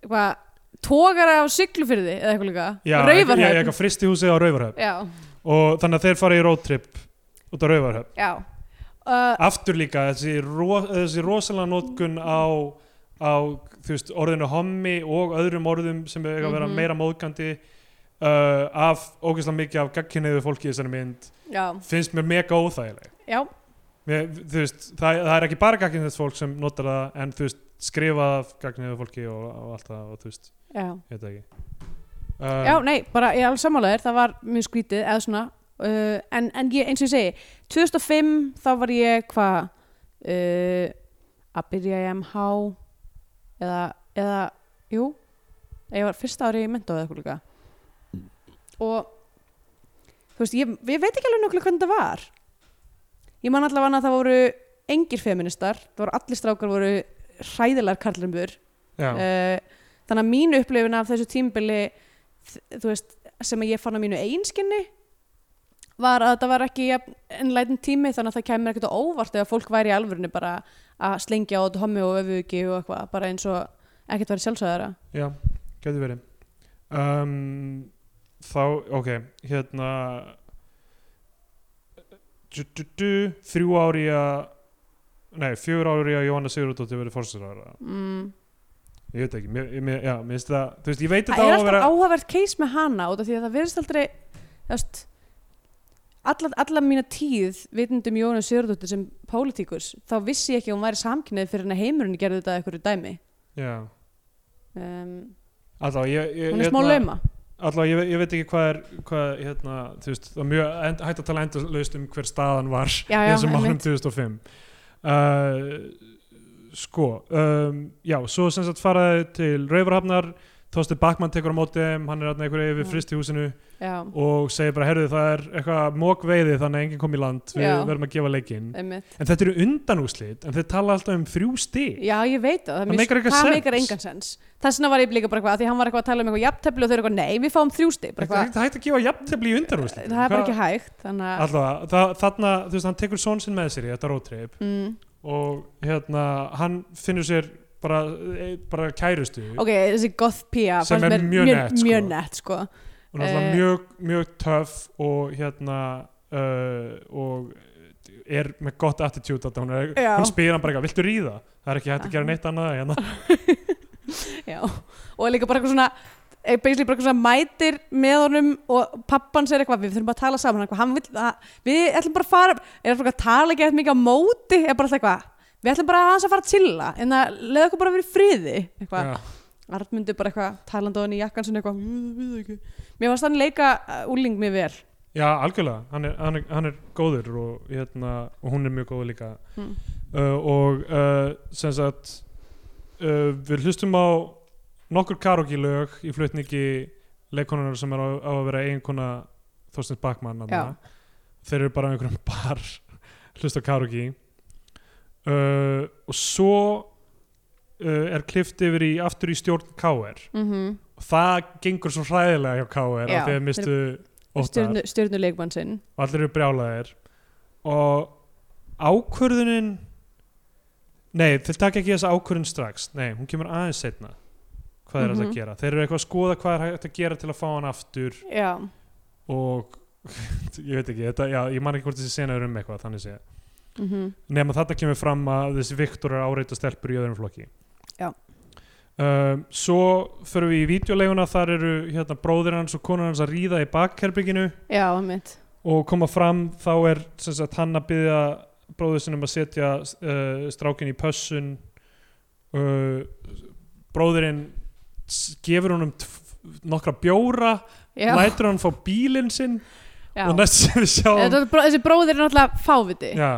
[SPEAKER 3] eitthvað, tógara af syklufyrði eða eitthvað líka,
[SPEAKER 2] Já, eitthvað- já,
[SPEAKER 3] raufarhöfn
[SPEAKER 2] eitthvað fristihúsið á Rauvarhöfn
[SPEAKER 3] já,
[SPEAKER 2] og þannig að þeir fara í roadtrip út á Rauvarhöfn
[SPEAKER 3] já uh,
[SPEAKER 2] aftur líka þessi, ro þessi rosalega notkun á, á þú veist, orðinu hommi og öðrum orðum sem er að vera
[SPEAKER 3] Mhm.
[SPEAKER 2] meira móðgandi uh, af ógeðslega mikið af gagkinniðu fólki í þessari mynd
[SPEAKER 3] já,
[SPEAKER 2] finnst mér mega óþægileg
[SPEAKER 3] já,
[SPEAKER 2] mér, þú veist, það, það er ekki bara gagkinniðu fólk sem notar það en þú veist, skrifað af gagkinniðu fólki og, og allt það og þú veist,
[SPEAKER 3] já
[SPEAKER 2] ég veit það ekki
[SPEAKER 3] já,
[SPEAKER 2] um,
[SPEAKER 3] nei, bara ég er alveg sammálaður það var mjög skrítið eða svona uh, en, en ég, eins og ég segi, 2005 þá var ég hvað uh, að byrja í MH eða, eða jú, ég var fyrsta ári í mentó eða eitthvað líka og þú veist, ég, ég veit ekki alveg nokkulega hvernig það var ég man allavega að það voru engir feministar, það voru allir strákar voru hræðilegar karlumbur
[SPEAKER 2] já,
[SPEAKER 3] uh, þannig að mín upplifin af þessu tímbili þú veist, sem ég fann á mínu einskinni var að þetta var ekki ennlætin tími þannig að það kemur ekkert á óvart ef fólk væri í alvörinu bara að slengja át hommi og öfugi og eitthvað, bara eins og ekkert verið sjálfsögðara
[SPEAKER 2] Já, getur verið um, Þá, ok Hérna du, du, du, Þrjú ári að Nei, fjögur ári að Jóhanna Sigurðardóttir verið fórsæðara
[SPEAKER 3] mm.
[SPEAKER 2] Ég veit ekki, mér, mér, já, mér finnst það Þú veist, ég veit
[SPEAKER 3] það
[SPEAKER 2] þetta á
[SPEAKER 3] er
[SPEAKER 2] að
[SPEAKER 3] alltaf
[SPEAKER 2] vera
[SPEAKER 3] áhugavert case með hana út af því að það verðist aldrei þú veist alla, alla mína tíð vitundum Jónu Sigurdóttir sem pólitíkus þá vissi ég ekki að hún væri samkynneið fyrir henni heimurinn gerði þetta að einhverju dæmi
[SPEAKER 2] Já,
[SPEAKER 3] um,
[SPEAKER 2] alltaf ég, ég, hérna-
[SPEAKER 3] hún er smá lauma
[SPEAKER 2] Alltaf, ég, ég veit ekki hvað er hvað, hérna, þú veist, það er mjög end, hægt að tala endalaust um hver staðan var
[SPEAKER 3] Já,
[SPEAKER 2] í
[SPEAKER 3] já,
[SPEAKER 2] þessum árum
[SPEAKER 3] einmitt.
[SPEAKER 2] 2005 uh, sko um, já, svo sem sagt faraði til Rauvarhafnar, Þorsteinn Bakmann tekur á móti þeim, hann er hann einhverju yfir
[SPEAKER 3] Já.
[SPEAKER 2] fristihúsinu
[SPEAKER 3] Já,
[SPEAKER 2] og segir bara, herðu það er eitthvað mókveiði þannig að enginn kom í land við
[SPEAKER 3] Já.
[SPEAKER 2] verðum að gefa leikinn
[SPEAKER 3] einmitt.
[SPEAKER 2] en þetta eru undanúslit, en þeir tala alltaf um þrjú stig
[SPEAKER 3] Já, ég veit það.
[SPEAKER 2] Það meikar engan
[SPEAKER 3] Það
[SPEAKER 2] sens.
[SPEAKER 3] meikar engan sens. Þess vegna var ég líka bara eitthvað, af því hann var eitthvað að tala um eitthvað jafntefli og þau eru eitthvað, nei, við fáum þrjú stig. Bara
[SPEAKER 2] það
[SPEAKER 3] eitthvað,
[SPEAKER 2] er hægt að gefa jafntefli í undanúslit
[SPEAKER 3] Það er bara ekki hægt, þannig að...
[SPEAKER 2] Alltaf, það, þarna, þú veist, hann tekur són sinn með sér í þetta rótrip
[SPEAKER 3] Mm.
[SPEAKER 2] og hérna, hann finnur sér bara, eh, bara kærustu
[SPEAKER 3] Ok, þessi goth pía
[SPEAKER 2] Sem
[SPEAKER 3] fannst
[SPEAKER 2] er
[SPEAKER 3] mér
[SPEAKER 2] mjög nett, sko.
[SPEAKER 3] Mjög nett, sko.
[SPEAKER 2] og náttúrulega
[SPEAKER 3] eh.
[SPEAKER 2] mjög, mjög töff og hérna uh, og er með gott attitude að hún, er,
[SPEAKER 3] Já.
[SPEAKER 2] hún spyr hann bara eitthvað, viltu ríða? Það er ekki hægt að gera neitt annað hérna.
[SPEAKER 3] Já, og líka bara eitthvað svona eh, basically bara eitthvað svona mætir með honum og pappan segir eitthvað, við þurfum að tala saman eitthvað, hann vill, að, við ætlum bara að fara er eitthvað að tala ekki eitthvað mikið á móti er bara alltaf eitthvað, við ætlum bara aðeins að fara að chilla en það leða okkur bara að vera í friði eitthvað,
[SPEAKER 2] Já.
[SPEAKER 3] Arnmundur bara eitthvað talandi á henni í jakkan sinni eitthvað "Við- við ekki." Mér varst þannig leika uh, úling mjög vel
[SPEAKER 2] Já, algjörlega, hann er, hann er, hann er góður og, hérna, og hún er mjög góð líka
[SPEAKER 3] Mm.
[SPEAKER 2] uh, og uh, sem sagt uh, við hlustum á nokkur karaoke lög í flutningi leikonunar sem er á, á að vera eiginkona Þorsteins Bakmann
[SPEAKER 3] Já.
[SPEAKER 2] þarna. þeir eru bara á einhverjum bar hlusta á karaoke uh, og svo uh, er klift yfir í aftur í stjórn KR
[SPEAKER 3] mm
[SPEAKER 2] og það gengur svo hræðilega hjá KR
[SPEAKER 3] Já,
[SPEAKER 2] af því að mistu óttar
[SPEAKER 3] Stjörnu, stjörnuleikmann sinn
[SPEAKER 2] og allir eru brjálaðir og ákvörðunin nei, þeir taka ekki þessa ákvörðun strax nei, hún kemur aðeins setna hvað er mm
[SPEAKER 3] Mhm.
[SPEAKER 2] að gera, þeir eru eitthvað að skoða hvað er hægt að gera til að fá hann aftur
[SPEAKER 3] Já, og
[SPEAKER 2] ég veit ekki, þetta, já, ég man ekki hvort þessi sena er um eitthvað þannig sé,
[SPEAKER 3] mm
[SPEAKER 2] nema þetta kemur fram að þessi Viktor er áreita stelpur í öðrum flokki
[SPEAKER 3] Já.
[SPEAKER 2] Um, svo förum við í vídeoleguna þar eru hérna bróðir hans og konar hans að ríða í bakherbygginu
[SPEAKER 3] já, mitt
[SPEAKER 2] og koma fram þá er sem sagt, hann að byggja bróður sinum að setja uh, strákin í pössun uh, bróðurinn s- gefur honum tf- nokkra bjóra
[SPEAKER 3] Já,
[SPEAKER 2] lætur hann fá bílinn sinn
[SPEAKER 3] já.
[SPEAKER 2] og næst sem við sjáum
[SPEAKER 3] Þetta er bró- Þessi bróðir er náttúrulega fáviti
[SPEAKER 2] já,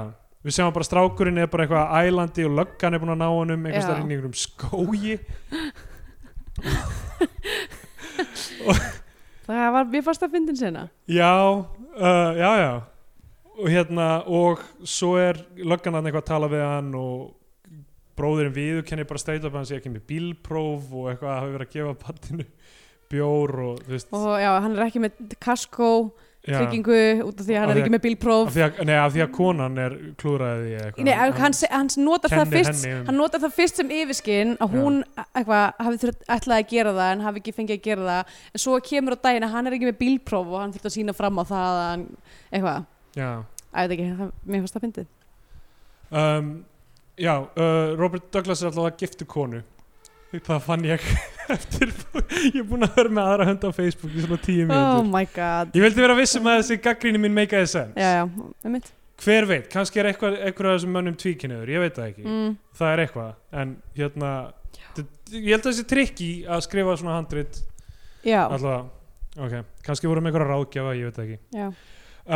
[SPEAKER 2] við sjáum bara strákurinn er bara eitthvað ælandi og löggan er búin að ná honum
[SPEAKER 3] Já.
[SPEAKER 2] einhvers þar inn í einhverjum skógi
[SPEAKER 3] Það var mér fast að fyndin sena
[SPEAKER 2] Já, uh, já, já og hérna, og svo er löggan hann eitthvað að tala við hann og bróðurinn viður kenni bara straight up að hann sé ekki með bílpróf og eitthvað að hafi verið að gefa pattinu bjór og þú veist
[SPEAKER 3] og já, hann er ekki með kaskó
[SPEAKER 2] já,
[SPEAKER 3] tryggingu út af því að hann
[SPEAKER 2] Af
[SPEAKER 3] er
[SPEAKER 2] því
[SPEAKER 3] ekki með
[SPEAKER 2] af
[SPEAKER 3] bílpróf
[SPEAKER 2] því að, nei, af því að konan er klúraði því eitthvað
[SPEAKER 3] Nei, hann, se- hann notar það
[SPEAKER 2] kennir
[SPEAKER 3] fyrst
[SPEAKER 2] henni um-
[SPEAKER 3] hann notar það fyrst sem yfirskinn að
[SPEAKER 2] Já.
[SPEAKER 3] hún a- eitthvað hafi þurft ætlaði að gera það en hafi ekki fengið að gera það en svo kemur á daginn að hann er ekki með bílpróf og hann þurft að sína fram á það að hann, eitthvað,
[SPEAKER 2] já,
[SPEAKER 3] að þetta ekki það, mér fannst það fyndið
[SPEAKER 2] um, já uh, Robert Douglas er alltaf að giftu konu það fann ég eftir ég er búin að vera með aðra hönd á Facebook í svona tíu
[SPEAKER 3] Oh
[SPEAKER 2] mínútur
[SPEAKER 3] my god
[SPEAKER 2] ég vildi vera vissum að þessi gaggríni mín make a sense
[SPEAKER 3] Já, já, með mitt
[SPEAKER 2] hver veit, kannski er eitthvað, eitthvað af þessum mönnum tvíkinniður, ég veit það ekki
[SPEAKER 3] mm,
[SPEAKER 2] það er eitthvað, en hérna d- ég held að þessi trikki að skrifa svona handrit
[SPEAKER 3] Já,
[SPEAKER 2] alltaf, ok, kannski vorum einhverja ráðgjafa ég veit það ekki
[SPEAKER 3] já,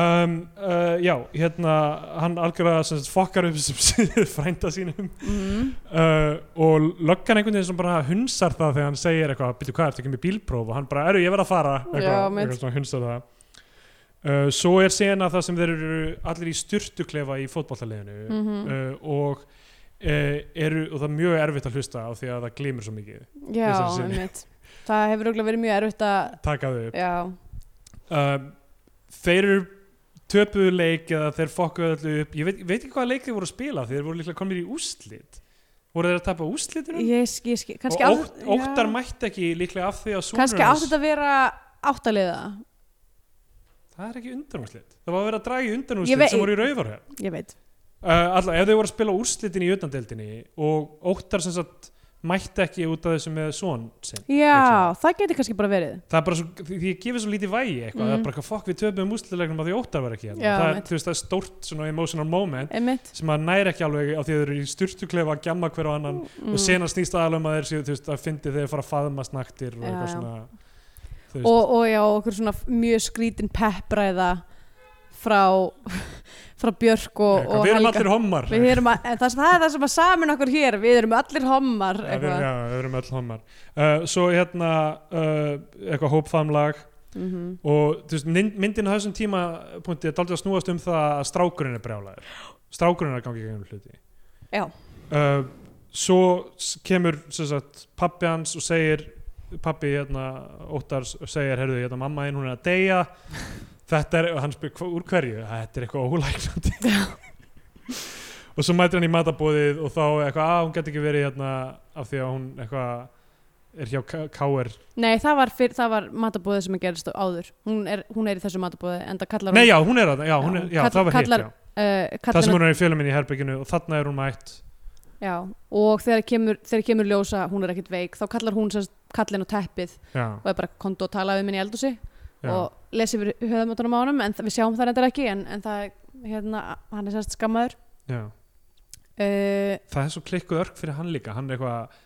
[SPEAKER 2] um, uh, já, hérna, hann algjörlega sem sagt fokkar upp sem frænda sínum
[SPEAKER 3] mm,
[SPEAKER 2] uh, og löggan einhvern veginn sem bara hunsar það þegar hann segir eitthvað, byrju hvað, ertu ekki með bílpróf og hann bara, eru, ég verð að fara
[SPEAKER 3] Já,
[SPEAKER 2] eitthvað,
[SPEAKER 3] mitt.
[SPEAKER 2] eitthvað svona hunsar það uh, svo er sena það sem þeir eru allir í styrtuklefa í fótballtaliðinu
[SPEAKER 3] Mhm.
[SPEAKER 2] uh, og uh, eru, og það er mjög erfitt að hlusta á því að það glimur svo mikið
[SPEAKER 3] já,
[SPEAKER 2] Þessari sinni.
[SPEAKER 3] með mitt Það hefur örugglega verið mjög erfitt að
[SPEAKER 2] takaðu upp
[SPEAKER 3] Já,
[SPEAKER 2] um, þeir eru töpuðu leik eða þeir fokkuðu allir upp ég veit, veit ekki hvaða leik þeir voru að spila þeir voru líklega komnir í úslit voru þeir að tapa úslitinu?
[SPEAKER 3] ég skil, skil kannski
[SPEAKER 2] og
[SPEAKER 3] á-
[SPEAKER 2] ótt, óttar
[SPEAKER 3] já.
[SPEAKER 2] mætti ekki líklega af því að sonur
[SPEAKER 3] Kannski átti þetta að vera áttaliða
[SPEAKER 2] það er ekki undanúrslit það var að vera að draga í
[SPEAKER 3] Ég
[SPEAKER 2] undanúrslit
[SPEAKER 3] vei-
[SPEAKER 2] sem voru í raufarhef
[SPEAKER 3] Ég veit
[SPEAKER 2] uh, alltaf, ef þau voru að spila úrslitin í utandeldinni og óttar sem sagt mætti ekki út af þessu með son sinn
[SPEAKER 3] Já, það geti kannski bara verið
[SPEAKER 2] það er bara svo, því því ég gefið svo lítið vægi eitthvað,
[SPEAKER 3] Mhm.
[SPEAKER 2] það er bara eitthvað fokk við töpum úrslitlegnum að því óttar var ekki hérna
[SPEAKER 3] Já,
[SPEAKER 2] það, er,
[SPEAKER 3] mitt.
[SPEAKER 2] þú veist, það er stórt svona emotional moment
[SPEAKER 3] Einmitt
[SPEAKER 2] sem maður næri ekki alveg á því að þau eru í styrtuklefa að gjamma hver á annan
[SPEAKER 3] mm.
[SPEAKER 2] og sena snýst aðalum að þeir séu, þú veist, að fyndi þeir fara að faðma snaktir og
[SPEAKER 3] Já,
[SPEAKER 2] eitthvað
[SPEAKER 3] já.
[SPEAKER 2] svona þú veist.
[SPEAKER 3] og, og já, okkur svona mjög skrítin peppræða frá, frá Björk og,
[SPEAKER 2] Eitthvað,
[SPEAKER 3] og
[SPEAKER 2] við erum
[SPEAKER 3] Helga.
[SPEAKER 2] allir hommar
[SPEAKER 3] Við erum að, en það, það er það sem að samin okkur hér Við erum allir hommar
[SPEAKER 2] Já, við,
[SPEAKER 3] eitthvað.
[SPEAKER 2] já, við erum öll hommar uh, Svo hérna uh, eitthvað hópfamlag
[SPEAKER 3] Mhm.
[SPEAKER 2] og þú veist, mynd- myndin á þessum tímapunkti er daldið að snúast um það að strákurinn er brjálæður strákurinn er að gangi í gegnum hluti
[SPEAKER 3] Já.
[SPEAKER 2] uh, Svo s- kemur sem sagt, pappi hans og segir pappi hérna Óttars segir, herðu, hérna mamma þín hún er að deyja þetta er, og hann spyr, "Hva- úr hverju? Þetta er eitthvað ólægnandi og svo mætir hann í matabóðið og þá er eitthvað, að hún geti ekki verið hérna af því að hún eitthvað er hjá K- KR
[SPEAKER 3] Nei, það var, fyr, það var matabóðið sem að gerist áður hún er, hún er í þessu matabóðið en það kallar
[SPEAKER 2] Nei, já, hún er þarna, já, hún er,
[SPEAKER 3] Já,
[SPEAKER 2] já,
[SPEAKER 3] kall-
[SPEAKER 2] það var hitt,
[SPEAKER 3] kallar-
[SPEAKER 2] já.
[SPEAKER 3] uh,
[SPEAKER 2] Það
[SPEAKER 3] kallar
[SPEAKER 2] sem hún er í fjöluminn í herbygginu og þarna er hún mætt.
[SPEAKER 3] já, og þegar kemur, þegar kemur ljósa hún er ekkit veik, þá kallar hún sérst kallin og teppið
[SPEAKER 2] Já,
[SPEAKER 3] og er bara kontu og tala við minni í eldúsi
[SPEAKER 2] já.
[SPEAKER 3] og lesi við höfðamótanum á honum en það- við sjáum það reyndar ekki en, en það, er, hérna, hann er sérst skammaður
[SPEAKER 2] já.
[SPEAKER 3] uh,
[SPEAKER 2] Það er svo klikkuð örk fyrir hann líka, hann er eitthvað,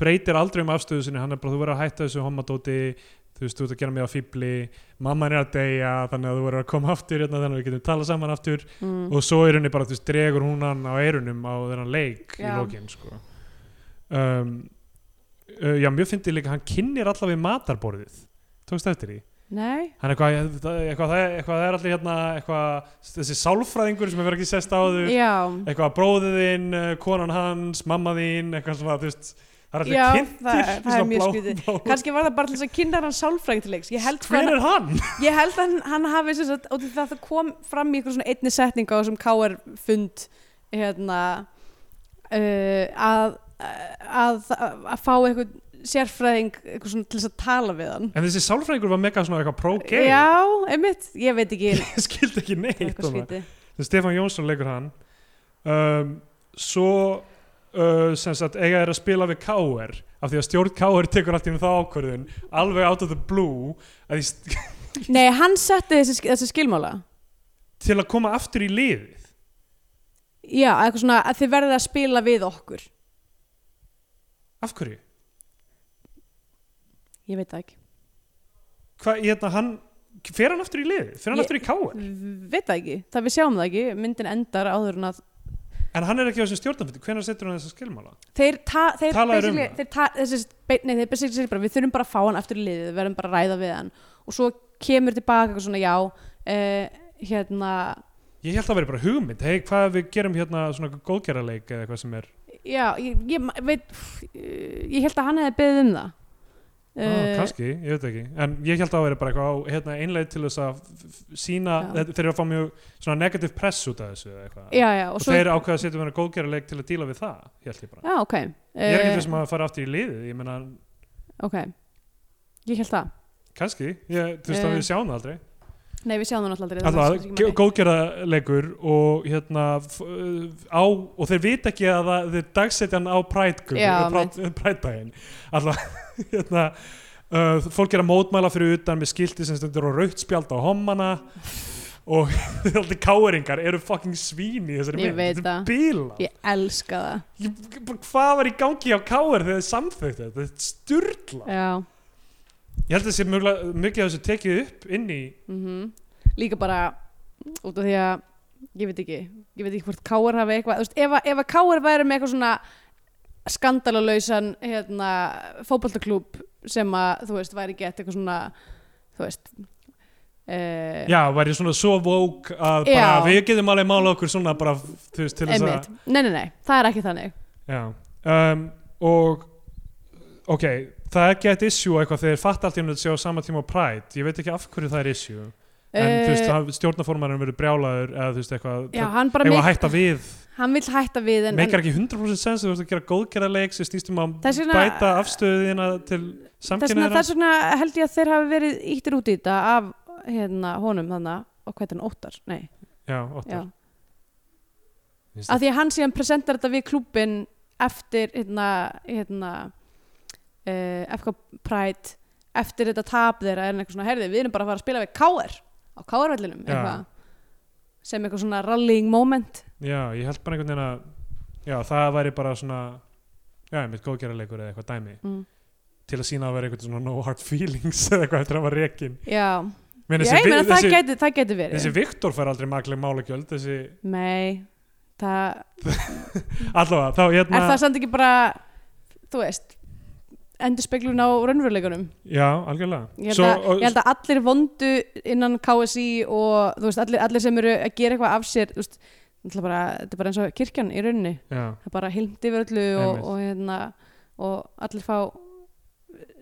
[SPEAKER 2] breytir aldrei um afstöðu sinni, hann er bara, þú verður að hætta þessu homadóti, þú veist, þú ert að gera mig á fýbli, mamman er að deyja, þannig að þú verður að koma aftur, hérna, þannig að við getum talað saman aftur
[SPEAKER 3] mm,
[SPEAKER 2] og svo er henni bara, þú veist, dregur hún hann á eyrunum á þennan leik í
[SPEAKER 3] Já.
[SPEAKER 2] lókin, sko. Um, uh, já, mjög fyndi líka, hann kynir allavega matarborðið. tókst eftir því
[SPEAKER 3] Nei,
[SPEAKER 2] hann eitthvað, eitthvað, eitthvað, það er- eitthvað það er allir hérna eitthvað, þessi sálfræðingur sem hefur ekki sest áður
[SPEAKER 3] já
[SPEAKER 2] eitthvað bróðiðinn, eh, konan hans mamma þín, eitthvað svona þú veist, það er allir
[SPEAKER 3] Já,
[SPEAKER 2] kynntir
[SPEAKER 3] það-
[SPEAKER 2] í
[SPEAKER 3] það
[SPEAKER 2] svona
[SPEAKER 3] er mjög
[SPEAKER 2] blá-
[SPEAKER 3] skrítið.
[SPEAKER 2] blá-
[SPEAKER 3] Kanski var það bara til þess að kynna hann sálfrængtilegs. Ég held,
[SPEAKER 2] hver
[SPEAKER 3] hann,
[SPEAKER 2] er hann?
[SPEAKER 3] ég held að hann, hann hafi sem sagt, og því það það kom fram í einhver svona einni setning á þessum KR fund hérna, uh, að, að, að, að fá einhver sérfræðing einhver svona, til þess að tala við hann.
[SPEAKER 2] en þessi sálfræðingur var mega svona eitthvað pro-gay
[SPEAKER 3] Já, einmitt, ég veit ekki
[SPEAKER 2] ég skildi ekki neitt um
[SPEAKER 3] eitthvað
[SPEAKER 2] þarna.
[SPEAKER 3] skríti.
[SPEAKER 2] Þegar Stefán Jónsson leikur hann um, svo uh, sem sagt eiga þeir að spila við KR af því að stjórn KR tekur allt í um þá ákvörðun alveg out of the blue að því st-
[SPEAKER 3] Nei, hann setti þessi, þessi skilmála.
[SPEAKER 2] til að koma aftur í liðið
[SPEAKER 3] Já, eitthvað svona að þið verðið að spila við okkur.
[SPEAKER 2] af hverju?
[SPEAKER 3] Ég veit það ekki.
[SPEAKER 2] Hva, hérna, hann, fer hann aftur í liðið? fer hann
[SPEAKER 3] Ég-
[SPEAKER 2] aftur í KR?
[SPEAKER 3] Veit það ekki. Það við sjáum það ekki. Myndin endar áður en að
[SPEAKER 2] en hann er ekki á þessum stjórnarfundi hvernig setur hann þessa skilmála?
[SPEAKER 3] þeir, ta, þeir
[SPEAKER 2] Talaðir um
[SPEAKER 3] basically-
[SPEAKER 2] það?
[SPEAKER 3] þeir ta, þessi, be- nei, þeir basically segir bara, við þurfum bara að fá hann aftur í liðið, við verðum bara að ræða við hann og svo kemur tilbaka eitthvað svona já uh, hérna
[SPEAKER 2] ég held að vera bara hugmynd hei hvað ef við gerum hérna svona góðgerðarleik eða eitthvað sem er
[SPEAKER 3] já, ég, ég ma- veit pff, eh, ég held að hann hefði beðið um það
[SPEAKER 2] Uh,
[SPEAKER 3] Eh,
[SPEAKER 2] kannski, ég veit ekki en ég held að það væri bara eitthvað á hérna, einleið til þess að f- f- sína
[SPEAKER 3] Já.
[SPEAKER 2] þeir eru að fá mjög svona negativ press út af þessu eða eitthvað.
[SPEAKER 3] já, já,
[SPEAKER 2] og,
[SPEAKER 3] og svo
[SPEAKER 2] þeir ákveða að setja með góðgerðarleik til að díla við það, held ég bara
[SPEAKER 3] já, ok,
[SPEAKER 2] ég er ekki um
[SPEAKER 3] Eh,
[SPEAKER 2] þessum að fara aftur í liðið ég meina,
[SPEAKER 3] ok ég held það,
[SPEAKER 2] kannski, ég, þú veist að
[SPEAKER 3] Eh.
[SPEAKER 2] við sjáum það aldrei
[SPEAKER 3] nei við sjáum það náttúrulega aldrei, það
[SPEAKER 2] Alla,
[SPEAKER 3] skiptir ekki
[SPEAKER 2] gó-
[SPEAKER 3] máli.
[SPEAKER 2] góðgerðarleikur og hérna f- uh, á, og þeir vita ekki að það, þeir dagsetja hann á eh,
[SPEAKER 3] Já,
[SPEAKER 2] prætdægin alltaf hérna Uh, fólk er að mótmæla fyrir utan með skilti sem stundur og raukt spjald á hommana og allir káeringar eru fucking svín í þessari
[SPEAKER 3] Ég veit
[SPEAKER 2] þetta er
[SPEAKER 3] það.
[SPEAKER 2] bíla
[SPEAKER 3] ég elska það
[SPEAKER 2] hvað var í gangi á káer þegar þið samþögt þetta, þetta er sturla
[SPEAKER 3] já,
[SPEAKER 2] ég held að þessi mjögulega- mikið af þessu tekið upp inn í
[SPEAKER 3] mhm líka bara út af því að ég veit ekki, ég veit ekki hvort Káar hafi eitthvað, þú veist, ef, að- ef að Káar væri með eitthvað svona skandalalausan hérna, fótboltaklúb sem að, þú veist, væri gett eitthvað svona, þú veist uh,
[SPEAKER 2] Já, væri svona svo vók að
[SPEAKER 3] Já.
[SPEAKER 2] bara, við getum alveg mála okkur svona bara, þú veist, til þess
[SPEAKER 3] einmitt,
[SPEAKER 2] að
[SPEAKER 3] nei, nei, nei, það er ekki þannig
[SPEAKER 2] Já, um, og ok, það er gett issue eitthvað þegar fatt allt í hennu að sjá sama tíma á Pride, ég veit ekki af hverju það er issue en þú veist,
[SPEAKER 3] Eh,
[SPEAKER 2] það- stjórnarformarinn verður brjálaður eða þú veist, eitthvað,
[SPEAKER 3] já, hann bara,
[SPEAKER 2] eitthvað að
[SPEAKER 3] meik,
[SPEAKER 2] hætta við
[SPEAKER 3] hann vill hætta við en,
[SPEAKER 2] meikar ekki 100% sens, þú veist að gera góðgerðarleik sem snýstum að
[SPEAKER 3] Þess vegna-
[SPEAKER 2] bæta afstöðina til
[SPEAKER 3] þess vegna,
[SPEAKER 2] samkynniðra
[SPEAKER 3] þess vegna held ég að þeir hafi verið íttir út í þetta af hérna, honum þannig, og hvað er hann, óttar, nei
[SPEAKER 2] Já, óttar
[SPEAKER 3] já. að því að hann síðan presentar þetta við klúbin eftir hérna, hérna uh, FK Pride eftir þetta tap þeirra er eitthvað svona herði, við erum bara að fara að spila við KR á KR-vellinum
[SPEAKER 2] Já.
[SPEAKER 3] eitthvað sem eitthvað svona rallying moment
[SPEAKER 2] Já, ég held bara einhvern veginn að já, það væri bara svona já, einmitt góðgerðarleikur eða eitthvað dæmi
[SPEAKER 3] mm.
[SPEAKER 2] til að sína að vera einhvern svona no hard feelings eða eitthvað eftir að var rekin
[SPEAKER 3] já,
[SPEAKER 2] Men
[SPEAKER 3] já ég meina það
[SPEAKER 2] þessi,
[SPEAKER 3] geti, það geti verið
[SPEAKER 2] þessi Viktor fær aldrei makleg málagjöld þessi,
[SPEAKER 3] nei, það
[SPEAKER 2] allavega, þá hérna
[SPEAKER 3] er það samt ekki bara þú veist endur speglun á raunveruleikunum
[SPEAKER 2] já, algjörlega
[SPEAKER 3] Ég held, að,
[SPEAKER 2] og,
[SPEAKER 3] ég held að allir vondu innan KSI og þú veist, allir, allir sem eru að gera eitthvað af sér þú veist, náttúrulega bara, þetta er bara eins og kirkjan í rauninni,
[SPEAKER 2] já,
[SPEAKER 3] það er bara hildi yfir öllu og,
[SPEAKER 2] Einmitt.
[SPEAKER 3] og, hérna, og allir fá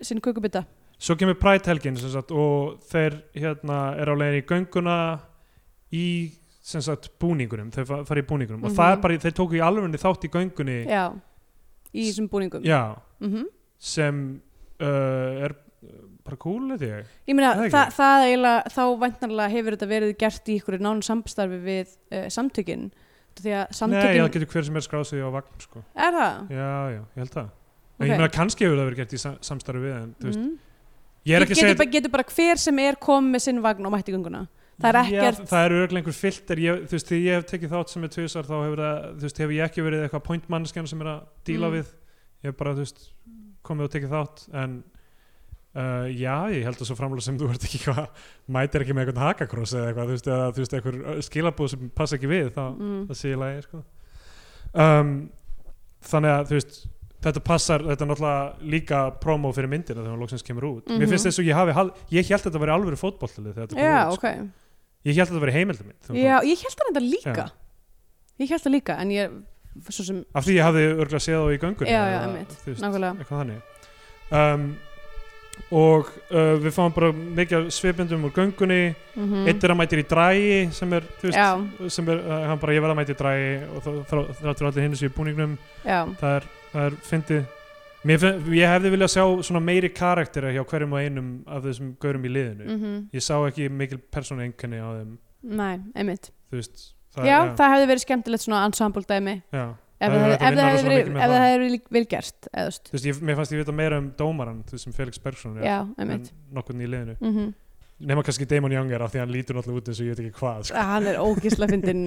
[SPEAKER 3] sinn kukubita
[SPEAKER 2] svo kemur Pride helgin sem sagt, og þeir hérna er á leiðin í gönguna í sem sagt búningunum, þeir fa- fara í búningunum og
[SPEAKER 3] Mhm.
[SPEAKER 2] það er bara, þeir tóku í alvegni þátt í göngunni
[SPEAKER 3] já, í þessum búningum
[SPEAKER 2] já
[SPEAKER 3] mm
[SPEAKER 2] sem uh, er uh, bara cool eða ég
[SPEAKER 3] ég meina,
[SPEAKER 2] Það er ekki.
[SPEAKER 3] það, það eiginlega, þá væntanlega hefur þetta verið gert í ykkur nánu samstarfi við uh, samtökin því að
[SPEAKER 2] Nei,
[SPEAKER 3] samtökin
[SPEAKER 2] það getur hver sem er skráð sig á vagn sko.
[SPEAKER 3] er það
[SPEAKER 2] Já, já, ég held það En
[SPEAKER 3] Ok.
[SPEAKER 2] ég meina kannski hefur það verið gert í sam samstarfi við en, þú veist,
[SPEAKER 3] mm.
[SPEAKER 2] Ég er ekki að
[SPEAKER 3] getur,
[SPEAKER 2] segja
[SPEAKER 3] bara, getur bara hver sem er komið með sinn vagn og mætti gönguna það er ekkert-
[SPEAKER 2] já, Það er örglega einhver filter ég, Þú veist, þegar ég hef tekið þátt sem er tvisar þá hefur, það, þú veist, hefur ég ekki verið eitthvað pointmannskjan sem er að díla
[SPEAKER 3] Mm.
[SPEAKER 2] við Ég hef bara, þú veist, komið og tekið þátt en Uh, já, ég held að svo framlega sem þú ert ekki hvað mætir ekki með eitthvað hakakross eða eitthvað, þú veist, eða, þú veist, eitthvað skilabúð sem passa ekki við, þá,
[SPEAKER 3] mm.
[SPEAKER 2] það sé í lagi sko. um, þannig að þú veist þetta passar, þetta er náttúrulega líka promo fyrir myndina þegar hún loksins kemur út mér
[SPEAKER 3] Mhm.
[SPEAKER 2] finnst þess að ég hafi, hal- ég held að þetta væri alvöru fótbolltalið þegar þetta kom
[SPEAKER 3] Já,
[SPEAKER 2] út
[SPEAKER 3] ok.
[SPEAKER 2] sko. ég held að þetta væri heimildamind
[SPEAKER 3] Já, ég held hann þetta líka. Ég held það líka, en ég, svo sem,
[SPEAKER 2] af því ég hafði örgulega séð þá í göngunni
[SPEAKER 3] Já, já,
[SPEAKER 2] eða,
[SPEAKER 3] einmitt.
[SPEAKER 2] þú veist,
[SPEAKER 3] nákvæmlega.
[SPEAKER 2] eitthvað þannig um, og uh, við fáum bara mikið af svipendum úr göngunni mm.
[SPEAKER 3] Mm
[SPEAKER 2] eitt er að mætir í drægi sem er, þú veist,
[SPEAKER 3] Já,
[SPEAKER 2] sem er uh, hann bara ég verða að mæta í drægi og þá- þá þráttur allir hinn sér í búningnum
[SPEAKER 3] já,
[SPEAKER 2] það er, það er fyndið Mér finn, ég hefði viljað sjá svona meiri karaktera hjá hverjum og einum af þessum gaurum í liðinu
[SPEAKER 3] mhm,
[SPEAKER 2] ég sá ekki mikil persónu einkenni á þeim
[SPEAKER 3] næ, einmitt.
[SPEAKER 2] þú veist það,
[SPEAKER 3] Já, það hefði verið skemmtilegt svona ensemble dæmi.
[SPEAKER 2] já.
[SPEAKER 3] Ef
[SPEAKER 2] Það
[SPEAKER 3] það
[SPEAKER 2] hefði
[SPEAKER 3] hefði
[SPEAKER 2] hægt að
[SPEAKER 3] ef
[SPEAKER 2] vinna
[SPEAKER 3] það hefði
[SPEAKER 2] rosalega mikið með það.
[SPEAKER 3] verið, ef það hefði verið verið gert, eða þú veist.
[SPEAKER 2] Þú veist, ég, mér fannst ég vita meira um dómaran þú veist, sem Felix Bergson er
[SPEAKER 3] Já,
[SPEAKER 2] en
[SPEAKER 3] einmitt.
[SPEAKER 2] nokkurn í liðinu
[SPEAKER 3] Mm
[SPEAKER 2] nema kannski Damon Young er af því að hann lítur náttúrulega út eins og ég veit ekki hvað sko.
[SPEAKER 3] Hann er ógísla fyndin.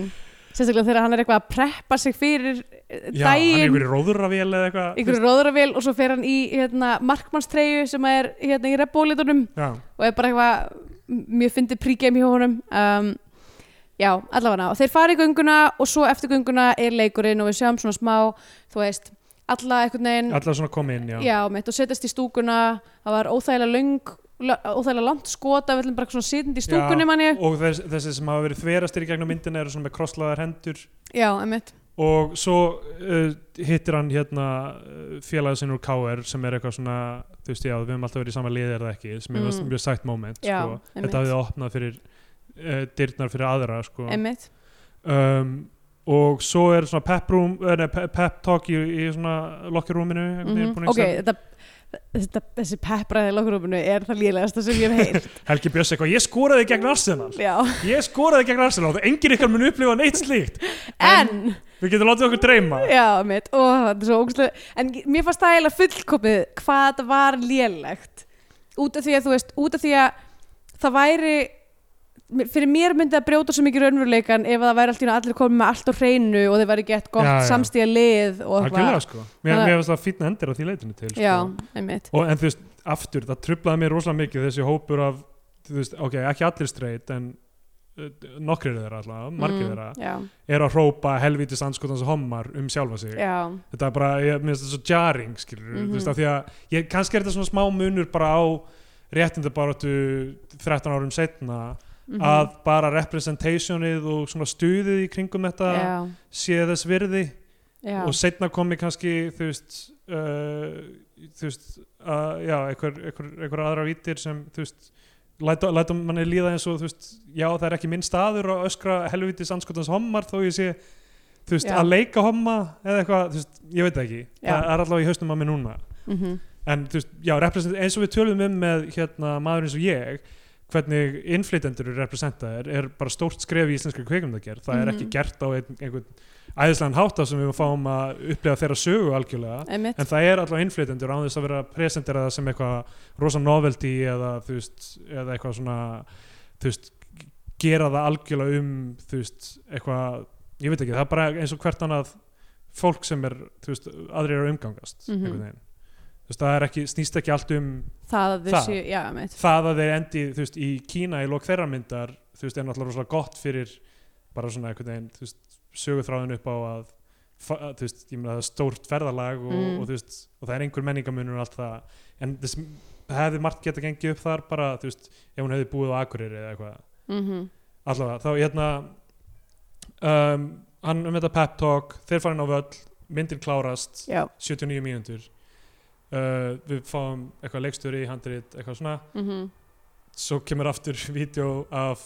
[SPEAKER 3] Sérstaklega þegar hann er eitthvað að preppa sig fyrir eh,
[SPEAKER 2] já, hann er
[SPEAKER 3] daginn,
[SPEAKER 2] einhverju róðuravél eða eitthvað þú
[SPEAKER 3] ykkur róðravél og svo fer hann í hérna, markmannstreyju sem er hérna í rebbólitunum
[SPEAKER 2] veist. já,
[SPEAKER 3] og er bara eitthvað mjög fyndið pregame hjá honum um, já, allavega og þeir fara í gönguna og svo eftir gönguna er leikurinn og við sjáum svona smá þú veist, alla einhvern veginn
[SPEAKER 2] allar svona komið inn já.
[SPEAKER 3] já, mitt og setjast í stúkuna það var óþægilega löng la- óþægilega langt skota, við ætlum bara svona sitjandi í stúkunni
[SPEAKER 2] Já,
[SPEAKER 3] manni,
[SPEAKER 2] og þess, þessi sem hafa verið þverastir í gegnum myndina eru svona með krosslaðar hendur
[SPEAKER 3] já, emitt
[SPEAKER 2] og svo uh, hittir hann hérna félagið sinn úr KR sem er eitthvað svona þú veist já, við höfum alltaf verið í sama liði er það ekki sem er
[SPEAKER 3] Mm.
[SPEAKER 2] mjög sætt moment
[SPEAKER 3] Já,
[SPEAKER 2] sko.
[SPEAKER 3] einmitt.
[SPEAKER 2] þetta hafið opnað fyrir uh, dyrnar fyrir aðra sko.
[SPEAKER 3] emitt,
[SPEAKER 2] um, og svo er svona pep, room, eh, nei, pep, pep talk í, í svona lokkirúminu
[SPEAKER 3] Mhm, ok, þetta Þetta, þessi peppræði í lokkurúfinu er það lélegasta sem ég hef heyrt
[SPEAKER 2] Helgi Björns eitthvað, ég skoraði gegn Arsenal
[SPEAKER 3] Já,
[SPEAKER 2] ég skoraði gegn Arsenal og enginn ykkar mun upplifa neitt slíkt
[SPEAKER 3] en
[SPEAKER 2] við getum látið okkur dreyma
[SPEAKER 3] Já, mitt, ó, þetta er svo ógustlega En mér fannst það eiginlega fullkomið hvað þetta var lélegt Út af því að, þú veist, út af því að það væri Fyrir mér myndi það brjóta svo mikið raunveruleikan ef það væri allt í einu allir komið með allt á hreinu og þeir væri gett gott
[SPEAKER 2] Já, já.
[SPEAKER 3] samstíða lið og
[SPEAKER 2] algjörlega sko, mér,
[SPEAKER 3] Þannig-
[SPEAKER 2] mér finnst það fínna endir á því leitinu til sko.
[SPEAKER 3] Já, einmitt
[SPEAKER 2] og, en þú veist, aftur, það trublaði mér rosalega mikið þessi hópur af, þú veist, ok, ekki allir streit en uh, nokkrir þeirra alltaf, margir þeirra
[SPEAKER 3] Mm, Já,
[SPEAKER 2] er að hrópa helvítið sandskotans hommar um sjálfa sig
[SPEAKER 3] já,
[SPEAKER 2] þetta er bara, ég minnst þetta svo jarring skilur, þú
[SPEAKER 3] Mhm.
[SPEAKER 2] veist, af því að ég, kannski er þetta svona smá munur bara á réttindabaratu 13 árum setna
[SPEAKER 3] mhm,
[SPEAKER 2] að bara representationið og svona stuðið í kringum þetta
[SPEAKER 3] já,
[SPEAKER 2] sé þess virði
[SPEAKER 3] já,
[SPEAKER 2] og setna komi kannski þú veist, uh, þú veist uh, já, einhver, einhver, einhver aðra vítir sem þú veist læta, læta manni líða eins og þú veist já það er ekki minn staður að öskra helvitis anskotans hommar þó ég sé þú veist
[SPEAKER 3] Já.
[SPEAKER 2] að leika homma eða eitthvað þú veist ég veit það ekki
[SPEAKER 3] Já.
[SPEAKER 2] það er allavega í hausnum að mér núna
[SPEAKER 3] mhm,
[SPEAKER 2] en þú veist já represent- eins og við tölum um með hérna maður eins og ég hvernig innflytendur eru representaðir er bara stórt skref í íslenskri kveikmyndagerð það er
[SPEAKER 3] Mhm.
[SPEAKER 2] ekki gert á ein, einhvern æðislegan hátta sem við fáum að upplega þeirra sögu algjörlega
[SPEAKER 3] einmitt
[SPEAKER 2] en það er alltaf innflytendur án þess að vera presenteraða sem eitthvað rosa novelty eða þú veist, eða eitthvað svona þú veist, gera það algjörlega um þú veist, eitthvað ég veit ekki, það er bara eins og hvert annað fólk sem er, þú veist, aðrir eru að umgangast
[SPEAKER 3] Mhm.
[SPEAKER 2] einhvern veginn þú veist, það er ekki, snýst ekki allt um
[SPEAKER 3] Það að þau
[SPEAKER 2] það.
[SPEAKER 3] séu, já, einmitt
[SPEAKER 2] það að þeir endi, þú veist, í Kína í lok þeirra myndar, þú veist, er náttúrulega rosalega gott fyrir bara svona einhvern veginn þú veist, söguþráðin upp á að fa- að, þú veist, ég meina það er stórt ferðalag og,
[SPEAKER 3] Mm.
[SPEAKER 2] og þú veist, og það er einhver menningamunur og allt það, en þess það hefði margt geta gengið upp þar bara, þú veist ef hún hefði búið á Akureyri eða eitthvað
[SPEAKER 3] mhm,
[SPEAKER 2] allavega, þá hérna um, hann um þetta pep talk, þeir farin á völl myndin klárast,
[SPEAKER 3] Já,
[SPEAKER 2] 79 mínútur uh, við fáum eitthvað leikstöri í handrit, eitthvað svona
[SPEAKER 3] mhm,
[SPEAKER 2] svo kemur aftur vídeo af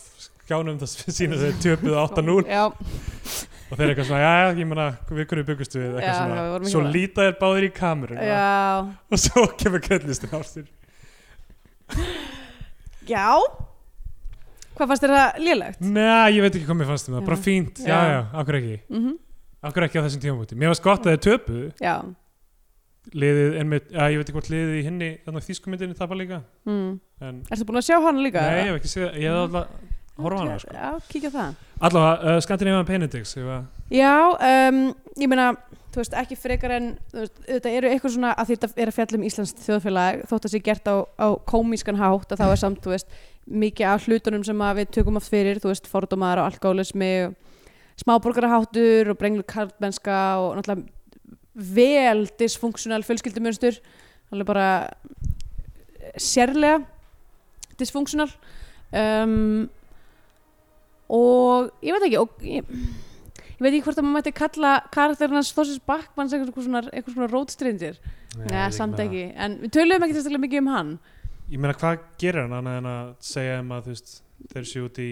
[SPEAKER 2] skjánum það sem sýnir þeir töpuð 8-0
[SPEAKER 3] Já,
[SPEAKER 2] og þeir eru eitthvað svona, já, ég meina, við hverju byggust við eitthvað
[SPEAKER 3] Já, já, við vorum
[SPEAKER 2] svona,
[SPEAKER 3] ekki
[SPEAKER 2] svo
[SPEAKER 3] bara-
[SPEAKER 2] líta þeir báðir í kamerun
[SPEAKER 3] já
[SPEAKER 2] og svo kemur kreðlistin aftur
[SPEAKER 3] Já Hvað fannst þér það lélegt?
[SPEAKER 2] Nei, ég veit ekki hvað mér fannst um það,
[SPEAKER 3] Já.
[SPEAKER 2] bara fínt, já,
[SPEAKER 3] Mm. Já.
[SPEAKER 2] já, akkur ekki
[SPEAKER 3] Mm
[SPEAKER 2] akkur ekki á þessum tímamúti, mér fannst gott að þeir töpuð
[SPEAKER 3] Já
[SPEAKER 2] liðið, einmitt, já, ég veit ekki hvort liðið í hinni þannig að þýskumyndinni tapar líka
[SPEAKER 3] mm.
[SPEAKER 2] en,
[SPEAKER 3] Ertu búin að sjá hana líka? Mm.
[SPEAKER 2] nei, ég hef ekki séð, það, ég hef alltaf horfa á hana, sko
[SPEAKER 3] Já, kíkja á það
[SPEAKER 2] allavega, uh, Scandinavian Penedix, ég var
[SPEAKER 3] Já, um, ég meina þú veist, ekki frekar en þú veist, þetta eru eitthvað svona að því þetta er að fjalla um Íslands þjóðfélag þótt að sé gert á, á komískan hátt að þá er samt, þú veist, mikið af hlutunum sem að við tökum oft fyrir, þú veist, fordómar og alkoholismi og smáborgaraháttur og brenglu karlmennska og náttúrulega vel dysfunksional fjölskyldumunstur alveg bara sérlega dysfunksional um, og ég veit ekki og ég, ég veit ekki hvort að maður mætti kalla karakterinn hans Þorsins Bakkmanns eitthvað svona, eitthvað svona rótstrindir Nei, samt ekki, en við töluðum ekki þesslega mikið um hann
[SPEAKER 2] Ég meina, hvað gerir hann annað en að segja um að þú veist, þeir séu út í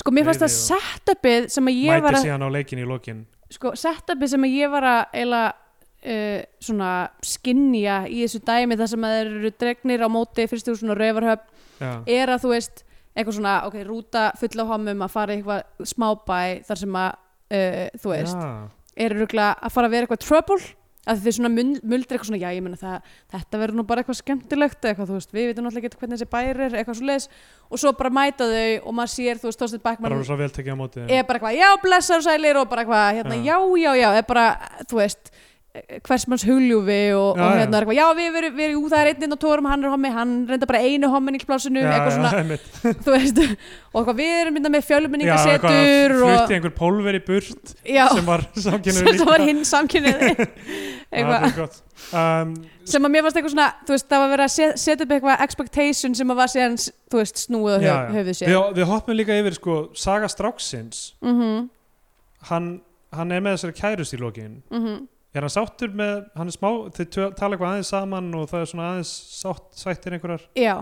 [SPEAKER 3] Sko, mér fannst
[SPEAKER 2] Nei,
[SPEAKER 3] að
[SPEAKER 2] nei,
[SPEAKER 3] setupið sem að ég var
[SPEAKER 2] mæti
[SPEAKER 3] að
[SPEAKER 2] síðan á leikin í lokin
[SPEAKER 3] sko, setupið sem að ég var að eila uh, svona skinja í þessu dæmi þar sem að þeir eru dregnir á móti fyrst úr svona raufarhöf
[SPEAKER 2] Já,
[SPEAKER 3] er að þú veist eitthvað svona, ok, rúta full á homum að fara í eitthvað smábæ þar sem að, uh, þú veist
[SPEAKER 2] Já.
[SPEAKER 3] eru rugla að fara að vera eitthvað trouble að þið svona mun- muldra eitthvað svona já, ég meina það, þetta verður nú bara eitthvað skemmtilegt eitthvað, þú veist, við veitum náttúrulega ekki hvernig þessi bær er eitthvað svo og svo bara mæta þau og maður sér, þú veist, Þorsteinn
[SPEAKER 2] bara
[SPEAKER 3] Backmann
[SPEAKER 2] hann svo vel tekið á móti þeim.
[SPEAKER 3] er bara eitthvað, já, blessar og sælir og bara eitthvað, hérna,
[SPEAKER 2] Já.
[SPEAKER 3] já, já, já, er bara, þú veist eh, hvers manns huljúfi og,
[SPEAKER 2] Já,
[SPEAKER 3] og
[SPEAKER 2] já.
[SPEAKER 3] hérna, er eitthvað, já, við verum, við erum, jú, það er einn inn á tórum, hann er hommi, hann reynda bara einu hommin í plásinu,
[SPEAKER 2] Já,
[SPEAKER 3] eitthvað
[SPEAKER 2] já,
[SPEAKER 3] svona,
[SPEAKER 2] einmitt.
[SPEAKER 3] þú veist og eitthvað, við erum mynda með
[SPEAKER 2] Já,
[SPEAKER 3] fjölmenningasetur
[SPEAKER 2] eitthvað,
[SPEAKER 3] og,
[SPEAKER 2] flutti einhver pólver í burt
[SPEAKER 3] já,
[SPEAKER 2] sem var samkynnu
[SPEAKER 3] sem var hinn samkynniði eitthvað,
[SPEAKER 2] um,
[SPEAKER 3] sem að mér fannst eitthvað svona, þú veist, það var verið að set- setja upp eitthvað expectation sem að var síðan, þú veist, snúið á
[SPEAKER 2] já,
[SPEAKER 3] höf, höfuð sér
[SPEAKER 2] við, við hoppum líka yfir sko, Saga Stráksins
[SPEAKER 3] mm
[SPEAKER 2] hann, hann er með þessari kærust í lokin
[SPEAKER 3] mhm.
[SPEAKER 2] er hann sáttur með, hann er smá þau tö- tala eitthvað aðeins saman og það er svona aðeins sátt, sættir einhverjar
[SPEAKER 3] já,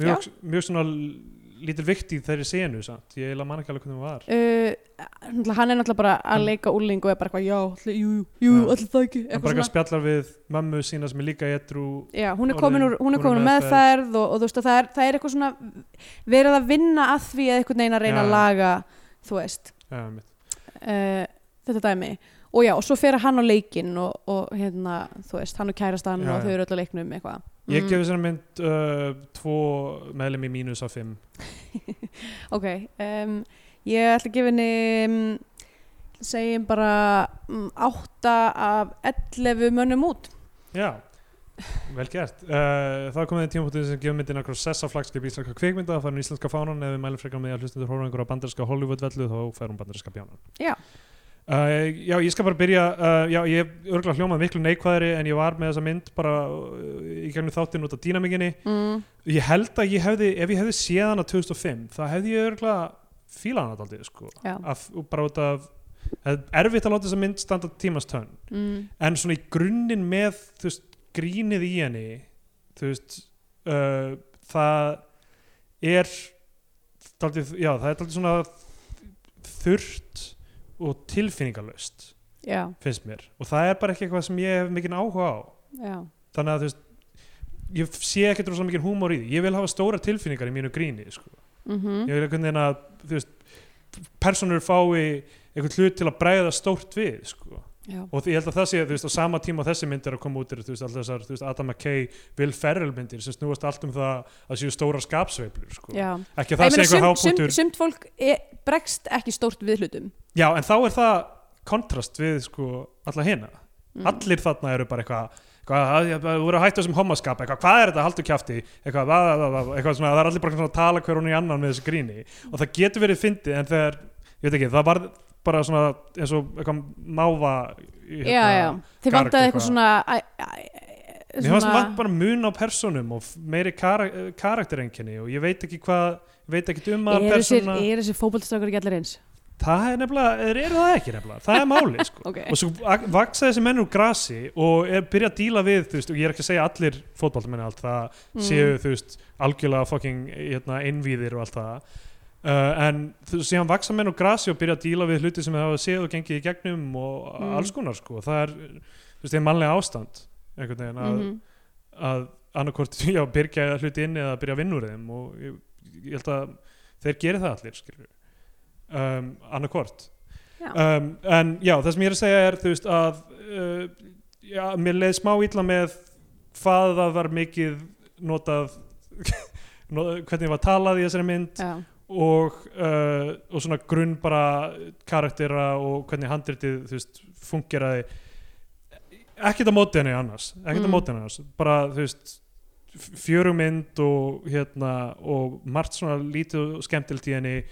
[SPEAKER 2] mjög, mjög svona l- lítil vikt í þeirri senu samt, ég eiginlega man ekki alveg hvernig hún var
[SPEAKER 3] uh, náttúrulega- hann er náttúrulega bara að
[SPEAKER 2] Hann-
[SPEAKER 3] leika úling og er bara eitthvað já, allir, jú, jú, jú,
[SPEAKER 2] Mm. Já.
[SPEAKER 3] allir það ekki
[SPEAKER 2] hann
[SPEAKER 3] eitthvað
[SPEAKER 2] bara
[SPEAKER 3] svona
[SPEAKER 2] eitthvað spjallar við mömmu sína sem er líka etru
[SPEAKER 3] já, hún er
[SPEAKER 2] orðin-
[SPEAKER 3] komin úr, hún er komin úr meðferð og, og þú veist að það er, það er eitthvað svona verið að vinna að því að eitthvað neina reyna
[SPEAKER 2] Já.
[SPEAKER 3] að laga þú veist
[SPEAKER 2] ja, mitt.
[SPEAKER 3] uh, þetta dæmi og já, og svo fer hann á leikinn og, og hérna, þú veist, hann og kærastan
[SPEAKER 2] Já,
[SPEAKER 3] og
[SPEAKER 2] já.
[SPEAKER 3] þau eru öll að leiknum eitthvað Mm.
[SPEAKER 2] ég gefi þessari mynd uh, tvo meðlum í mínus af fimm
[SPEAKER 3] ok, um, ég ætla að gefa henni um, segjum bara um, átta af 11 mönnum út
[SPEAKER 2] Já, vel gert. Uh, það er komið í tímapunktið sem gefur myndin akkur sessa flagskip íslenska kvikmynda, það er hún íslenska fánan, ef við mælum frekar með að hlustendur horfa á einhverja bandarinska Hollywood-vellu þá fer hún bandarinska bjánan.
[SPEAKER 3] Já.
[SPEAKER 2] Uh, já, ég skal bara byrja, uh, já, ég hef örgulega hljómað miklu neikvæðri en ég var með þessa mynd bara uh, í gegnum þáttinn út af dýnamikinni.
[SPEAKER 3] mm.
[SPEAKER 2] Ég held að ég hefði, ef ég hefði séð hana 2005, það hefði ég örgulega fílað hana aldrei, sko.
[SPEAKER 3] já,
[SPEAKER 2] Af, bara út af, það er erfitt að láta þessa mynd standa tímastönn
[SPEAKER 3] mm.
[SPEAKER 2] en svona í grunninn með þú veist, grínið í henni þú veist uh, það er daldið, já, það er daldið svona þurrt og tilfinningalöst
[SPEAKER 3] já,
[SPEAKER 2] finnst mér og það er bara ekki eitthvað sem ég hef mikinn áhuga á
[SPEAKER 3] já
[SPEAKER 2] þannig að þú veist ég sé ekkert rosa mikinn húmór í því ég vil hafa stóra tilfinningar í mínu gríni sko.
[SPEAKER 3] mm
[SPEAKER 2] ég vil einhvern veginn að þú veist, personur fái einhvern hlut til að bregða stórt við sko
[SPEAKER 3] já,
[SPEAKER 2] og því- ég held að það sé, þú veist, á sama tíma og þessi mynd er að koma út er, þú veist, alltaf þessar, þú veist, Adam McKay Will Ferrell myndir sem snúast allt um það að séu stóra skapsveiflur, sko
[SPEAKER 3] já.
[SPEAKER 2] ekki að það sé eitthvað hápunktur
[SPEAKER 3] sumt fólk e, bregst ekki stórt við hlutum
[SPEAKER 2] já, en þá er það kontrast við, sko, alla hina
[SPEAKER 3] Mm.
[SPEAKER 2] allir þarna eru bara eitthvað eitthvað, að- að- að- þú verður að hættu þessum homaskap eitthvað, hvað er þetta, haldu kjafti eitthvað, að- að- að- að- eitthvað svona, það er allir bara svona að tala hver hún í annan með þessu gríni og það getur verið fyndið en þegar, ég veit ekki, það var bara svona eins og eitthvað máva hérna,
[SPEAKER 3] já, já, þið
[SPEAKER 2] garg
[SPEAKER 3] vantaði eitthvað
[SPEAKER 2] eitthvað.
[SPEAKER 3] svona æ, æ, æ,
[SPEAKER 2] Mér fannst vant bara mun á personum og f- meiri kara karakterenginni og ég veit ekki hvað, ég veit ekki um að
[SPEAKER 3] er þessir,
[SPEAKER 2] persóna,
[SPEAKER 3] er þessir fótboltstrákur ekki allir eins
[SPEAKER 2] það er nefnilega, þeir eru það ekki nefnilega, það er máli sko.
[SPEAKER 3] ok,
[SPEAKER 2] Og svo ak- vaksa þessi menn úr grasi og er, byrja að díla við, þú veist, og ég er ekki að segja allir fótballtamenni allt það,
[SPEAKER 3] Mm.
[SPEAKER 2] séu, þú veist, algjörlega fucking, hérna, einvíðir og allt það. Uh, en þú veist, síðan vaksa menn úr grasi og byrja að díla við hluti sem þau hafa séð og gengið í gegnum og
[SPEAKER 3] Mm.
[SPEAKER 2] alls konar, sko. Það er, þú veist, það er mannlega ástand, einhvern veginn, að,
[SPEAKER 3] Mhm.
[SPEAKER 2] að annarkvort já, byrja hluti inn eða byrja að vinna úr þeim og ég, ég held að þeir geri það allir skilur um, annarkvort
[SPEAKER 3] Já.
[SPEAKER 2] um, en já, það sem ég er að segja er þú veist að uh, já, mér leið smá illa með hvað það var mikið notað notað- hvernig var talað í þessari mynd
[SPEAKER 3] já,
[SPEAKER 2] og, uh, og svona grunn bara karaktera og hvernig handritið þú veist, fungeraði ekkert á móti henni annars ekkert á
[SPEAKER 3] Mm.
[SPEAKER 2] móti henni annars bara þú veist fjörumynd og hérna og margt svona lítið og skemmtilegt í henni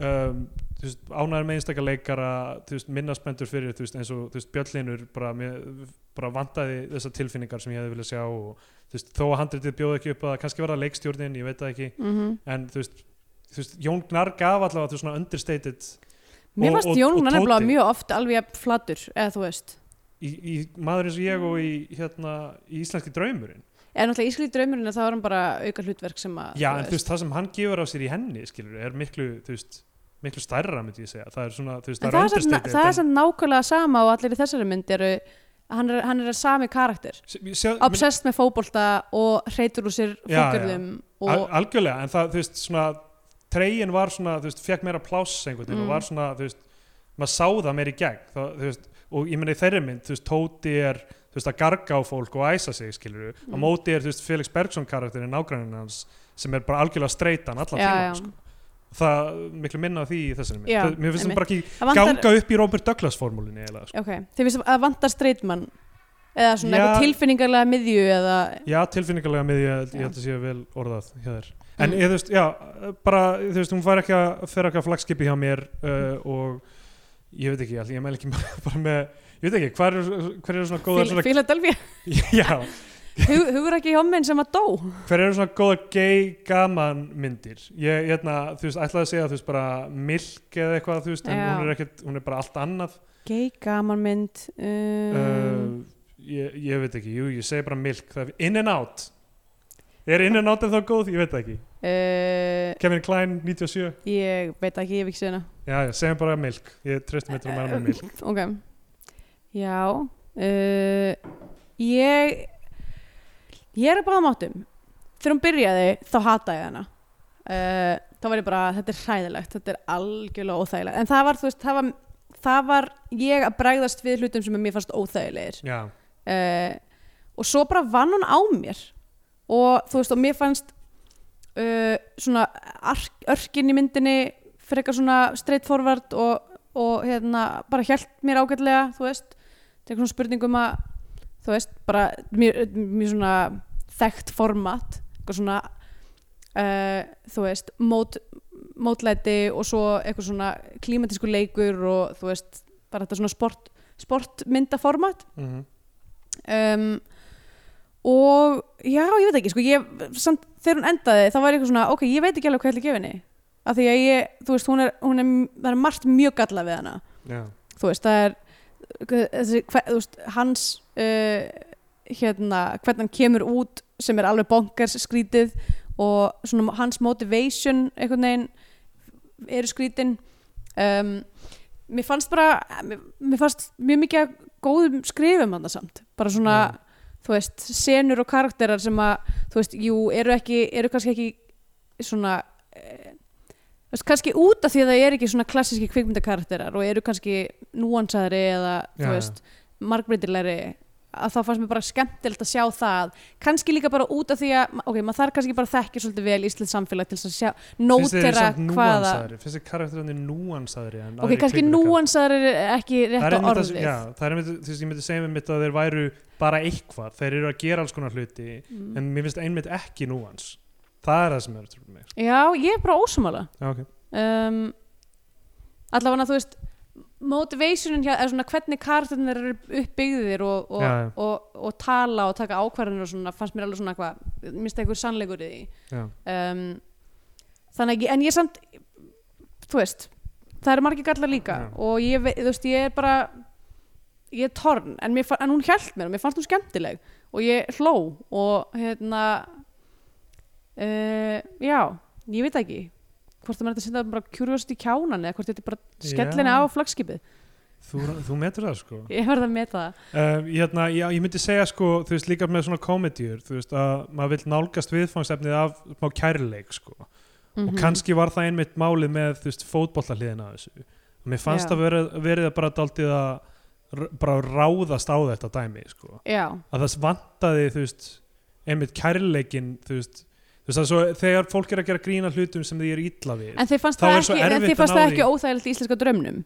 [SPEAKER 2] um, þú veist, ánæður með einstakar leikara þú veist, minna spenntur fyrir þú veist, eins og þú veist, Bjöllinur bara, mér, bara vantaði þessar tilfinningar sem ég hefði viljað sjá og þú veist, þó að handritið bjóði ekki upp að kannski verða leikstjórnin, ég veit það ekki
[SPEAKER 3] mm
[SPEAKER 2] en þú veist, þú veist Jón Gnar gaf allavega þú veist, svona understated
[SPEAKER 3] Mér
[SPEAKER 2] Og-
[SPEAKER 3] fannst
[SPEAKER 2] og- og
[SPEAKER 3] Jónan nefnilega
[SPEAKER 2] Tóti.
[SPEAKER 3] mjög oft alveg jafn flatur, eða þú veist
[SPEAKER 2] í, í maður eins og ég og í, hérna, í íslenski draumurinn
[SPEAKER 3] En náttúrulega í ískrið draumurinn þá er hann bara auka hlutverk sem að
[SPEAKER 2] já, en þú veist, það sem hann gefur á sér í henni skilur, er miklu, þú veist miklu stærra, myndi ég segja, það er svona, þú veist,
[SPEAKER 3] En
[SPEAKER 2] það
[SPEAKER 3] það,
[SPEAKER 2] er
[SPEAKER 3] er samt,
[SPEAKER 2] understated
[SPEAKER 3] það er
[SPEAKER 2] en-
[SPEAKER 3] samt nákvæmlega sama og allir í þessari mynd eru hann er, hann er sami karakter
[SPEAKER 2] Sjá- sjá-
[SPEAKER 3] obsessed með fótbolta og hreitur úr sér
[SPEAKER 2] Já, já.
[SPEAKER 3] fókjörðum
[SPEAKER 2] Al,
[SPEAKER 3] og
[SPEAKER 2] algjörlega, en það, þú veist, svona tregin var svona, þú veist, fekk meira pláss einhvern veginn
[SPEAKER 3] Mm.
[SPEAKER 2] og var svona, þú veist maður sá það meira í gegn, það, þú veist og ég meni þeirri mynd, þú veist, Tóti er þú veist, að garga á fólk og æsa sig, skilur við
[SPEAKER 3] Mm.
[SPEAKER 2] á móti er, þú veist, Felix Bergson karakterin nágræninn hans, sem er bara algjörlega streitan allan
[SPEAKER 3] Já, já.
[SPEAKER 2] tíma, sko það miklu minna á því í þessari mynd
[SPEAKER 3] Já,
[SPEAKER 2] Það- mér finnst það
[SPEAKER 3] einmitt.
[SPEAKER 2] bara ekki
[SPEAKER 3] það vantar,
[SPEAKER 2] ganga upp í Robert Douglas formúlinni eiginlega, sko.
[SPEAKER 3] ok, þeir finnst að vantar streitmann eða svona
[SPEAKER 2] Já.
[SPEAKER 3] eitthvað tilfinningarlega miðju eða
[SPEAKER 2] Já, tilfinningarlega með ég, ég
[SPEAKER 3] Já.
[SPEAKER 2] held að sé vel orðað hjá þér. En
[SPEAKER 3] Mm.
[SPEAKER 2] ég, þú veist, já, bara, þú veist, hún fær ekki að fer ekki að flagskipi hjá mér
[SPEAKER 3] Mm.
[SPEAKER 2] uh, og ég veit ekki, allir, ég mæl ekki bara, bara með, ég veit ekki, hver eru hver er svona góðar svona,
[SPEAKER 3] Philadelphia,
[SPEAKER 2] já,
[SPEAKER 3] Hug, hugur ekki hjóminn sem að dó
[SPEAKER 2] hver eru svona góðar gay gaman myndir? Ég, ég, þú veist, ætlaði að segja, þú veist, bara milk eða eitthvað, þú veist, en
[SPEAKER 3] Já.
[SPEAKER 2] hún er ekkert, hún er bara allt annað.
[SPEAKER 3] gei gaman mynd um,
[SPEAKER 2] Uh, ég, ég veit ekki, jú, ég segi bara milk, það er in and out. Er in and out en þá góð? Ég veit það ekki.
[SPEAKER 3] uh,
[SPEAKER 2] Kevin Klein, 97.
[SPEAKER 3] ég veit ekki, ég hef ekki séð hana
[SPEAKER 2] Já, já, segjum bara milk. Ég treysti mér til að mæla með milk.
[SPEAKER 3] ok já uh, ég ég er að báða mátum þegar hún byrjaði þá hata ég hana uh, þá var ég bara þetta er hræðilegt, þetta er algjörlega óþægilegt en það var, þú veist, það var, það var ég að bregðast við hlutum sem mér fannst óþægilegir
[SPEAKER 2] Já,
[SPEAKER 3] uh, og svo bara vann hún á mér og þú veist og mér fannst uh, svona ark, örkin í myndinni frekar svona straight forward og, og hérna bara hjælt mér ágætlega þú veist, þetta er svona spurningum að þú veist, bara mjög, mjög svona þekkt format eitthvað svona uh, þú veist, mót, mótlæti og svo eitthvað svona klímatísku leikur og þú veist bara þetta svona sport, sportmyndaformat
[SPEAKER 2] mm
[SPEAKER 3] um, og já, ég veit ekki sko, ég, samt, þegar hún endaði þá var ég eitthvað svona, ok, ég veit ekki alveg hvað ég ætla að gefa henni af því að ég, þú veist, hún er, hún er það er margt mjög galla við hana
[SPEAKER 2] já,
[SPEAKER 3] þú veist, það er þessi, hver, þú veist, hans uh, hérna, hvernig hann kemur út sem er alveg bonkers skrítið og svona hans motivation einhvern veginn eru skrítin um, mér fannst bara mér, mér fannst mjög mikið af góðum skrifum hann samt, bara svona
[SPEAKER 2] Mm.
[SPEAKER 3] þú veist, senur og karakterar sem að þú veist, jú, eru ekki, eru kannski ekki svona eh, þú veist, kannski út af því að það eru ekki svona klassíski kvikmyndakarakterar og eru kannski núansaðri eða,
[SPEAKER 2] Já,
[SPEAKER 3] þú
[SPEAKER 2] já.
[SPEAKER 3] veist, margbreytilegri að þá fannst mér bara skemmtilegt að sjá það kannski líka bara út af því að ok, maður þarf kannski bara að þekkja svolítið vel íslens samfélag til þess að sjá,
[SPEAKER 2] Finnst þér
[SPEAKER 3] nótera
[SPEAKER 2] samt
[SPEAKER 3] hvaða,
[SPEAKER 2] núansaðri? Finnst þér karakterandi núansaðri en
[SPEAKER 3] ok,
[SPEAKER 2] aðrir
[SPEAKER 3] kannski
[SPEAKER 2] kvikmyndakar-
[SPEAKER 3] núansaðri er ekki
[SPEAKER 2] Það er
[SPEAKER 3] rétt á
[SPEAKER 2] einmitt það sem-
[SPEAKER 3] orðið
[SPEAKER 2] Já, það er einmitt, þú veist, ég myndi segja mér mitt að þeir væru bara eitthvað, þeir eru að gera alls konar hluti,
[SPEAKER 3] Mm.
[SPEAKER 2] en mér finnst einmitt ekki núans. Það er það sem er trúið mig.
[SPEAKER 3] já, ég er bara ósumála
[SPEAKER 2] Já, ok.
[SPEAKER 3] um, allavega þú veist motivationin hjá, er svona hvernig karakterinn eru uppbyggðir og, og,
[SPEAKER 2] Já, já.
[SPEAKER 3] og, og, tala og taka ákvarðanir og svona, fannst mér alveg svona eitthvað minnst eitthvað sannleikur í því
[SPEAKER 2] Já.
[SPEAKER 3] um, þannig að ég, en ég samt þú veist, það eru margir gallar líka
[SPEAKER 2] Já.
[SPEAKER 3] og ég, vei- þú veist, ég er bara ég er torn, en, mér, fa- en hún hjælt mér og mér fannst hún skemmtileg og ég hló og hérna uh, já, ég veit ekki hvort það maður ætti að senda bara curiosity kjánan eða hvort þetta er bara skellina
[SPEAKER 2] Já.
[SPEAKER 3] á flagskipið
[SPEAKER 2] Þú, þú metur það, sko.
[SPEAKER 3] ég verð að meta það
[SPEAKER 2] Um, hérna, já, ég myndi segja sko, þú veist, líka með svona komedíur, þú veist, að maður vill nálgast viðfangsefnið af smá kærleik, sko.
[SPEAKER 3] Mhm.
[SPEAKER 2] og kannski var það einmitt málið með þú veist, fótbollahliðina af þessu og mér fannst
[SPEAKER 3] Já.
[SPEAKER 2] það verið, verið að bara daldið að r- bara ráðast á þetta dæmi sko.
[SPEAKER 3] já,
[SPEAKER 2] að það vantaði þú veist, einmitt kærleikin þú veist, þú veist, að svo, þegar fólk er að gera grína hlutum sem því er illa við
[SPEAKER 3] en þið fannst
[SPEAKER 2] Þá
[SPEAKER 3] það
[SPEAKER 2] er svo
[SPEAKER 3] ekki, en
[SPEAKER 2] erfitt
[SPEAKER 3] þið
[SPEAKER 2] að
[SPEAKER 3] fannst
[SPEAKER 2] ná
[SPEAKER 3] það ekki
[SPEAKER 2] því.
[SPEAKER 3] óþægilegt í íslenska drömnum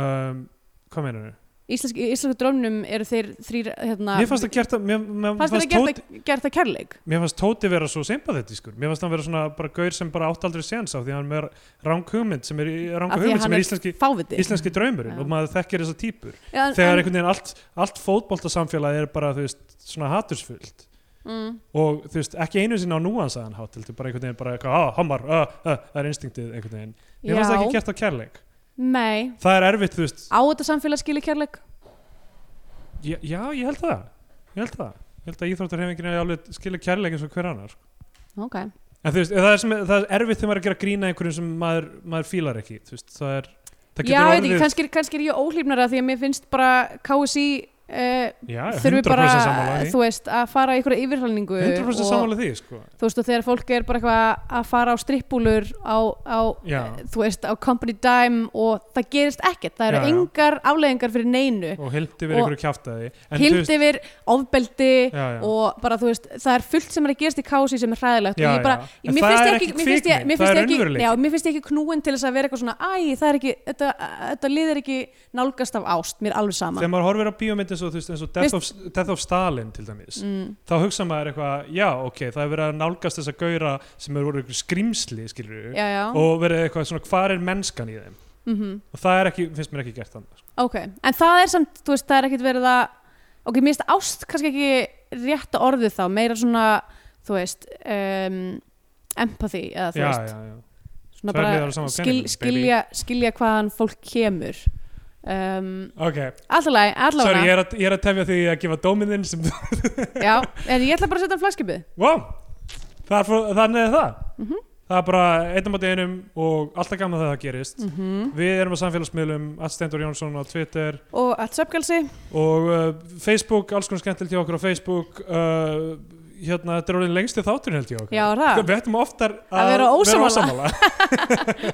[SPEAKER 2] um, hvað meinar þau?
[SPEAKER 3] íslenski, íslensku drónum eru þeir þrýr hérna,
[SPEAKER 2] Mér fannst það gert að mér, mér,
[SPEAKER 3] fannst
[SPEAKER 2] fannst
[SPEAKER 3] þeir
[SPEAKER 2] tóti,
[SPEAKER 3] gert, að- gert það kærleik
[SPEAKER 2] mér fannst Tóti vera svo sympathetískur Mér fannst hann vera svona bara gaur sem bara átt aldrei séns á því hann er rang hugmynd sem er, rang
[SPEAKER 3] Af því að
[SPEAKER 2] hugmynd
[SPEAKER 3] hann
[SPEAKER 2] sem er
[SPEAKER 3] er
[SPEAKER 2] íslenski,
[SPEAKER 3] fáviti
[SPEAKER 2] íslenski draumurinn
[SPEAKER 3] Já.
[SPEAKER 2] og maður þekkir þessa típur
[SPEAKER 3] Já, en-
[SPEAKER 2] þegar
[SPEAKER 3] en-
[SPEAKER 2] einhvern veginn allt, allt fótboltasamfélagi er bara þú veist, svona hatursfullt
[SPEAKER 3] mm,
[SPEAKER 2] og þú veist, ekki einu sinni á núansaðan hátt heldur bara einhvern veginn bara eitthvað, ah, hamar, ah, ah, það er instinktið einhvern veginn Mér fannst það ekki
[SPEAKER 3] Já,
[SPEAKER 2] gert á kærleik
[SPEAKER 3] nei
[SPEAKER 2] Það er erfitt, þú veist,
[SPEAKER 3] Á þetta samfélagsskili kærleik
[SPEAKER 2] já, já ég held það ég held það, ég held að íþróttarhefingin er alveg skilja kærleik eins og hver annar sko.
[SPEAKER 3] Ok,
[SPEAKER 2] en þú veist, það er, sem, það er erfitt þegar maður er að gera grína einhverjum sem maður, maður fílar ekki þú veist, það er, það
[SPEAKER 3] já,
[SPEAKER 2] getur
[SPEAKER 3] veit
[SPEAKER 2] orðið
[SPEAKER 3] ekki, kannski, kannski er ég óhlýfnara því að mér finnst bara KSI uh,
[SPEAKER 2] já,
[SPEAKER 3] þurfi
[SPEAKER 2] 100%
[SPEAKER 3] bara,
[SPEAKER 2] sammála því
[SPEAKER 3] þú veist, að fara í einhverja yfirhalningu
[SPEAKER 2] 100%
[SPEAKER 3] og,
[SPEAKER 2] sammála því, sko
[SPEAKER 3] þú veist, og þegar fólk er bara eitthvað að fara á strippbúlur á, á
[SPEAKER 2] Já.
[SPEAKER 3] eh, þú veist, á company dime og það gerist ekkert, það eru
[SPEAKER 2] Já, já.
[SPEAKER 3] engar afleðingar fyrir neinu,
[SPEAKER 2] og hildi
[SPEAKER 3] Og-
[SPEAKER 2] verið einhverju kjáftæði En þú veist-
[SPEAKER 3] hild yfir ofbeldi
[SPEAKER 2] já, já.
[SPEAKER 3] og bara þú veist það er fullt sem er að gerast í kási sem er hræðilegt
[SPEAKER 2] Já,
[SPEAKER 3] og ég bara,
[SPEAKER 2] já. En
[SPEAKER 3] mér
[SPEAKER 2] það
[SPEAKER 3] finnst
[SPEAKER 2] er
[SPEAKER 3] ég ekki
[SPEAKER 2] ekki
[SPEAKER 3] mér finnst ég-
[SPEAKER 2] kvikmynd,
[SPEAKER 3] mér
[SPEAKER 2] það
[SPEAKER 3] finnst
[SPEAKER 2] er
[SPEAKER 3] ég ekki,
[SPEAKER 2] raunveruleiki.
[SPEAKER 3] já, mér finnst ég ekki knúin til þess að vera eitthvað svona æ, það er ekki, þetta, þetta liðir ekki nálgast af ást, mér er alveg sama
[SPEAKER 2] þegar maður horfir á bíómynd eins og, þú veist, eins og Death, of, Death of Stalin til dæmis
[SPEAKER 3] mm,
[SPEAKER 2] þá hugsa maður eitthvað, já ok það er verið að nálgast þessa gaura sem eru voru einhver skrimsli skilur
[SPEAKER 3] já, já,
[SPEAKER 2] og verið eitthvað svona hvar er mennskan í þeim
[SPEAKER 3] mhm
[SPEAKER 2] og það er ekki, finnst mér ekki gert þannig sko.
[SPEAKER 3] ok, en það er samt, þú veist, það er ekkit verið að ok, mér finnst ást kannski ekki rétta orðið þá, meira svona þú veist um, empathy, eða þú
[SPEAKER 2] já,
[SPEAKER 3] veist
[SPEAKER 2] já, já.
[SPEAKER 3] svona
[SPEAKER 2] Tvær hliðar á sama
[SPEAKER 3] bara skil,
[SPEAKER 2] peningnum,
[SPEAKER 3] skilja, skilja hvaðan fólk kemur um,
[SPEAKER 2] ok,
[SPEAKER 3] alltaf læg,
[SPEAKER 2] sorry,
[SPEAKER 3] allavega
[SPEAKER 2] ég er, að, ég er að tefja því að gefa dóminn þinn sem,
[SPEAKER 3] já, en ég ætla bara að setja hann flagskipið
[SPEAKER 2] wow það er fór, þannig er það
[SPEAKER 3] Mhm.
[SPEAKER 2] það er bara einnum á deginum og alltaf gaman þegar það gerist
[SPEAKER 3] mm -hmm.
[SPEAKER 2] við erum á samfélagsmiðlum, Atstendur Jónsson á Twitter
[SPEAKER 3] og allt söpgalsi
[SPEAKER 2] og uh, Facebook, alls konar skemmtilegt hjá okkur á Facebook uh, hérna, þetta er orðin lengsti þátturinn held ég okkur
[SPEAKER 3] Já, er það?
[SPEAKER 2] Við ættum oftar
[SPEAKER 3] Að vera ósammála.
[SPEAKER 2] ósammála.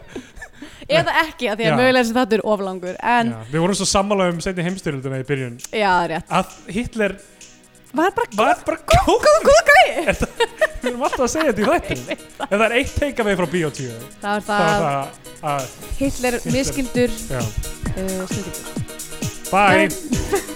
[SPEAKER 3] eða ekki, af því
[SPEAKER 2] Já.
[SPEAKER 3] að mögulega sem þetta er oflangur en já,
[SPEAKER 2] Já, Við vorum svo sammála um setni heimstyrjöldina í byrjun
[SPEAKER 3] það er rétt
[SPEAKER 2] að Hitler
[SPEAKER 3] var bara
[SPEAKER 2] var bara góð góð, góð gæi Við erum alltaf að segja þetta í þættin En það er eitt teika við frá Bíotíu
[SPEAKER 3] það var
[SPEAKER 2] Það
[SPEAKER 3] það,
[SPEAKER 2] var það að,
[SPEAKER 3] Hitler
[SPEAKER 2] Hitler.
[SPEAKER 3] miskildur
[SPEAKER 2] já,
[SPEAKER 3] uh, snillingur.
[SPEAKER 2] bye